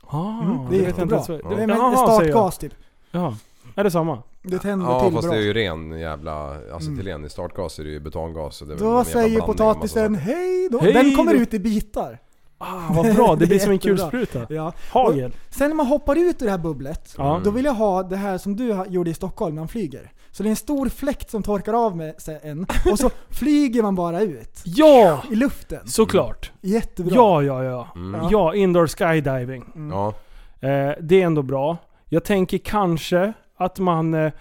[SPEAKER 2] Ah,
[SPEAKER 4] Mm, Det
[SPEAKER 2] vet jag
[SPEAKER 4] är
[SPEAKER 2] inte
[SPEAKER 4] jättebra.
[SPEAKER 2] ens vad-
[SPEAKER 4] Det är
[SPEAKER 2] Jaha,
[SPEAKER 4] med
[SPEAKER 2] säger jag.
[SPEAKER 4] startgas typ.
[SPEAKER 2] Jaha. Är det samma?
[SPEAKER 4] Det tänder
[SPEAKER 3] Ja
[SPEAKER 4] till
[SPEAKER 3] fast
[SPEAKER 4] bra.
[SPEAKER 3] det är ju ren jävla
[SPEAKER 2] Mm.
[SPEAKER 3] acetylen, i startgas är det ju butangas. så Det är väl någon
[SPEAKER 4] Då
[SPEAKER 3] jävla
[SPEAKER 4] säger
[SPEAKER 3] blandning av massa
[SPEAKER 4] potatisen
[SPEAKER 3] saker.
[SPEAKER 4] hej då.
[SPEAKER 2] Hej
[SPEAKER 4] Den kommer
[SPEAKER 2] då.
[SPEAKER 4] ut i bitar.
[SPEAKER 2] Ah, vad bra. Det
[SPEAKER 4] Det
[SPEAKER 2] blir
[SPEAKER 4] är
[SPEAKER 2] som en
[SPEAKER 4] jättebra.
[SPEAKER 2] kulspruta.
[SPEAKER 4] Ja.
[SPEAKER 2] Hagel.
[SPEAKER 4] Sen när man hoppar ut ur det här bubblet,
[SPEAKER 2] Ja.
[SPEAKER 4] då vill jag ha det här som du ha- gjorde i Stockholm när man flyger. Så det är en stor fläkt som torkar av med sig en och så flyger man bara ut
[SPEAKER 2] Ja!
[SPEAKER 4] i luften.
[SPEAKER 2] Såklart.
[SPEAKER 4] Jättebra.
[SPEAKER 2] Ja, ja, ja.
[SPEAKER 3] Mm.
[SPEAKER 2] Ja, indoor skydiving.
[SPEAKER 3] Ja,
[SPEAKER 2] Eh, det är ändå bra. Jag tänker kanske att man, eh,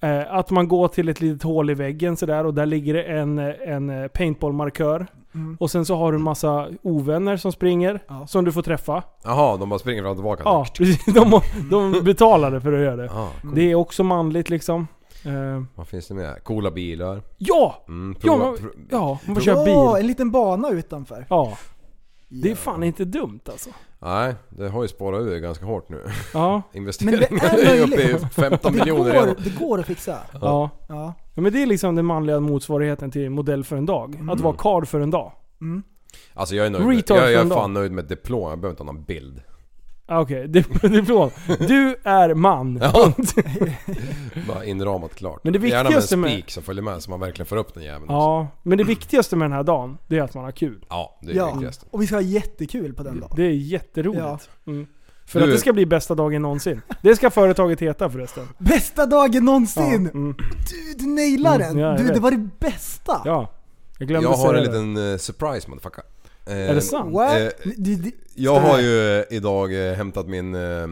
[SPEAKER 2] eh, att man går till ett litet hål i väggen sådär och där ligger det en, eh, en eh, paintballmarkör.
[SPEAKER 4] Mm.
[SPEAKER 2] Och sen så har du en massa ovänner som springer,
[SPEAKER 4] Ja.
[SPEAKER 2] som du får träffa.
[SPEAKER 3] jaha de bara springer fram och tillbaka.
[SPEAKER 2] Ja, precis. de,
[SPEAKER 4] Mm.
[SPEAKER 2] de betalade för att göra det.
[SPEAKER 3] Ah,
[SPEAKER 2] Det är också manligt liksom. Eh,
[SPEAKER 3] vad finns det med? Coola bilar.
[SPEAKER 2] ja!
[SPEAKER 3] Mm, prova,
[SPEAKER 2] Ja, man,
[SPEAKER 3] pro-
[SPEAKER 2] ja, man får köra
[SPEAKER 4] Åh,
[SPEAKER 2] bil.
[SPEAKER 4] en liten bana utanför.
[SPEAKER 2] Ja. Det är fan inte dumt alltså.
[SPEAKER 3] Nej, det har ju spårat ur ganska hårt nu.
[SPEAKER 2] Ja,
[SPEAKER 4] Men det
[SPEAKER 3] Investeringarna är,
[SPEAKER 4] är
[SPEAKER 3] uppe i
[SPEAKER 4] möjligt.
[SPEAKER 3] 15
[SPEAKER 4] Det
[SPEAKER 3] miljoner
[SPEAKER 4] går,
[SPEAKER 3] redan.
[SPEAKER 4] det går att fixa.
[SPEAKER 2] ja.
[SPEAKER 4] Ja.
[SPEAKER 2] ja. Men det är liksom den manliga motsvarigheten till modell för en dag.
[SPEAKER 4] Mm.
[SPEAKER 2] Att vara karl för en dag.
[SPEAKER 3] Alltså jag är nöjd med,
[SPEAKER 2] Retard
[SPEAKER 3] jag, jag
[SPEAKER 2] från
[SPEAKER 3] är
[SPEAKER 2] dem.
[SPEAKER 3] fan nöjd med diplom, jag behöver inte ha någon bild.
[SPEAKER 2] Ah, Okej, okay. diplom. Du är man.
[SPEAKER 3] Ja. Bara inramat klart.
[SPEAKER 2] Men det
[SPEAKER 3] Gärna med en
[SPEAKER 2] viktigaste
[SPEAKER 3] spik
[SPEAKER 2] med-
[SPEAKER 3] som följer med så man verkligen får upp den jäveln. också.
[SPEAKER 2] Ja, men det viktigaste med den här dagen, det är att man har kul.
[SPEAKER 3] ja, det är det
[SPEAKER 4] ja.
[SPEAKER 3] viktigaste.
[SPEAKER 4] Och vi ska ha jättekul på den dagen.
[SPEAKER 2] Det är jätteroligt. Mm. För
[SPEAKER 3] Du-
[SPEAKER 2] att det ska bli bästa dagen någonsin. Det ska företaget heta förresten.
[SPEAKER 4] Bästa dagen
[SPEAKER 2] Ja,
[SPEAKER 4] någonsin!
[SPEAKER 2] mm.
[SPEAKER 4] Du, du nailar
[SPEAKER 2] Mm,
[SPEAKER 4] den!
[SPEAKER 2] ja, jag
[SPEAKER 4] du,
[SPEAKER 2] vet.
[SPEAKER 4] det var det bästa!
[SPEAKER 2] ja. jag glömde
[SPEAKER 3] Jag har
[SPEAKER 2] säga
[SPEAKER 3] en
[SPEAKER 2] det.
[SPEAKER 3] liten eh, surprise motherfucker. Eh,
[SPEAKER 2] Är det sant?
[SPEAKER 4] What?
[SPEAKER 3] Eh,
[SPEAKER 4] Du, du,
[SPEAKER 3] Jag har ju eh, idag eh, hämtat min eh,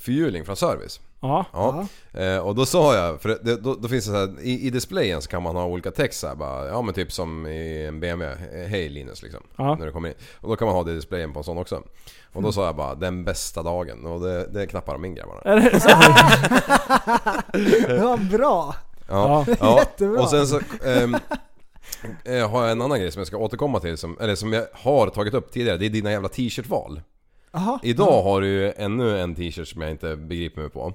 [SPEAKER 3] fyrhjuling från service.
[SPEAKER 2] Ja.
[SPEAKER 3] Ja. Eh, och då sa jag, för det, då, då finns det så här, i, i displayen så kan man ha olika text så här, bara, ja men typ som i en BMW, eh, hej Linus liksom.
[SPEAKER 2] Ja.
[SPEAKER 3] När du kommer in. Och då kan man ha det i displayen på en sån också. Och då sa jag bara, den bästa dagen. Och det, det knappar de in grabbarna.
[SPEAKER 2] Är det så?
[SPEAKER 4] ja, bra!
[SPEAKER 3] Ja,
[SPEAKER 2] Ja.
[SPEAKER 3] ja.
[SPEAKER 4] Jättebra.
[SPEAKER 3] och sen så ehm, eh, har jag en annan grej som jag ska återkomma till, som, eller som jag har tagit upp tidigare. Det är dina jävla t-shirtval.
[SPEAKER 4] Aha.
[SPEAKER 3] Idag har du ju ännu en t-shirt som jag inte begriper mig på.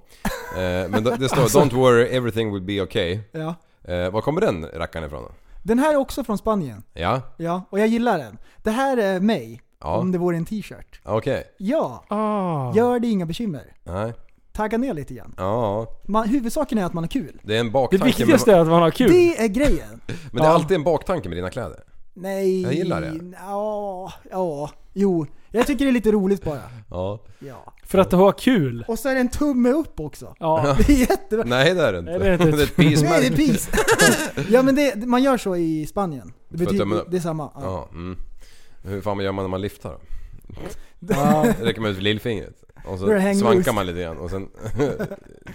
[SPEAKER 3] Eh, men det, det står 'Don't worry, everything will be okay'
[SPEAKER 4] Ja.
[SPEAKER 3] eh, Var kommer den rackaren ifrån då?
[SPEAKER 4] Den här är också från Spanien.
[SPEAKER 3] Ja,
[SPEAKER 4] Ja, och jag gillar den. Det här är mig,
[SPEAKER 3] ja,
[SPEAKER 4] om det vore en t-shirt.
[SPEAKER 3] okej.
[SPEAKER 4] Ja,
[SPEAKER 2] Ah.
[SPEAKER 4] gör det inga bekymmer.
[SPEAKER 3] Nej,
[SPEAKER 4] Tagga ner lite grann.
[SPEAKER 3] ja.
[SPEAKER 4] Man, huvudsaken är att man har kul.
[SPEAKER 3] Det är en
[SPEAKER 2] Det
[SPEAKER 3] baktanke
[SPEAKER 2] viktigaste
[SPEAKER 3] med,
[SPEAKER 2] är att man har kul.
[SPEAKER 4] Det är grejen.
[SPEAKER 3] Men det är alltid en baktanke med dina kläder.
[SPEAKER 4] Nej...
[SPEAKER 3] Jag gillar det.
[SPEAKER 4] Ja, ja, jo. Jag tycker det är lite roligt bara.
[SPEAKER 3] Ja.
[SPEAKER 4] Ja.
[SPEAKER 2] För att ha kul.
[SPEAKER 4] Och så är det en tumme upp också.
[SPEAKER 2] Ja.
[SPEAKER 4] Det är jättebra.
[SPEAKER 3] Nej det är det inte.
[SPEAKER 2] Nej, det är det inte.
[SPEAKER 3] det är ett peace
[SPEAKER 4] Nej, det är peace. ja men det, man gör så i Spanien. Det
[SPEAKER 3] För att
[SPEAKER 4] betyder,
[SPEAKER 3] tummen upp.
[SPEAKER 4] det är samma. Ja.
[SPEAKER 3] Ja, mm. Hur fan gör man när man liftar då?
[SPEAKER 2] Ja.
[SPEAKER 3] Det räcker med ut lillfingret. Och så
[SPEAKER 4] Då är det hang
[SPEAKER 3] svankar
[SPEAKER 4] loose.
[SPEAKER 3] man lite grann och sen ja.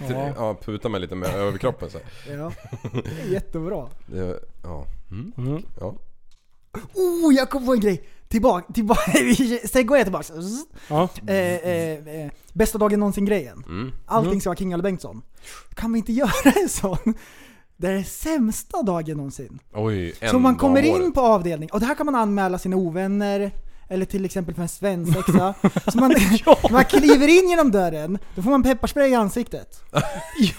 [SPEAKER 2] Ja.
[SPEAKER 3] Ja, putar man lite med överkroppen så. här.
[SPEAKER 4] Ja. Det är jättebra.
[SPEAKER 3] Det, ja. Mm.
[SPEAKER 2] Mm.
[SPEAKER 3] ja.
[SPEAKER 4] Oh, jag kom på en grej! Tillbaka, tillbaka, segway tillbaka. Zzz.
[SPEAKER 2] Ja.
[SPEAKER 4] Eh, eh, eh, bästa dagen någonsin grejen.
[SPEAKER 3] Mm.
[SPEAKER 4] Allting ska vara King eller Bengtsson. Kan vi inte göra en sån? Det är sämsta dagen någonsin.
[SPEAKER 3] Oj, en
[SPEAKER 4] Så man
[SPEAKER 3] dag
[SPEAKER 4] kommer
[SPEAKER 3] om året.
[SPEAKER 4] in på avdelning, och det här kan man anmäla sina ovänner, eller till exempel för en svensexa. så man, man kliver in genom dörren, då får man pepparspray i ansiktet.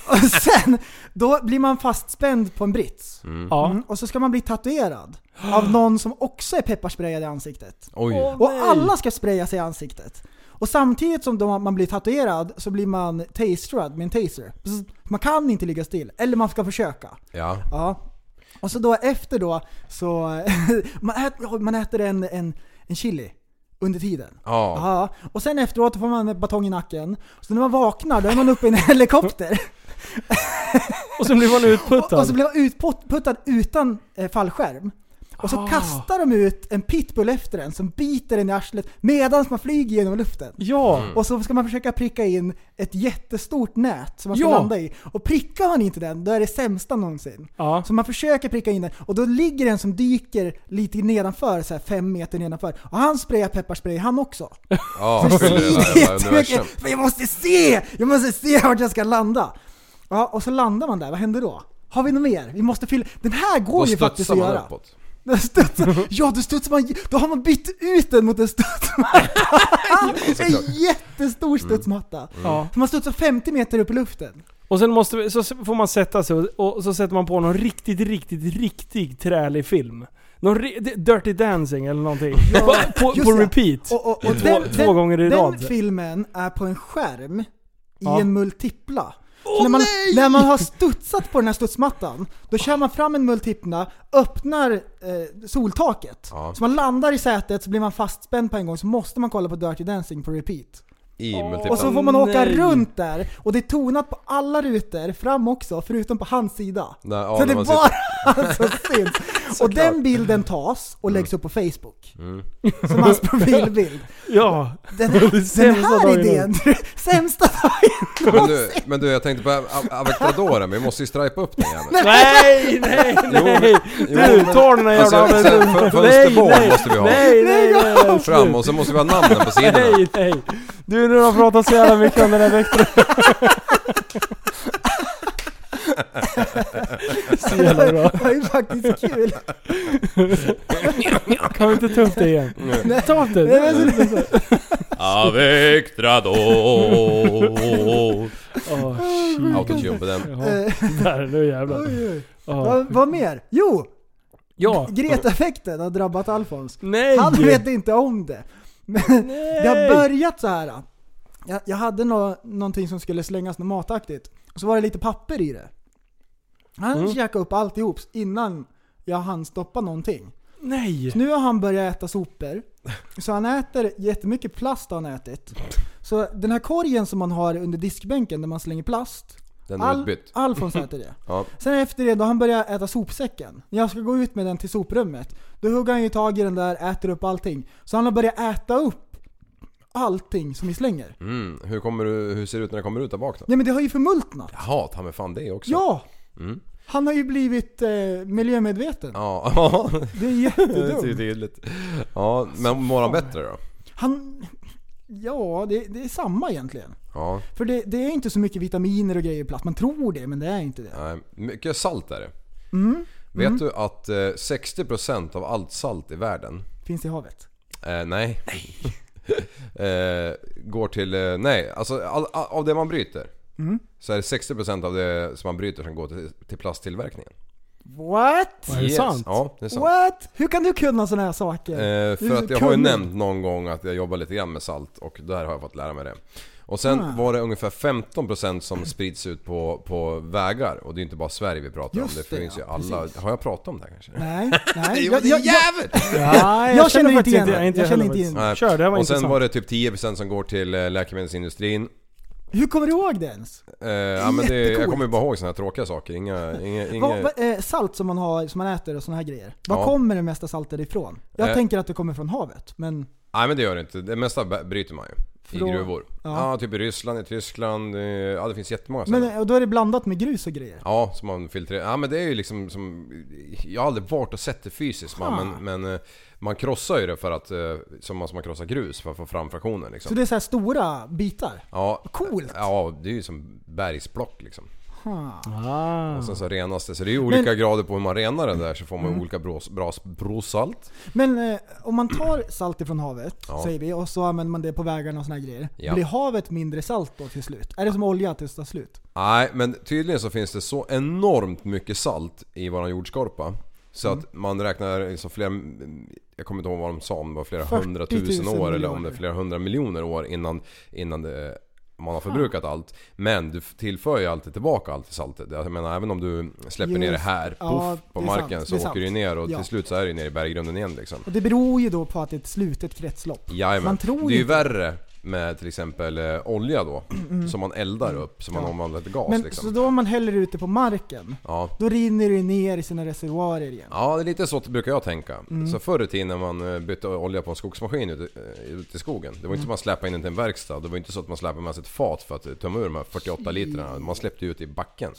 [SPEAKER 4] och sen, då blir man fastspänd på en brits.
[SPEAKER 2] Ja.
[SPEAKER 4] Mm, och så ska man bli tatuerad av någon som också är pepparsprayad i ansiktet.
[SPEAKER 3] Oj.
[SPEAKER 4] Och alla ska spraya sig i ansiktet. Och samtidigt som de, man blir tatuerad så blir man taserad med en taser. Så Man kan inte ligga still, eller man ska försöka.
[SPEAKER 3] Ja.
[SPEAKER 4] Ja. Och så då efter då så... man, äter, man äter en, en, en chili under tiden.
[SPEAKER 3] Ja.
[SPEAKER 4] Ja. Och sen efteråt får man en batong i nacken. Så när man vaknar då är man uppe i en helikopter.
[SPEAKER 2] Och sen blir man
[SPEAKER 4] Och, och så
[SPEAKER 2] utputtad.
[SPEAKER 4] blir man utputtad utan eh, fallskärm. Och
[SPEAKER 2] Ah.
[SPEAKER 4] så kastar de ut en pitbull efter en som biter en i arslet medan man flyger genom luften.
[SPEAKER 2] Ja.
[SPEAKER 4] Och så ska man försöka pricka in ett jättestort nät som man ska
[SPEAKER 2] Ja.
[SPEAKER 4] landa i. Och prickar man inte den, då är det sämsta någonsin.
[SPEAKER 2] Ja.
[SPEAKER 4] Så man försöker pricka in den, och då ligger den som dyker lite nedanför, så här fem meter nedanför. Och han sprayar pepparspray han också.
[SPEAKER 3] Ja.
[SPEAKER 4] Så
[SPEAKER 3] för det
[SPEAKER 4] det
[SPEAKER 3] där
[SPEAKER 4] är
[SPEAKER 3] jävla
[SPEAKER 4] jättemycket,
[SPEAKER 3] universum.
[SPEAKER 4] för jag måste se! Jag måste se vart jag ska landa! Ja, och så landar man där, vad händer då? Har vi något mer? Vi måste fylla... Den här går
[SPEAKER 3] Då
[SPEAKER 4] ju faktiskt
[SPEAKER 3] studsar
[SPEAKER 4] att
[SPEAKER 3] man
[SPEAKER 4] göra.
[SPEAKER 3] uppåt.
[SPEAKER 4] Den studsar- Ja, då studsar man... Då har man bytt ut den mot en studsmatta! en jättestor studsmatta!
[SPEAKER 2] Ja.
[SPEAKER 4] Så man studsar 50 meter upp i luften.
[SPEAKER 2] Och sen måste, vi- så s- får man sätta sig och, och så sätter man på någon riktigt, riktigt, riktigt trälig film. Någon ri- d- Dirty Dancing eller någonting. Bara på,
[SPEAKER 4] just
[SPEAKER 2] på
[SPEAKER 4] det.
[SPEAKER 2] repeat.
[SPEAKER 4] Och, och, och
[SPEAKER 2] Två- två gånger i
[SPEAKER 4] den
[SPEAKER 2] rad.
[SPEAKER 4] filmen är på en skärm i
[SPEAKER 2] Ja.
[SPEAKER 4] en multipla. Så när, man, när man har studsat på den här studsmattan, då kör man fram en multipla, öppnar eh, soltaket.
[SPEAKER 3] Ja.
[SPEAKER 4] Så man landar i sätet, så blir man fastspänd på en gång, så måste man kolla på Dirty Dancing på repeat.
[SPEAKER 3] I
[SPEAKER 4] Och så
[SPEAKER 3] multiplan.
[SPEAKER 4] får man åka
[SPEAKER 2] nej.
[SPEAKER 4] runt där, och det är tonat på alla rutor, fram också, förutom på hans sida.
[SPEAKER 3] Nej, ja,
[SPEAKER 4] så
[SPEAKER 3] när
[SPEAKER 4] det
[SPEAKER 3] man
[SPEAKER 4] bara han som syns. Och den bilden tas och läggs upp på Facebook.
[SPEAKER 3] Mm.
[SPEAKER 4] Som hans profilbild.
[SPEAKER 2] Ja.
[SPEAKER 4] Den, den
[SPEAKER 2] sämsta
[SPEAKER 4] här
[SPEAKER 2] dagen
[SPEAKER 4] idén, sämsta dagen
[SPEAKER 3] Men du, men du, jag tänkte på av- avocadoren, vi måste ju stripa upp den jäveln.
[SPEAKER 2] Nej, nej, nej! Du, ta den här
[SPEAKER 3] Alltså,
[SPEAKER 2] jävla...
[SPEAKER 3] sen fö- fönsterbord
[SPEAKER 2] nej,
[SPEAKER 3] måste vi ha.
[SPEAKER 2] Nej, nej, nej! nej.
[SPEAKER 3] Fram och så måste vi ha namnen på sidorna.
[SPEAKER 2] Nej, nej! Du, nu har jag pratat så jävla mycket om den här veckan. Så jävla bra.
[SPEAKER 4] Det var ju faktiskt kul.
[SPEAKER 2] Kan vi inte ta upp det igen?
[SPEAKER 3] Mm.
[SPEAKER 2] Ta upp det!
[SPEAKER 4] Nej, men så-
[SPEAKER 8] Avectrador.
[SPEAKER 2] Åh,
[SPEAKER 3] Autotune på den.
[SPEAKER 2] ja. Där, nu jävlar.
[SPEAKER 4] Oj, oj.
[SPEAKER 2] Ja.
[SPEAKER 4] Vad, vad mer? Jo!
[SPEAKER 2] Ja.
[SPEAKER 4] Greta-effekten har drabbat Alfons.
[SPEAKER 2] Nej!
[SPEAKER 4] Han vet inte om det. Men det har börjat så här. Jag, jag hade nå, någonting som skulle slängas något mataktigt. Och så var det lite papper i det. Han
[SPEAKER 2] Mm.
[SPEAKER 4] käkade upp alltihop innan jag hann stoppa någonting.
[SPEAKER 2] Nej!
[SPEAKER 4] Typ. Nu har han börjat äta sopor. Så han äter jättemycket plast har han ätit. Så den här korgen som man har under diskbänken där man slänger plast.
[SPEAKER 3] Den är utbytt.
[SPEAKER 4] Alfons äter det.
[SPEAKER 3] Ja.
[SPEAKER 4] Sen efter det, då har han börjat äta sopsäcken. När jag ska gå ut med den till soprummet, då hugger han ju tag i den där, äter upp allting. Så han har börjat äta upp allting som vi slänger.
[SPEAKER 3] Mm. Hur, kommer du, hur ser det ut när det kommer ut där bak då?
[SPEAKER 4] Ja men det har ju förmultnat.
[SPEAKER 3] Jaha, ta mig fan det också.
[SPEAKER 4] Ja! Han har ju blivit eh, miljömedveten.
[SPEAKER 3] Mm. Ja,
[SPEAKER 4] Det är
[SPEAKER 3] det är
[SPEAKER 4] jättedumt.
[SPEAKER 3] tydligt. Ja, men mår han bättre då?
[SPEAKER 4] Han... Ja, det, det är samma egentligen.
[SPEAKER 3] Ja,
[SPEAKER 4] För det, det är inte så mycket vitaminer och grejer i plast. Man tror det, men det är inte det.
[SPEAKER 3] nej. Mycket salt är det. Vet du att eh, 60% av allt salt i världen,
[SPEAKER 4] Finns i havet.
[SPEAKER 3] eh, nej. eh, går till, eh, nej, alltså all, all, av det man bryter.
[SPEAKER 2] Mm.
[SPEAKER 3] Så är det 60% av det som man bryter som går till, till plasttillverkningen.
[SPEAKER 4] What?
[SPEAKER 2] Är det sant?
[SPEAKER 3] Ja, det är sant.
[SPEAKER 4] What? Hur kan du kunna sådana här saker?
[SPEAKER 3] Eh,
[SPEAKER 4] Du är
[SPEAKER 3] för att jag har ju
[SPEAKER 4] kunnig.
[SPEAKER 3] nämnt någon gång att jag jobbar lite grann med salt och där har jag fått lära mig det. Och sen
[SPEAKER 2] Ah.
[SPEAKER 3] var det ungefär 15% som sprids ut på, på vägar och det är inte bara Sverige vi pratar
[SPEAKER 4] Just
[SPEAKER 3] om. Det,
[SPEAKER 4] det,
[SPEAKER 3] finns
[SPEAKER 4] ja,
[SPEAKER 3] ju alla... Har jag pratat om det här kanske?
[SPEAKER 4] Nej, nej.
[SPEAKER 3] Jo, det är jävligt!
[SPEAKER 2] Ja,
[SPEAKER 4] jag känner inte
[SPEAKER 2] faktiskt
[SPEAKER 4] igen det. Jag känner
[SPEAKER 2] heller
[SPEAKER 4] inte
[SPEAKER 2] faktiskt.
[SPEAKER 4] igen
[SPEAKER 3] Nej.
[SPEAKER 2] Kör, det här var
[SPEAKER 3] och
[SPEAKER 2] intressant.
[SPEAKER 3] sen var det typ 10% som går till eh, läkemedelsindustrin.
[SPEAKER 4] Hur kommer du ihåg det ens?
[SPEAKER 3] Eh, ja, men det, jag
[SPEAKER 4] Jättecoolt.
[SPEAKER 3] kommer ju bara ihåg såna här tråkiga saker. Inga... inga, inga
[SPEAKER 4] Vad- vad- eh, salt som man, har, som man äter och såna här grejer. Var
[SPEAKER 3] Ja.
[SPEAKER 4] kommer det mesta saltet ifrån? Jag
[SPEAKER 3] Eh.
[SPEAKER 4] tänker att det kommer från havet, men...
[SPEAKER 3] Nej men det gör det inte. Det mesta b- bryter man ju.
[SPEAKER 4] Från-
[SPEAKER 3] I gruvor.
[SPEAKER 4] ja.
[SPEAKER 3] Ja. typ i Ryssland, i Tyskland. eh, Ja det finns jättemånga
[SPEAKER 4] men
[SPEAKER 3] ställen.
[SPEAKER 4] eh, och då är det blandat med grus och grejer.
[SPEAKER 3] Ja, som man filtrerar. Ja men det är ju liksom som... Jag har aldrig varit och sett det fysiskt man, men, men eh, man krossar ju det för att... eh, Som man, som man krossar grus för att få fram fraktionen liksom.
[SPEAKER 4] Så det är så här stora bitar.
[SPEAKER 3] ja,
[SPEAKER 4] Coolt!
[SPEAKER 3] Ja, det är ju som bergsplock liksom.
[SPEAKER 4] Aha.
[SPEAKER 2] Ah.
[SPEAKER 3] Och sen så renas det. Så det är ju olika grader på hur man renar den där så får man ju olika brås, bras, bråsalt.
[SPEAKER 4] Men eh, om man tar salt ifrån havet,
[SPEAKER 3] Ja.
[SPEAKER 4] säger vi, och så använder man det på vägarna och såna här grejer.
[SPEAKER 3] Ja.
[SPEAKER 4] Blir havet mindre salt då till slut? Är det som olja till slut? slut?
[SPEAKER 3] Nej, men tydligen så finns det så enormt mycket salt i våran jordskorpa. Så att
[SPEAKER 4] Mm.
[SPEAKER 3] man räknar liksom flera, jag kommer inte ihåg vad de sa, om det var flera
[SPEAKER 4] 40 000
[SPEAKER 3] hundratusen år eller om det är
[SPEAKER 4] miljoner.
[SPEAKER 3] flera hundra miljoner år innan, innan det, man har förbrukat allt. Men du tillför ju alltid tillbaka allt i saltet. Jag menar även om du släpper ner det
[SPEAKER 4] Just-
[SPEAKER 3] här, puff,
[SPEAKER 4] ja,
[SPEAKER 3] på
[SPEAKER 4] det är sant,
[SPEAKER 3] marken
[SPEAKER 4] det är
[SPEAKER 3] så
[SPEAKER 4] sant.
[SPEAKER 3] åker det ju ner och
[SPEAKER 4] Ja.
[SPEAKER 3] till slut så är det ju ner i berggrunden igen liksom.
[SPEAKER 4] Och det beror ju då på att det är ett slutet kretslopp.
[SPEAKER 3] Jajamän.
[SPEAKER 4] Man tror
[SPEAKER 3] det är ju
[SPEAKER 4] inte- Mm.
[SPEAKER 3] värre med till exempel eh, olja då, som man eldar upp, som man
[SPEAKER 4] Ja.
[SPEAKER 3] omvandlar till gas
[SPEAKER 4] Men
[SPEAKER 3] liksom.
[SPEAKER 4] så då om man häller ut det på marken,
[SPEAKER 3] Ja.
[SPEAKER 4] då rinner det ner i sina reservoarer igen.
[SPEAKER 3] Ja, det är lite så brukar jag tänka.
[SPEAKER 2] Mm.
[SPEAKER 3] Så förr i tiden när man eh, bytte olja på en skogsmaskin ute, eh, ute i skogen. Det var
[SPEAKER 2] Mm.
[SPEAKER 3] inte så att man släpade in den till en verkstad. Det var inte så att man släpade med sig ett fat för att eh, tömma ur de här 48
[SPEAKER 2] Mm.
[SPEAKER 3] litrarna. Man släppte ut i backen.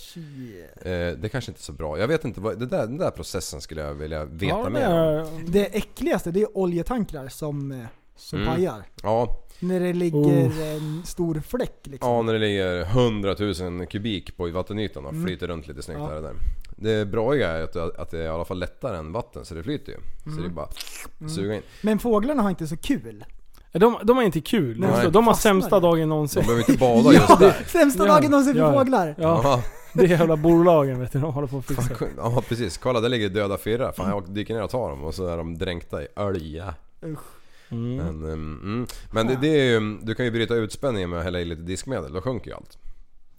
[SPEAKER 3] Eh, Det kanske inte är så bra. Jag vet inte, vad, det där, den där processen skulle jag vilja veta
[SPEAKER 2] Ja, det
[SPEAKER 3] mer om.
[SPEAKER 2] är-
[SPEAKER 4] Det äckligaste, det är oljetankrar som, eh, som
[SPEAKER 3] Mm.
[SPEAKER 4] pajar.
[SPEAKER 3] Ja,
[SPEAKER 4] När det ligger en stor fläck liksom.
[SPEAKER 3] ja, när det ligger 100 000 kubik på vattenytan och
[SPEAKER 2] Mm.
[SPEAKER 3] flyter runt lite snyggt
[SPEAKER 4] Ja.
[SPEAKER 3] här och där. Det bra är att, att det är i alla fall lättare än vatten så det flyter ju. Så
[SPEAKER 2] Mm.
[SPEAKER 3] det är bara suga in.
[SPEAKER 4] Men fåglarna har inte så kul.
[SPEAKER 2] De, de är inte kul.
[SPEAKER 4] Nej.
[SPEAKER 2] Alltså, De har
[SPEAKER 4] Fastnar
[SPEAKER 2] sämsta
[SPEAKER 4] i.
[SPEAKER 2] dagen
[SPEAKER 3] De
[SPEAKER 2] någonsin.
[SPEAKER 3] behöver inte bada just där.
[SPEAKER 4] Sämsta
[SPEAKER 2] Ja,
[SPEAKER 4] dagen någonsin för
[SPEAKER 2] ja, ja.
[SPEAKER 4] fåglar.
[SPEAKER 2] Ja,
[SPEAKER 3] Ja.
[SPEAKER 2] det är jävla bolagen vet du. De håller på att fixa.
[SPEAKER 3] Ja precis, kolla där ligger döda firrar. Fan jag dyker ner och tar dem och så är de dränkta i olja.
[SPEAKER 2] Mm.
[SPEAKER 3] Men, ehm, mm. Men det, det är ju, du kan ju bryta ut spänningen med att hälla i lite diskmedel, då sjunker ju allt.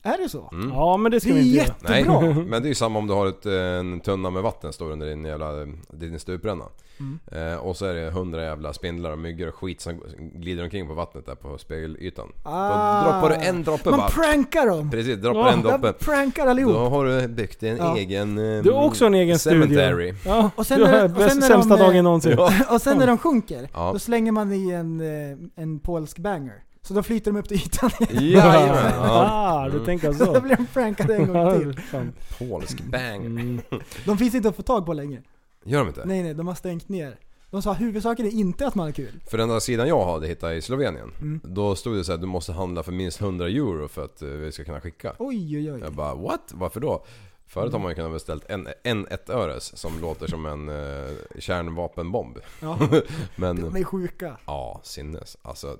[SPEAKER 3] Mm.
[SPEAKER 4] Är det så?
[SPEAKER 2] Ja, men det ska
[SPEAKER 4] Det
[SPEAKER 2] vi inte
[SPEAKER 4] är
[SPEAKER 2] göra.
[SPEAKER 3] Nej,
[SPEAKER 4] jättebra.
[SPEAKER 3] men det är ju samma om du har ett, eh, en tunna med vatten står under din jävla din stupränna.
[SPEAKER 4] Mm.
[SPEAKER 3] Eh, och så är det hundra jävla spindlar och myggor och skit som glider omkring på vattnet där på spegelytan.
[SPEAKER 4] Ah.
[SPEAKER 3] Då droppar du en droppe
[SPEAKER 4] Man
[SPEAKER 3] bara.
[SPEAKER 4] prankar dem.
[SPEAKER 3] Precis, droppar en droppe.
[SPEAKER 4] Jag prankar allihop.
[SPEAKER 3] Då har du byggt en
[SPEAKER 4] Ja.
[SPEAKER 3] egen... eh,
[SPEAKER 2] Du har också en egen
[SPEAKER 3] cemetery.
[SPEAKER 2] studio. Ja,
[SPEAKER 4] Och sen
[SPEAKER 2] du
[SPEAKER 4] är det-
[SPEAKER 2] har
[SPEAKER 4] och sen
[SPEAKER 2] bäst-
[SPEAKER 4] är de,
[SPEAKER 2] sämsta
[SPEAKER 4] eh,
[SPEAKER 2] dagen någonsin.
[SPEAKER 3] Ja.
[SPEAKER 4] Och sen när de sjunker,
[SPEAKER 3] Ja.
[SPEAKER 4] då slänger man i en, eh, en polsk banger. Så då flyter de upp till ytan igen.
[SPEAKER 3] Jajamän! Ja.
[SPEAKER 2] Ah, du tänker
[SPEAKER 4] Så då
[SPEAKER 2] så.
[SPEAKER 4] blir de prankade en gång
[SPEAKER 2] Ja,
[SPEAKER 4] till.
[SPEAKER 2] fan.
[SPEAKER 3] Polsk banger.
[SPEAKER 2] Mm.
[SPEAKER 4] De finns inte att få tag på längre.
[SPEAKER 3] Gör de inte?
[SPEAKER 4] Nej nej, de har stängt ner. De sa huvudsaken är inte att man har kul.
[SPEAKER 3] För den där sidan jag hade hittat i Slovenien. Då stod det så här, du måste handla för minst 100 euro för att eh, vi ska kunna skicka.
[SPEAKER 4] Oj oj oj.
[SPEAKER 3] Jag bara what? Varför då? Förut har man ju kunnat beställt en, en ettöres som låter som en eh, kärnvapenbomb.
[SPEAKER 4] Ja. De
[SPEAKER 3] Men
[SPEAKER 4] är sjuka.
[SPEAKER 3] ja, sinnes. Alltså,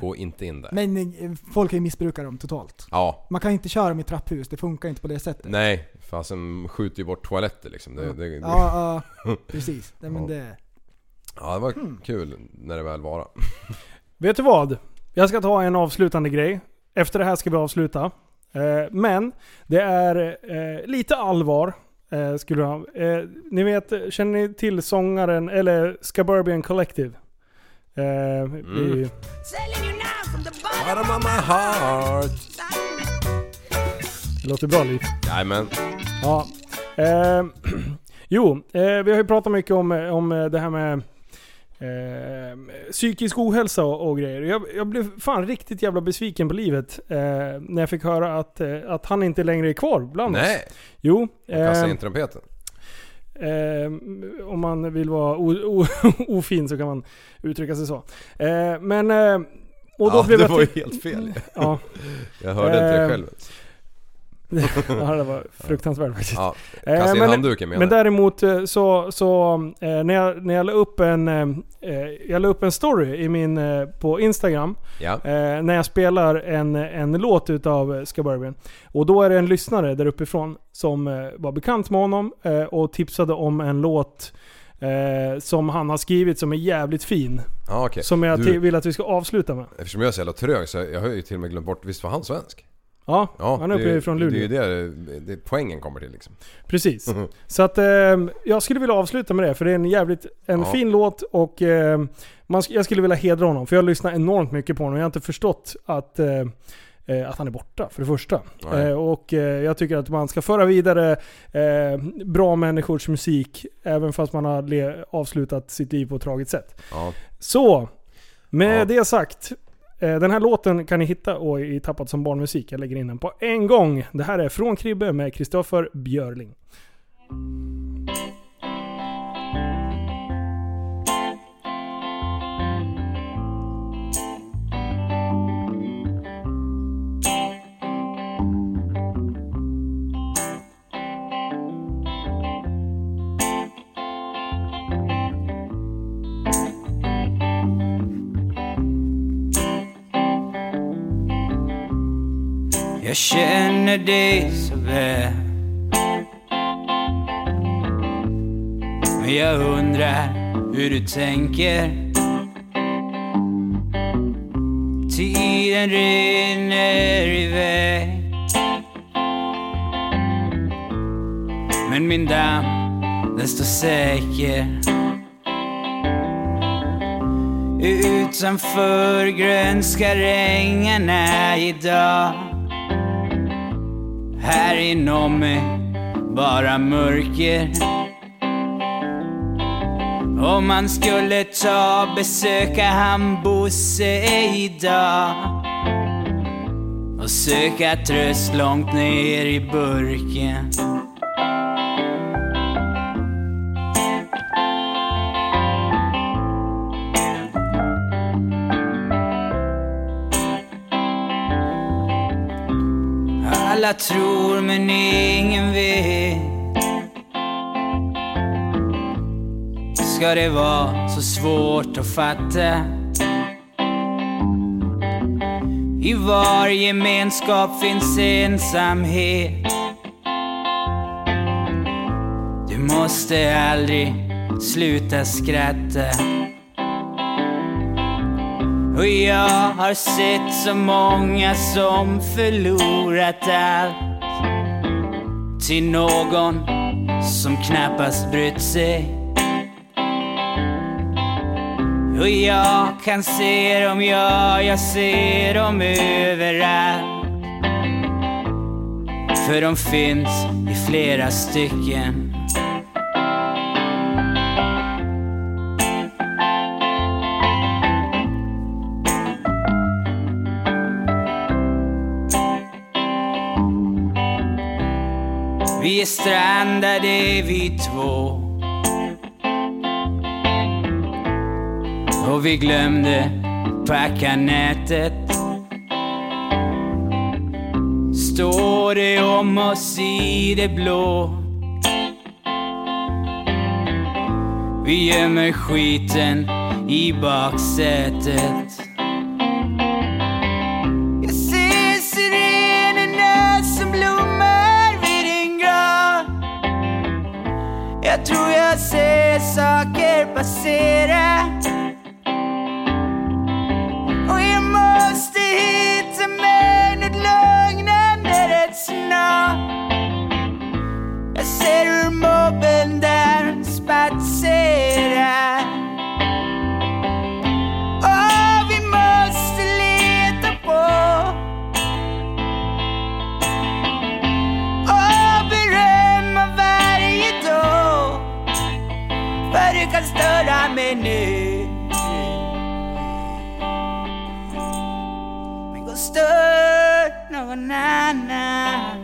[SPEAKER 3] gå inte in där.
[SPEAKER 4] Men eh, folk kan ju missbruka dem totalt.
[SPEAKER 3] Ja,
[SPEAKER 4] Man kan inte köra dem i trapphus, det funkar inte på det sättet.
[SPEAKER 3] nej. Fasen skjuter ju bort toaletter liksom. Det, det, ja.
[SPEAKER 4] Ja, ja precis. Nej, men
[SPEAKER 3] Ja.
[SPEAKER 4] det,
[SPEAKER 3] det var kul när det väl var.
[SPEAKER 2] Vet du vad? Jag ska ta en avslutande grej. Efter det här ska vi avsluta. Eh, men det är eh, lite allvar. Eh, skulle jag, eh, ni vet, känner ni till sångaren, eller Scaburbian Collective? Eh, i,
[SPEAKER 3] Bottom of my heart!
[SPEAKER 2] det låter bra Liv.
[SPEAKER 3] Jajamän.
[SPEAKER 2] Ja. Eh, jo, eh, vi har ju pratat mycket om, om eh, det här med eh, psykisk ohälsa och, och grejer. Jag, jag blev fan riktigt jävla besviken på livet eh, när jag fick höra att, eh, att han inte längre är kvar bland oss.
[SPEAKER 3] Nej,
[SPEAKER 2] Jo,
[SPEAKER 3] kasta
[SPEAKER 2] eh,
[SPEAKER 3] in trumpeten.
[SPEAKER 2] eh, om man vill vara o, o, ofin så kan man uttrycka sig så. Eh, men... Eh, och då
[SPEAKER 3] ja,
[SPEAKER 2] blev
[SPEAKER 3] det
[SPEAKER 2] jag
[SPEAKER 3] var
[SPEAKER 2] till-
[SPEAKER 3] ju helt fel.
[SPEAKER 2] Ja,
[SPEAKER 3] Jag hörde inte det
[SPEAKER 2] Eh,
[SPEAKER 3] själv.
[SPEAKER 2] ja, det var fruktansvärt faktiskt.
[SPEAKER 3] Ja,
[SPEAKER 2] Eh,
[SPEAKER 3] kasta in
[SPEAKER 2] men-
[SPEAKER 3] handduken menar
[SPEAKER 2] Men
[SPEAKER 3] jag.
[SPEAKER 2] däremot eh, så, så eh, när, jag, när jag la upp en, eh, eh, jag la upp en story i min, eh, på Instagram
[SPEAKER 3] Ja.
[SPEAKER 2] eh, när jag spelar en, en låt utav eh, Scaburbian. Och då är det en lyssnare där uppifrån som eh, var bekant med honom eh, och tipsade om en låt eh, som han har skrivit som är jävligt fin.
[SPEAKER 3] Ja, okej.
[SPEAKER 2] Som jag
[SPEAKER 3] Du-
[SPEAKER 2] ti- vill att vi ska avsluta med.
[SPEAKER 3] Eftersom jag är så jävla trög så jag har ju till och med glömt bort, visst var han svensk?
[SPEAKER 2] Ja,
[SPEAKER 3] Ja,
[SPEAKER 2] han är
[SPEAKER 3] det
[SPEAKER 2] uppifrån Luleå.
[SPEAKER 3] Det är ju det, det poängen kommer till liksom.
[SPEAKER 2] Precis. Så att eh, jag skulle vilja avsluta med det, för det är en jävligt en
[SPEAKER 3] Ja.
[SPEAKER 2] fin låt och eh, man, sk- jag skulle vilja hedra honom. För jag lyssnar enormt mycket på honom. Jag har inte förstått att, eh, eh, att han är borta, för det första.
[SPEAKER 3] Nej.
[SPEAKER 2] Eh, och eh, jag tycker att man ska föra vidare eh, bra människors musik, även fast man har le- avslutat sitt liv på ett tragiskt sätt.
[SPEAKER 3] Ja.
[SPEAKER 2] Så, med
[SPEAKER 3] Ja.
[SPEAKER 2] det sagt. eh, Den här låten kan ni hitta och i Tappat som barnmusik. Jag lägger in den på en gång. Det här är Från Kribbe med Kristoffer Björling.
[SPEAKER 1] Jag känner dig så väl Men jag undrar hur du tänker Tiden rinner iväg Men min damm, den står säker Utanför grönskar ängarna idag Här inom mig bara mörker Om man skulle ta besöka han Bosse idag och söka tröst långt ner i burken Alla tror men ingen vet Ska det vara så svårt att fatta? I var gemenskap finns ensamhet Du måste aldrig sluta skratta och jag har sett så många som förlorat allt Till någon som knappast brytt sig Och jag kan se dem, ja, jag ser dem överallt För de finns i flera stycken Vi är strandade vi två Och vi glömde packa nätet Står det om oss i det blå Vi gömmer skiten i baksätet jag ser sirenerna som blommar vid din grav Jag tror jag ser saker passera Och jag måste hitta mig något lugnande rätt snart Jag ser hur mobben där spatserar Åh, vi måste leta på Och berömma varje dag För du kan störa mig nu Men gå och stör någon annan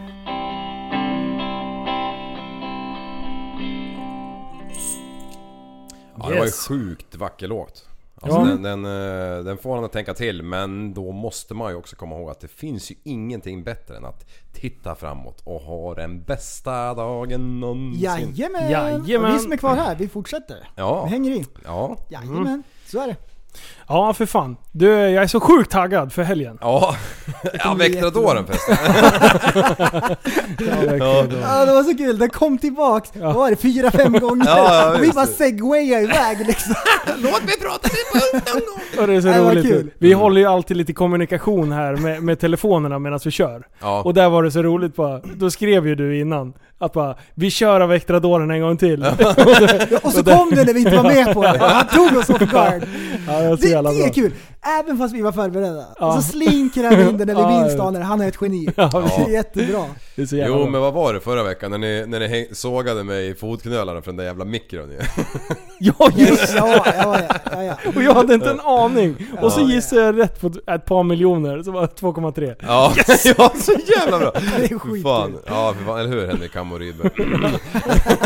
[SPEAKER 3] Ja, det var ju
[SPEAKER 2] Yes.
[SPEAKER 3] sjukt vacker låt. Alltså
[SPEAKER 2] Ja.
[SPEAKER 3] den, den, eh, den får han att tänka till men då måste man ju också komma ihåg att det finns ju ingenting bättre än att titta framåt och ha den bästa dagen någonsin.
[SPEAKER 4] Jajamän!
[SPEAKER 2] Jajamän.
[SPEAKER 4] Och vi som är kvar här, vi fortsätter.
[SPEAKER 3] Ja.
[SPEAKER 4] Vi hänger i.
[SPEAKER 3] Ja.
[SPEAKER 4] Jajamän,
[SPEAKER 2] Mm.
[SPEAKER 4] så är det.
[SPEAKER 2] Ja, för fan. Du, jag är så sjukt taggad för helgen.
[SPEAKER 3] Ja. Ja,
[SPEAKER 4] bli
[SPEAKER 3] Vectradoren förresten.
[SPEAKER 4] Ja, det var så kul. Den kom tillbaks, vad var det, fyra, fem gånger?
[SPEAKER 3] Ja, ja,
[SPEAKER 4] och vi
[SPEAKER 3] visst.
[SPEAKER 4] bara segwayade iväg liksom.
[SPEAKER 2] Och det är så
[SPEAKER 4] Nej, vad
[SPEAKER 2] roligt.
[SPEAKER 4] kul.
[SPEAKER 2] Vi håller ju alltid lite kommunikation här med, med telefonerna medan vi kör.
[SPEAKER 3] Ja.
[SPEAKER 2] Och där var det så roligt bara, då skrev ju du innan att bara vi kör av Vectradoren en gång till. Ja,
[SPEAKER 4] Ja, och så kom det när vi inte var med på det. Han tog oss off guard.
[SPEAKER 2] det var så
[SPEAKER 4] Det,
[SPEAKER 2] jävla
[SPEAKER 4] det
[SPEAKER 2] bra.
[SPEAKER 4] är kul. Även fast vi var förberedda.
[SPEAKER 2] Ja.
[SPEAKER 4] Och så slinker han in den när
[SPEAKER 2] Ja,
[SPEAKER 4] vi
[SPEAKER 2] ja.
[SPEAKER 4] minst anar det. Han är ett geni. Det är jättebra.
[SPEAKER 2] Det är så jävla
[SPEAKER 3] Jo
[SPEAKER 2] bra.
[SPEAKER 3] men vad var det förra veckan när ni, när ni häng, sågade mig i fotknölarna från den där jävla mikron ju?
[SPEAKER 2] Ja, just
[SPEAKER 4] Just, ja, ja, ja, ja, ja.
[SPEAKER 2] Och jag hade inte en aning. Och så gissade jag rätt på ett par miljoner, så var det 2,3.
[SPEAKER 3] Ja, ja så jävla bra!
[SPEAKER 4] Det
[SPEAKER 3] Fy
[SPEAKER 4] är skitkul.
[SPEAKER 3] fan. Ja, för fan, eller hur Henrik Hammo Rydberg?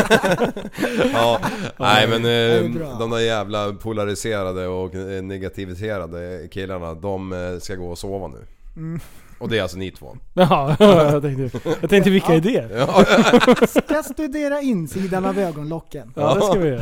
[SPEAKER 3] ja, nej men
[SPEAKER 4] är
[SPEAKER 3] eh,
[SPEAKER 4] bra.
[SPEAKER 3] de där jävla polariserade och eh, negativiserade killarna, de eh, ska gå och sova nu. Och det är alltså ni två.
[SPEAKER 2] Jaha, jag tänkte, jag tänkte vilka är det?
[SPEAKER 4] Ska studera insidan av ögonlocken.
[SPEAKER 2] Ja, det ska vi göra.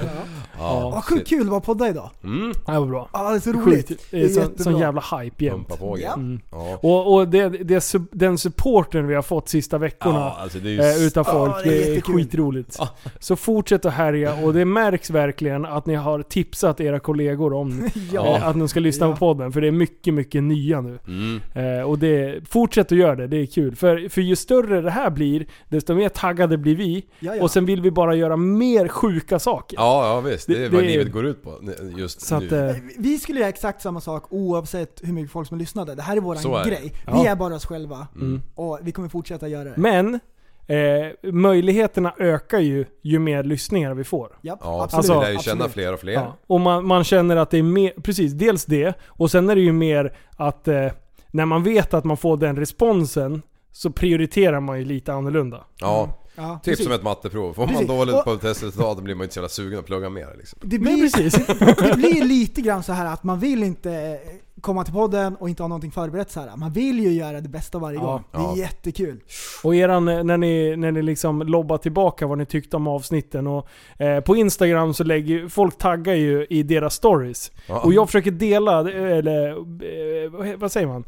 [SPEAKER 3] Ja,
[SPEAKER 4] Vad sjukt kul det var att podda idag.
[SPEAKER 3] Mm,
[SPEAKER 2] Det var bra.
[SPEAKER 4] Ja, det är så
[SPEAKER 2] Sjukt.
[SPEAKER 4] roligt.
[SPEAKER 2] Det är sån,
[SPEAKER 4] jättebra.
[SPEAKER 2] sån jävla hype jämt. Mm.
[SPEAKER 3] pumpa på
[SPEAKER 4] Ja.
[SPEAKER 3] igen. Ja.
[SPEAKER 2] Och, och det, det, su- den supporten vi har fått sista veckorna.
[SPEAKER 3] ja, alltså det är ju...
[SPEAKER 2] eh, Utav folk.
[SPEAKER 4] Ja, det är
[SPEAKER 2] det är,
[SPEAKER 4] jättekul.
[SPEAKER 2] skitroligt. Så fortsätt att härja och det märks verkligen att ni har tipsat era kollegor om eh,
[SPEAKER 4] Ja.
[SPEAKER 2] att de ska lyssna
[SPEAKER 4] Ja.
[SPEAKER 2] på podden. För det är mycket, mycket nya nu.
[SPEAKER 3] Mm.
[SPEAKER 2] Eh, och det, fortsätt att göra det, det är kul. För, för ju större det här blir, desto mer taggade blir vi.
[SPEAKER 4] Ja, ja.
[SPEAKER 2] Och sen vill vi bara göra mer sjuka saker.
[SPEAKER 3] Ja, ja visst. Det är
[SPEAKER 2] Det-
[SPEAKER 3] vad
[SPEAKER 2] det är-
[SPEAKER 3] livet går ut på n- just
[SPEAKER 2] Så att,
[SPEAKER 3] nu.
[SPEAKER 2] eh,
[SPEAKER 4] Vi skulle göra exakt samma sak oavsett hur mycket folk som lyssnade. Det här är
[SPEAKER 3] Så
[SPEAKER 4] våran
[SPEAKER 3] är det.
[SPEAKER 4] grej. Vi
[SPEAKER 2] Ja.
[SPEAKER 4] är bara oss själva.
[SPEAKER 2] mm.
[SPEAKER 4] Och vi kommer fortsätta göra det.
[SPEAKER 2] Men, eh, möjligheterna ökar ju ju mer lyssningar vi får.
[SPEAKER 4] Japp,
[SPEAKER 3] Ja,
[SPEAKER 4] absolut.
[SPEAKER 3] vi lär ju
[SPEAKER 4] absolut.
[SPEAKER 3] känna fler och fler.
[SPEAKER 2] alltså- Ja. Och man, man känner att det är mer, precis, dels det. Och sen är det ju mer att eh, när man vet att man får den responsen så prioriterar man ju lite annorlunda.
[SPEAKER 3] Ja,
[SPEAKER 4] Ja,
[SPEAKER 3] Typ
[SPEAKER 4] precis.
[SPEAKER 3] som ett matteprov. Får man
[SPEAKER 4] Precis.
[SPEAKER 3] dåligt
[SPEAKER 4] Och-
[SPEAKER 3] på testresultatet blir man inte så jävla sugen att plugga mer liksom.
[SPEAKER 4] det
[SPEAKER 2] Men
[SPEAKER 4] blir,
[SPEAKER 2] precis.
[SPEAKER 4] det blir lite grann så här att man vill inte eh, komma till podden och inte ha någonting förberett så här. Man vill ju göra det bästa varje
[SPEAKER 2] Ja.
[SPEAKER 4] gång. Det är
[SPEAKER 3] Ja.
[SPEAKER 4] jättekul.
[SPEAKER 2] Och eran, eh, när ni, när ni liksom lobbar tillbaka vad ni tyckte om avsnitten. Och, eh, på Instagram så lägger ju- folk taggar ju i deras stories.
[SPEAKER 3] Ja.
[SPEAKER 2] Och jag försöker dela, eh, eller eh, vad he- vad säger man?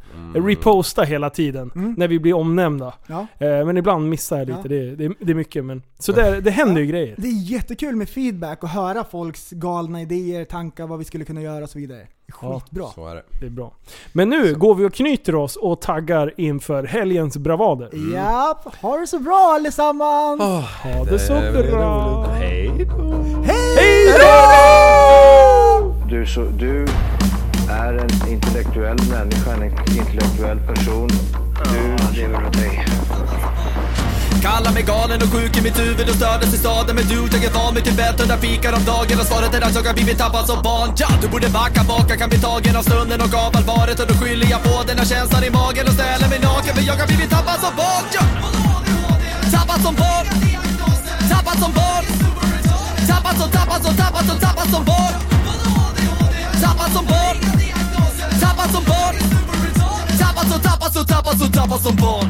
[SPEAKER 2] Reposta hela tiden
[SPEAKER 4] Mm.
[SPEAKER 2] när vi blir omnämnda.
[SPEAKER 4] Ja.
[SPEAKER 2] Eh, men ibland missar jag lite,
[SPEAKER 4] Ja.
[SPEAKER 2] det, det, det är mycket. Men, så det, det händer ju grejer.
[SPEAKER 4] Det är jättekul med feedback och höra folks galna idéer, tankar, vad vi skulle kunna göra och så vidare. Skitbra.
[SPEAKER 3] Så är det.
[SPEAKER 2] Det är bra. Men nu går vi och knyter oss och taggar inför helgens bravader.
[SPEAKER 4] Japp, ha det så bra allesammans!
[SPEAKER 2] Ha det så
[SPEAKER 3] Det är
[SPEAKER 2] bra!
[SPEAKER 3] Hej
[SPEAKER 9] Du, så, du är en intellektuell människa, en intellektuell person. Du lever åt dig.
[SPEAKER 7] Kallar mig galen och sjuk i mitt huvud och stördes i staden Men du, jag är van vid Tibet och fikar om dagen Och svaret är att jag har blivit tappad som barn ja, Du borde backa baka, kan bli tagen av stunden och av allvaret Och då skyller jag på den här känslan i magen och ställer mig naken För jag har blivit tappad som barn ja. Tappad som barn Tappad som barn Tappad som, tappad som, tappad som, tappad som barn Tappad som barn Tappad som barn Tappad som, tappad som, tappad som, tappad som barn